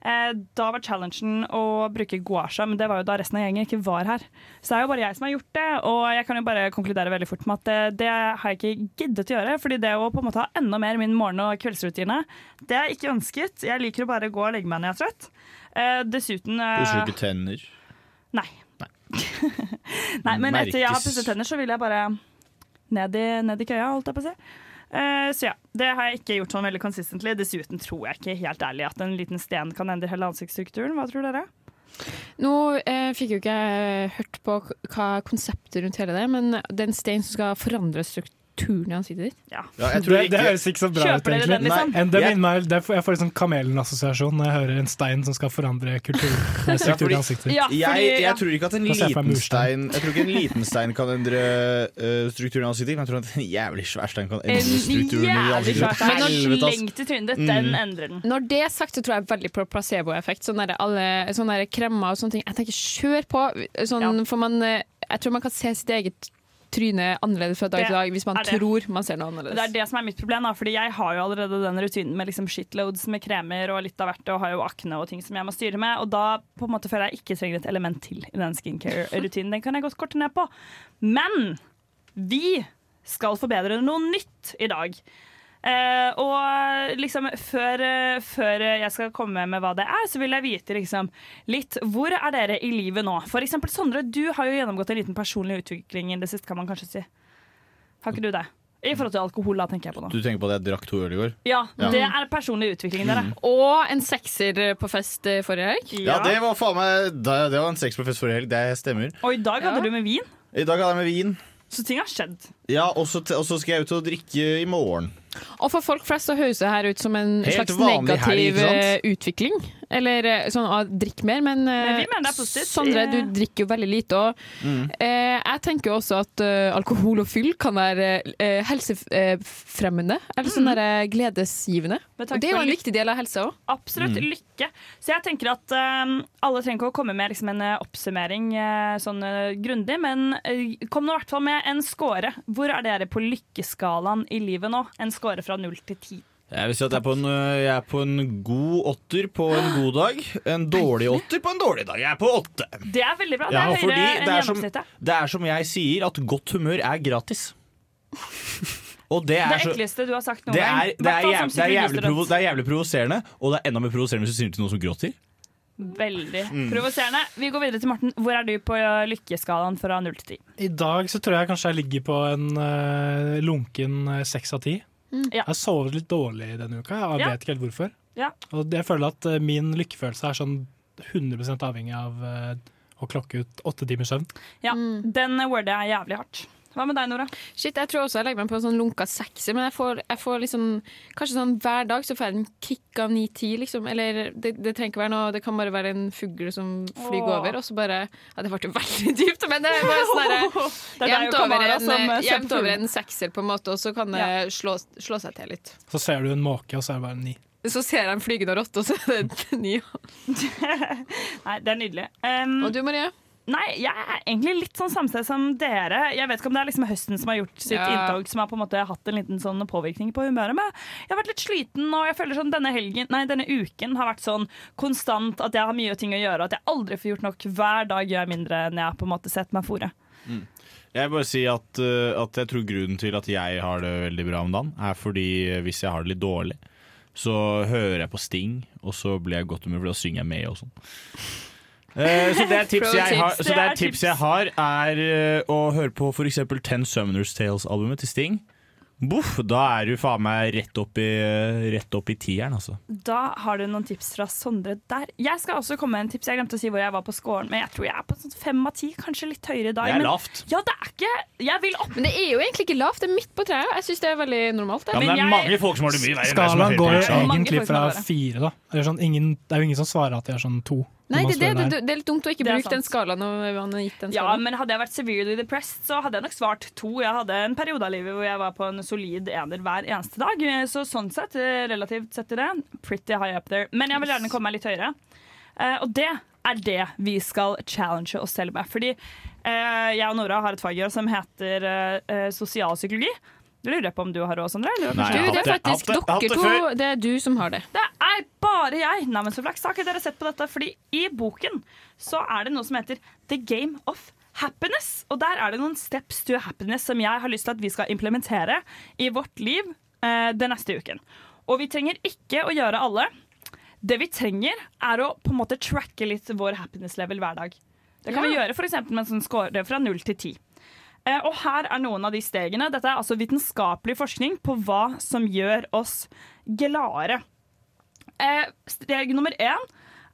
Speaker 7: Eh, da var challengen å bruke guasha, men det var jo da resten av gjengen ikke var her. Så det er jo bare jeg som har gjort det, og jeg kan jo bare konkludere veldig fort med at det, det har jeg ikke giddet å gjøre. fordi det å på en måte ha enda mer min morgen- og kveldsrutine, det er ikke ønsket. Jeg liker å bare gå og legge meg når jeg er trøtt. Eh, dessuten eh,
Speaker 8: Pusher ikke tenner.
Speaker 7: Nei. Nei, men etter jeg har
Speaker 18: Merkes.
Speaker 7: pusset tenner, så vil jeg bare ned i, ned i køya, holdt jeg på å si. Eh, så ja, det har jeg ikke gjort sånn veldig consistently. Dessuten tror jeg ikke helt ærlig at en liten sten kan endre hele ansiktsstrukturen. Hva tror dere?
Speaker 9: Nå eh, fikk jo ikke jeg hørt på k- hva konseptet rundt hele det, men det er en stein som skal forandre strukturen i ansiktet ditt.
Speaker 8: Ja, jeg tror
Speaker 3: det, det
Speaker 8: ikke-
Speaker 3: høres ikke så bra ut,
Speaker 8: Kjøper dere den,
Speaker 3: egentlig.
Speaker 8: liksom?
Speaker 3: En- det
Speaker 8: Jeg-
Speaker 3: minner meg, det er, jeg får en sånn Kamelen-assosiasjon når jeg hører en stein som skal forandre
Speaker 8: Ja,
Speaker 3: kulturstruktur
Speaker 8: fordi-
Speaker 3: i ansiktet.
Speaker 8: jeg, jeg tror ikke at en
Speaker 3: Da ser jeg for
Speaker 8: liten
Speaker 3: meg murstein.
Speaker 8: stein Jeg tror ikke en liten stein kan endre eh, strukturen i ansiktet, men jeg tror at en jævlig svær stein kan endre
Speaker 7: Men
Speaker 8: strukturen i ansiktet.
Speaker 7: når den
Speaker 8: Helvete, ass.
Speaker 7: slenger til trynet ditt, den
Speaker 8: Mm.
Speaker 7: endrer den.
Speaker 9: Når det er sagt, så tror jeg veldig på placeboeffekt. Sånne, der alle- sånne der kremmer og sånne ting. Jeg tenker, kjør på! Sånn, for man, eh, jeg tror man kan se sitt eget tryne annerledes fra dag
Speaker 7: Det
Speaker 9: til dag hvis man
Speaker 7: er det.
Speaker 9: tror man ser noe
Speaker 7: Men Det er
Speaker 9: annerledes.
Speaker 7: det som er mitt problem, da, fordi jeg har jo allerede den rutinen med liksom shitloads med kremer og litt av hvert, og har jo akne og ting som jeg må styre med, og da på en måte føler jeg ikke trenger et element til i den skincare-rutinen. Den kan jeg godt korte ned på. Men vi skal forbedre noe nytt i dag. Eh, og liksom før, eh, før jeg skal komme med hva det er, så vil jeg vite liksom litt Hvor er dere i livet nå? For eksempel Sondre, du har jo gjennomgått en liten personlig utvikling i det siste, kan man kanskje si. Har ikke du det? I forhold til alkohol, da, tenker jeg på nå.
Speaker 8: Du tenker på at jeg drakk to øl i går?
Speaker 7: Ja,
Speaker 8: Ja. Mm.
Speaker 7: det er personlig utvikling, dere.
Speaker 9: Og en sekser på fest eh, forrige helg.
Speaker 8: Ja, det var faen meg Det, det var en sexprofess forrige helg, det stemmer.
Speaker 7: Og i dag hadde du med vin,
Speaker 8: I dag hadde jeg med vin.
Speaker 7: så ting har skjedd.
Speaker 8: Ja, og så og så skal jeg ut og drikke i morgen.
Speaker 9: Og for folk flest så høres det her ut som en
Speaker 8: Helt
Speaker 9: slags
Speaker 8: vanlig helg,
Speaker 9: negativ
Speaker 8: ikke sant?
Speaker 9: eh, utvikling. Eller eh, sånn ah, drikk mer, men, eh,
Speaker 7: Men vi mener det er positivt.
Speaker 9: Sondre, du drikker jo veldig lite. Og,
Speaker 8: Mm.
Speaker 9: eh, jeg tenker jo også at eh, alkohol og fyll kan være eh, helsefremmende. Eller
Speaker 7: Mm.
Speaker 9: sånn der, eh, gledesgivende.
Speaker 7: Med tanke
Speaker 9: Og det
Speaker 7: på
Speaker 9: er jo en
Speaker 7: lykke.
Speaker 9: viktig del av helsa òg.
Speaker 7: Absolutt.
Speaker 9: Mm.
Speaker 7: Lykke. Så jeg tenker at eh, alle trenger ikke å komme med liksom, en eh, oppsummering eh, sånn eh, grundig, men eh, kom nå i hvert fall med en score. Hvor er dere på lykkeskalaen i livet nå? En score fra null til ti.
Speaker 8: Jeg vil si at jeg er, på en, øh, jeg er på en god åtter på en god dag. En dårlig åtter på en dårlig dag. Jeg er på åtte.
Speaker 7: Det er veldig bra. Det
Speaker 8: Ja,
Speaker 7: er
Speaker 8: fordi
Speaker 7: høyere enn
Speaker 8: det er, som,
Speaker 7: gjennomsnittet.
Speaker 8: det er som jeg sier, at godt humør er gratis. Og det
Speaker 7: Det,
Speaker 8: er så
Speaker 7: ekleste du har sagt noen
Speaker 8: det er,
Speaker 7: gang.
Speaker 8: det, er
Speaker 7: Hvertfall som
Speaker 8: jævlig, det, er jævlig
Speaker 7: psykologistudent.
Speaker 8: provo, det er jævlig provoserende, og det er enda mer provoserende hvis du sier det til noen som gråter.
Speaker 7: Veldig
Speaker 8: Mm.
Speaker 7: provoserende. Vi går videre til Morten. Hvor er du på eh, lykkeskalaen fra null til ti?
Speaker 3: I dag så tror jeg kanskje jeg ligger på en eh, lunken eh, seks av ti.
Speaker 7: Mm. Ja.
Speaker 3: Jeg har sovet litt dårlig denne uka, jeg
Speaker 7: Ja.
Speaker 3: vet ikke helt hvorfor.
Speaker 7: Ja.
Speaker 3: Og jeg føler at eh, min lykkefølelse er sånn 100 avhengig av eh, å klokke ut åtte timers søvn.
Speaker 7: Ja, Den worder jeg jævlig hardt. Hva med deg, Nora?
Speaker 9: Shit, Jeg tror også jeg legger meg på en sånn lunka sekser, men jeg får, jeg får liksom Kanskje sånn hver dag så får jeg en kick av ni-ti, liksom. Eller det, det trenger ikke være noe, det kan bare være en fugl som flyger
Speaker 7: Åh.
Speaker 9: over, og så bare Ja, det ble jo veldig dypt, men det var sånn derre
Speaker 7: Det er deg
Speaker 9: Jevnt
Speaker 7: og
Speaker 9: over,
Speaker 7: Kamara
Speaker 9: en-
Speaker 7: som, eh,
Speaker 9: jevnt
Speaker 7: kjemper
Speaker 9: over
Speaker 7: fugl.
Speaker 9: en sekser, på en måte, og så kan det
Speaker 7: Ja.
Speaker 9: slå, slå seg til litt.
Speaker 3: Så ser du en måke, og så er det bare en ni.
Speaker 9: Så ser jeg en flygende rotte, og så er det ni.
Speaker 7: Mm. Nei, det er nydelig. Um,
Speaker 9: og du, Marie?
Speaker 7: Nei, jeg er egentlig litt sånn samsted som dere. Jeg vet ikke om det er liksom høsten som har gjort sitt
Speaker 9: Ja.
Speaker 7: inntog, som har på en måte hatt en liten sånn påvirkning på humøret. Men jeg har vært litt sliten, og jeg føler sånn denne helgen, nei, denne uken har vært sånn konstant at jeg har mye ting å gjøre, og at jeg aldri får gjort nok. Hver dag gjør jeg mindre enn jeg på en måte setter meg fore.
Speaker 8: Jeg vil bare si at, øh, at jeg tror grunnen til at jeg har det veldig bra om dagen, er fordi øh, hvis jeg har det litt dårlig, så hører jeg på Sting, og så blir jeg i godt humør, for da synger jeg med og sånn. Eh, så det er tips
Speaker 18: Pro
Speaker 8: jeg har,
Speaker 18: tips.
Speaker 8: så det
Speaker 18: Det er
Speaker 8: er, tips jeg har er eh, å høre på f.eks. Ten Summoners Tales-albumet til Sting. Boff, da er du faen meg rett opp i, rett opp i tieren, altså.
Speaker 7: Da har du noen tips fra Sondre der. Jeg skal også komme med en tips. Jeg glemte å si hvor jeg var på scoren, men jeg tror jeg er på sånn fem av ti, kanskje litt høyere i dag.
Speaker 8: Det er
Speaker 7: men-
Speaker 8: lavt.
Speaker 7: Ja, det er ikke Jeg vil opp.
Speaker 9: Men det er jo egentlig ikke lavt, det er midt på treet. Jeg syns det er veldig normalt.
Speaker 8: Ja, men det er mange folk som har det mye verre enn deg som har
Speaker 3: Skalaen går jo
Speaker 8: høyere pulser.
Speaker 9: Mange
Speaker 3: egentlig
Speaker 9: folk som
Speaker 3: fra
Speaker 9: har det.
Speaker 3: fire, da. Eller sånn, ingen, det er jo ingen som svarer at de er sånn to. når
Speaker 9: Nei,
Speaker 3: man
Speaker 9: det, det,
Speaker 3: spør
Speaker 9: det,
Speaker 3: der.
Speaker 9: det er litt dumt å ikke
Speaker 7: Det er
Speaker 9: bruke den skalaen. Når man har gitt den
Speaker 7: Ja,
Speaker 9: skalaen.
Speaker 7: men Hadde jeg vært severely depressed, så hadde jeg nok svart to. Jeg hadde en periode av livet hvor jeg var på en solid ener hver eneste dag. Så sånn sett, eh, relativt sett til det, pretty high up there. Men jeg vil gjerne komme meg litt høyere. Eh, og det er det vi skal challenge oss selv med. Fordi eh, jeg og Nora har et fag i år som heter eh, eh, sosialpsykologi. Det lurer jeg på om du har òg, Sondre? eller
Speaker 9: Nei,
Speaker 7: kanskje-
Speaker 9: jeg har Du, det er hatt det. faktisk Jeg har hatt det- dere jeg har hatt det to. før. Det er du som har det.
Speaker 7: Det er bare jeg! Nei, men så flaks. Har ikke dere sett på dette? Fordi i boken så er det noe som heter The Game of Happiness. Og der er det noen steps to happiness som jeg har lyst til at vi skal implementere i vårt liv eh, den neste uken. Og vi trenger ikke å gjøre alle. Det vi trenger, er å på en måte tracke litt vår happiness level hver dag. Det kan vi gjøre for eksempel med en sånn score fra 0 til 10. Eh, og her er noen av de stegene. Dette er altså vitenskapelig forskning på hva som gjør oss gladere. Eh, steg nummer én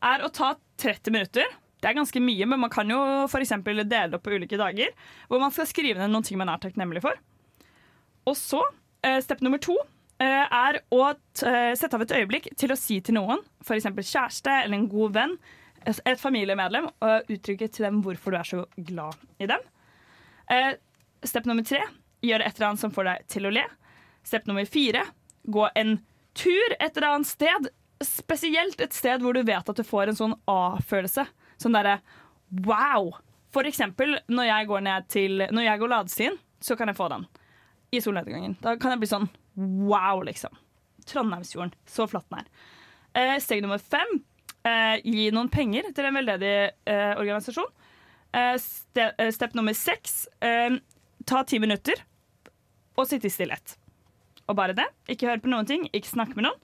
Speaker 7: er å ta 30 minutter. Det er ganske mye, men man kan jo for eksempel dele det opp på ulike dager. Hvor man skal skrive ned noen ting man er takknemlig for. Og så, eh, step nummer to eh, er å t eh, sette av et øyeblikk til å si til noen, f.eks. kjæreste eller en god venn, et et familiemedlem, og uttrykke til dem hvorfor du er så glad i dem. Eh, step nummer tre gjør et eller annet som får deg til å le. Step nummer fire gå en tur et eller annet sted, spesielt et sted hvor du vet at du får en sånn A-følelse. Sånn derre wow! For eksempel når jeg går ned til Når jeg går ladestien, så kan jeg få den i solnedgangen. Da kan jeg bli sånn wow, liksom. Trondheimsfjorden. Så flott den er. Eh, steg nummer fem eh, gi noen penger til en veldedig eh, organisasjon. Eh, ste, eh, step nummer seks eh, ta ti minutter og sitte i stillhet. Og bare det. Ikke høre på noen ting, ikke snakke med noen.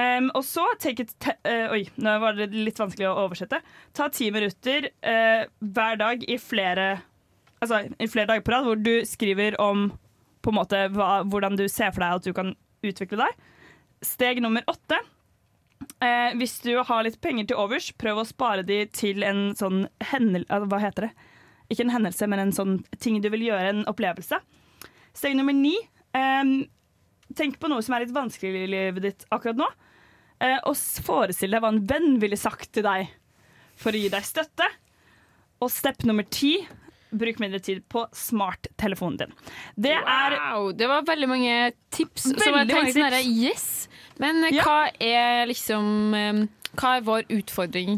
Speaker 7: Em, og så take it te eh, Oi, nå var det litt vanskelig å oversette. Ta ti minutter eh, hver dag i flere Altså i flere dager på rad, hvor du skriver om på en måte hva, hvordan du ser for deg at du kan utvikle deg. Steg nummer åtte. Eh, hvis du har litt penger til overs, prøv å spare de til en sånn hendelse Hva heter det? Ikke en hendelse, men en sånn ting du vil gjøre, en opplevelse. Steg nummer ni. em, tenk på noe som er litt vanskelig i livet ditt akkurat nå. eh, og s- forestill deg hva en venn ville sagt til deg for å gi deg støtte. Og step nummer ti bruk mindre tid på smarttelefonen din. Det er
Speaker 9: Wow, det var veldig mange tips.
Speaker 7: Veldig
Speaker 9: som jeg
Speaker 7: mange
Speaker 9: tenkte sånn her,
Speaker 7: tips.
Speaker 9: yes. Men eh, hva er liksom eh, Hva er vår utfordring?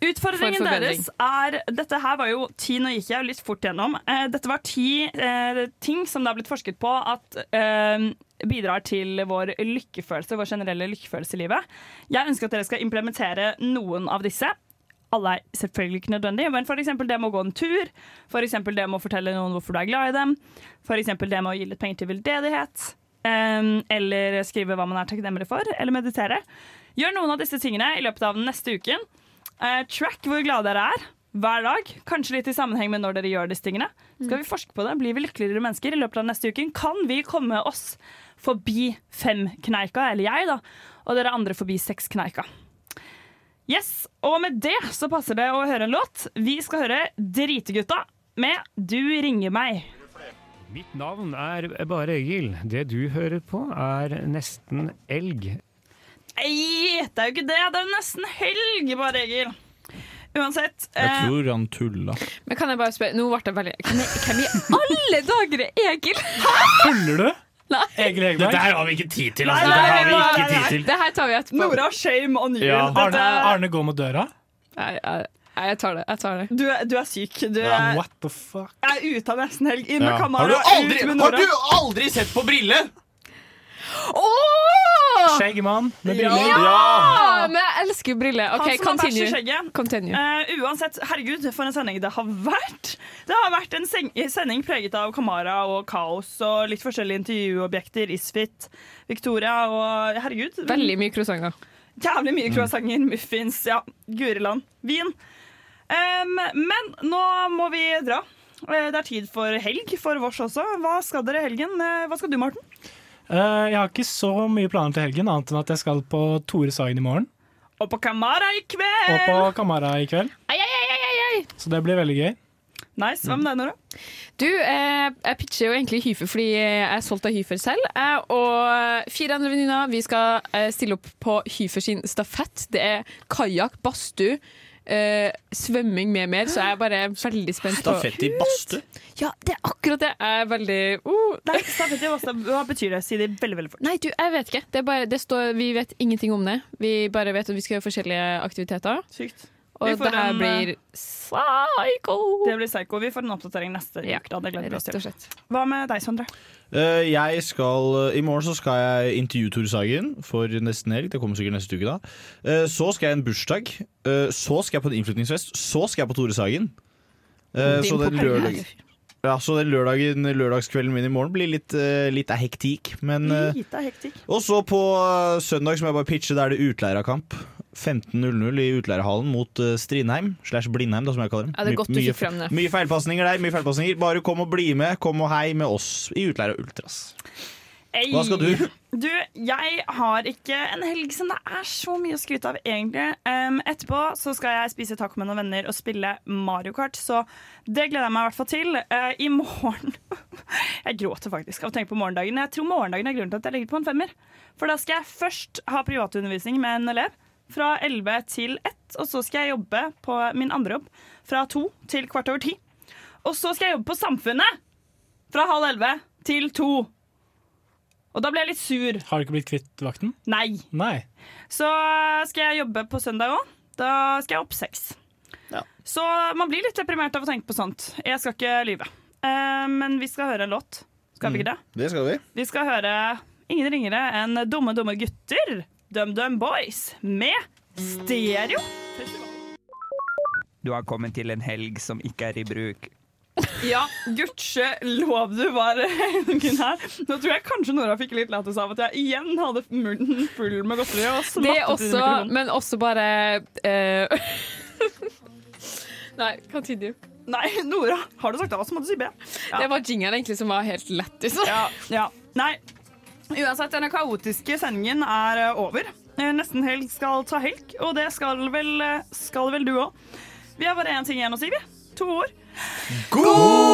Speaker 7: Utfordringen
Speaker 9: For forbedring.
Speaker 7: deres er Dette her var jo ti, nå gikk jeg jo litt fort gjennom. Eh, dette var ti eh, ting som det har blitt forsket på at eh, bidrar til vår lykkefølelse, vår generelle lykkefølelse i livet. Jeg ønsker at dere skal implementere noen av disse. Alle er selvfølgelig ikke nødvendige, men f.eks. det med å gå en tur. F.eks. det med å fortelle noen hvorfor du er glad i dem. F.eks. det med å gi litt penger til veldedighet. eh, Eller skrive hva man er takknemlig for. Eller meditere. Gjør noen av disse tingene i løpet av den neste uken. Eh, track hvor glade dere er hver dag. Kanskje litt i sammenheng med når dere gjør disse tingene. Skal vi forske på det? Blir vi lykkeligere mennesker i løpet av neste uke? Kan vi komme oss forbi femkneika, eller jeg, da, og dere andre forbi sekskneika? Yes, og med det så passer det å høre en låt. Vi skal høre Dritegutta med Du ringer meg.
Speaker 18: Mitt navn er bare Egil. Det du hører på er nesten elg.
Speaker 7: Nei, det er jo ikke det. Det er jo nesten helg, bare, Egil. Uansett. eh,
Speaker 8: tror han tulla.
Speaker 9: Men kan jeg bare spørre, nå ble det veldig Hvem i- hvem i alle dager er Egil?
Speaker 3: Tuller du?
Speaker 9: Nei.
Speaker 3: Egil Hegerberg?
Speaker 8: Dette her har vi ikke tid til,
Speaker 9: Nei,
Speaker 8: altså.
Speaker 9: nei,
Speaker 8: Dette har vi
Speaker 9: nei,
Speaker 8: ikke
Speaker 9: nei, nei.
Speaker 8: tid til.
Speaker 9: Det her tar vi etterpå.
Speaker 7: Nora, shame on you.
Speaker 8: Ja.
Speaker 7: Dette-
Speaker 3: Arne, Arne går mot døra.
Speaker 9: Nei, nei, nei, jeg tar det. Jeg tar det.
Speaker 7: Du, er- du er syk. Du er,
Speaker 3: Ja, what the fuck?
Speaker 7: Jeg er ute av nesten helg. Inn med
Speaker 8: Ja. Har,
Speaker 7: Kamara.
Speaker 8: du aldri,
Speaker 7: ut med
Speaker 8: har
Speaker 7: Nora.
Speaker 8: du aldri sett på briller?
Speaker 9: Åh!
Speaker 3: Skjeggmann med
Speaker 9: Ja!
Speaker 3: briller.
Speaker 9: Men jeg elsker briller. OK,
Speaker 7: Han som har bæsj i
Speaker 9: continue.
Speaker 7: skjegget.
Speaker 9: Continue.
Speaker 7: Eh, uansett, herregud, for en sending det har vært. Det har vært en seng- sending preget av Kamara og kaos og litt forskjellige intervjuobjekter. Isfit, Victoria og Herregud.
Speaker 9: Veldig mye croissanter.
Speaker 7: Jævlig
Speaker 8: Mm.
Speaker 7: mye croissanter, muffins, ja, guriland, vin. Em, men nå må vi dra. Eh, Det er tid for helg for vårs også. Hva skal dere i helgen? Eh, Hva skal du, Morten?
Speaker 3: Eh, jeg har ikke så mye planer til helgen, annet enn at jeg skal på Tore Sagen i morgen.
Speaker 7: Og på Kamara i kveld!
Speaker 3: Og
Speaker 9: Eh.
Speaker 3: på Kamara i kveld.
Speaker 9: Ai, ai, ai, ai, ai.
Speaker 3: Så det blir veldig gøy.
Speaker 7: Nice. Hva med deg, Nora?
Speaker 9: Du, eh, jeg pitcher jo egentlig Hyfer fordi jeg er solgt av Hyfer selv. Jeg og fire andre venninner vi skal eh, stille opp på Hyfer sin stafett. Det er kajakk, badstue, eh, svømming med mer, så jeg er bare veldig spent på
Speaker 8: Stafett i badstue?
Speaker 9: Ja, det er akkurat det. Jeg er veldig oh.
Speaker 7: Nei, stafett i badstue, hva betyr det? Si det veldig, veldig fort.
Speaker 9: Nei, du, jeg vet ikke. Det er bare, det står, vi vet ingenting om det. Vi bare vet at vi skal gjøre forskjellige aktiviteter.
Speaker 7: Sykt.
Speaker 9: Og
Speaker 7: Vi får
Speaker 9: det her
Speaker 7: en, eh,
Speaker 9: blir psycho.
Speaker 7: Det blir psycho. Vi får en oppdatering neste
Speaker 9: Ja,
Speaker 7: uke. Da. Det gleder vi oss
Speaker 9: rett og
Speaker 7: til. Hva med deg, Sondre?
Speaker 8: Eh, jeg skal, eh, I morgen så skal jeg intervjue Tore Sagen for nesten helg. Det kommer sikkert neste uke da. Eh, så skal jeg i en bursdag. Eh, så skal jeg på en innflytningsfest. Så skal jeg på Tore Sagen. Eh,
Speaker 7: Din
Speaker 8: så, den
Speaker 7: på
Speaker 8: lørdag,
Speaker 7: helgen.
Speaker 8: ja, så den lørdagen, lørdagskvelden min i morgen blir litt, eh, litt av hektik. Men eh,
Speaker 7: Lite hektikk.
Speaker 8: Og så på eh, søndag så må jeg bare pitche, da er det utleierkamp. 15-0-0 i utleierhallen mot eh, Strindheim, slash Blindheim, da, som jeg kaller dem.
Speaker 9: Ja, det er
Speaker 8: My-
Speaker 9: godt du
Speaker 8: mye,
Speaker 9: fikk frem det.
Speaker 8: Mye feilpasninger der, mye feilpasninger. Bare kom og bli med, kom og hei med oss i Utleier og Ultras.
Speaker 7: Ei.
Speaker 8: Hva skal du?
Speaker 7: Du, jeg har ikke en helg som det er så mye å skryte av, egentlig. Em, etterpå så skal jeg spise taco med noen venner og spille Mario Kart, så det gleder jeg meg i hvert fall til. Eh, I morgen Jeg gråter faktisk av å tenke på morgendagen. Jeg tror morgendagen er grunnen til at jeg ligger på en femmer. For da skal jeg først ha privatundervisning med en elev fra 11 til 1, og så skal jeg jobbe på min andre jobb fra 2 til kvart over 10. Og så skal jeg jobbe på Samfunnet fra halv 11 til 2. Og da ble jeg litt sur.
Speaker 3: Har du ikke blitt kvitt vakten?
Speaker 7: Nei.
Speaker 3: Nei.
Speaker 7: Så skal jeg jobbe på søndag òg. Da skal jeg opp seks. Så man blir litt deprimert av å tenke på sånt. Jeg skal ikke lyve. Eh, men vi skal høre en låt. Skal vi ikke det?
Speaker 8: Det skal vi.
Speaker 7: Vi skal høre ingen ringere enn Dumme dumme gutter, DumDum Boys, med stereo.
Speaker 2: Du har kommet til en helg som ikke er i bruk.
Speaker 7: Ja, gudskjelov du var helgen her. Nå tror jeg kanskje Nora fikk litt lættis av at jeg igjen hadde munnen full med godteri. Og
Speaker 9: Det er
Speaker 7: smattet i
Speaker 9: også,
Speaker 7: mikrofonen.
Speaker 9: men også bare eh, Nei, continue.
Speaker 7: Nei, Nora, har du sagt A, så må du si B.
Speaker 9: Det var jingeren egentlig som var helt liksom. lættis.
Speaker 7: Ja, ja. Nei. Uansett, denne kaotiske sendingen er eh, over. Eh, Nesten helg skal ta helg, og det skal vel, eh, skal vel du òg. Vi har bare én ting igjen å si, vi. To ord. God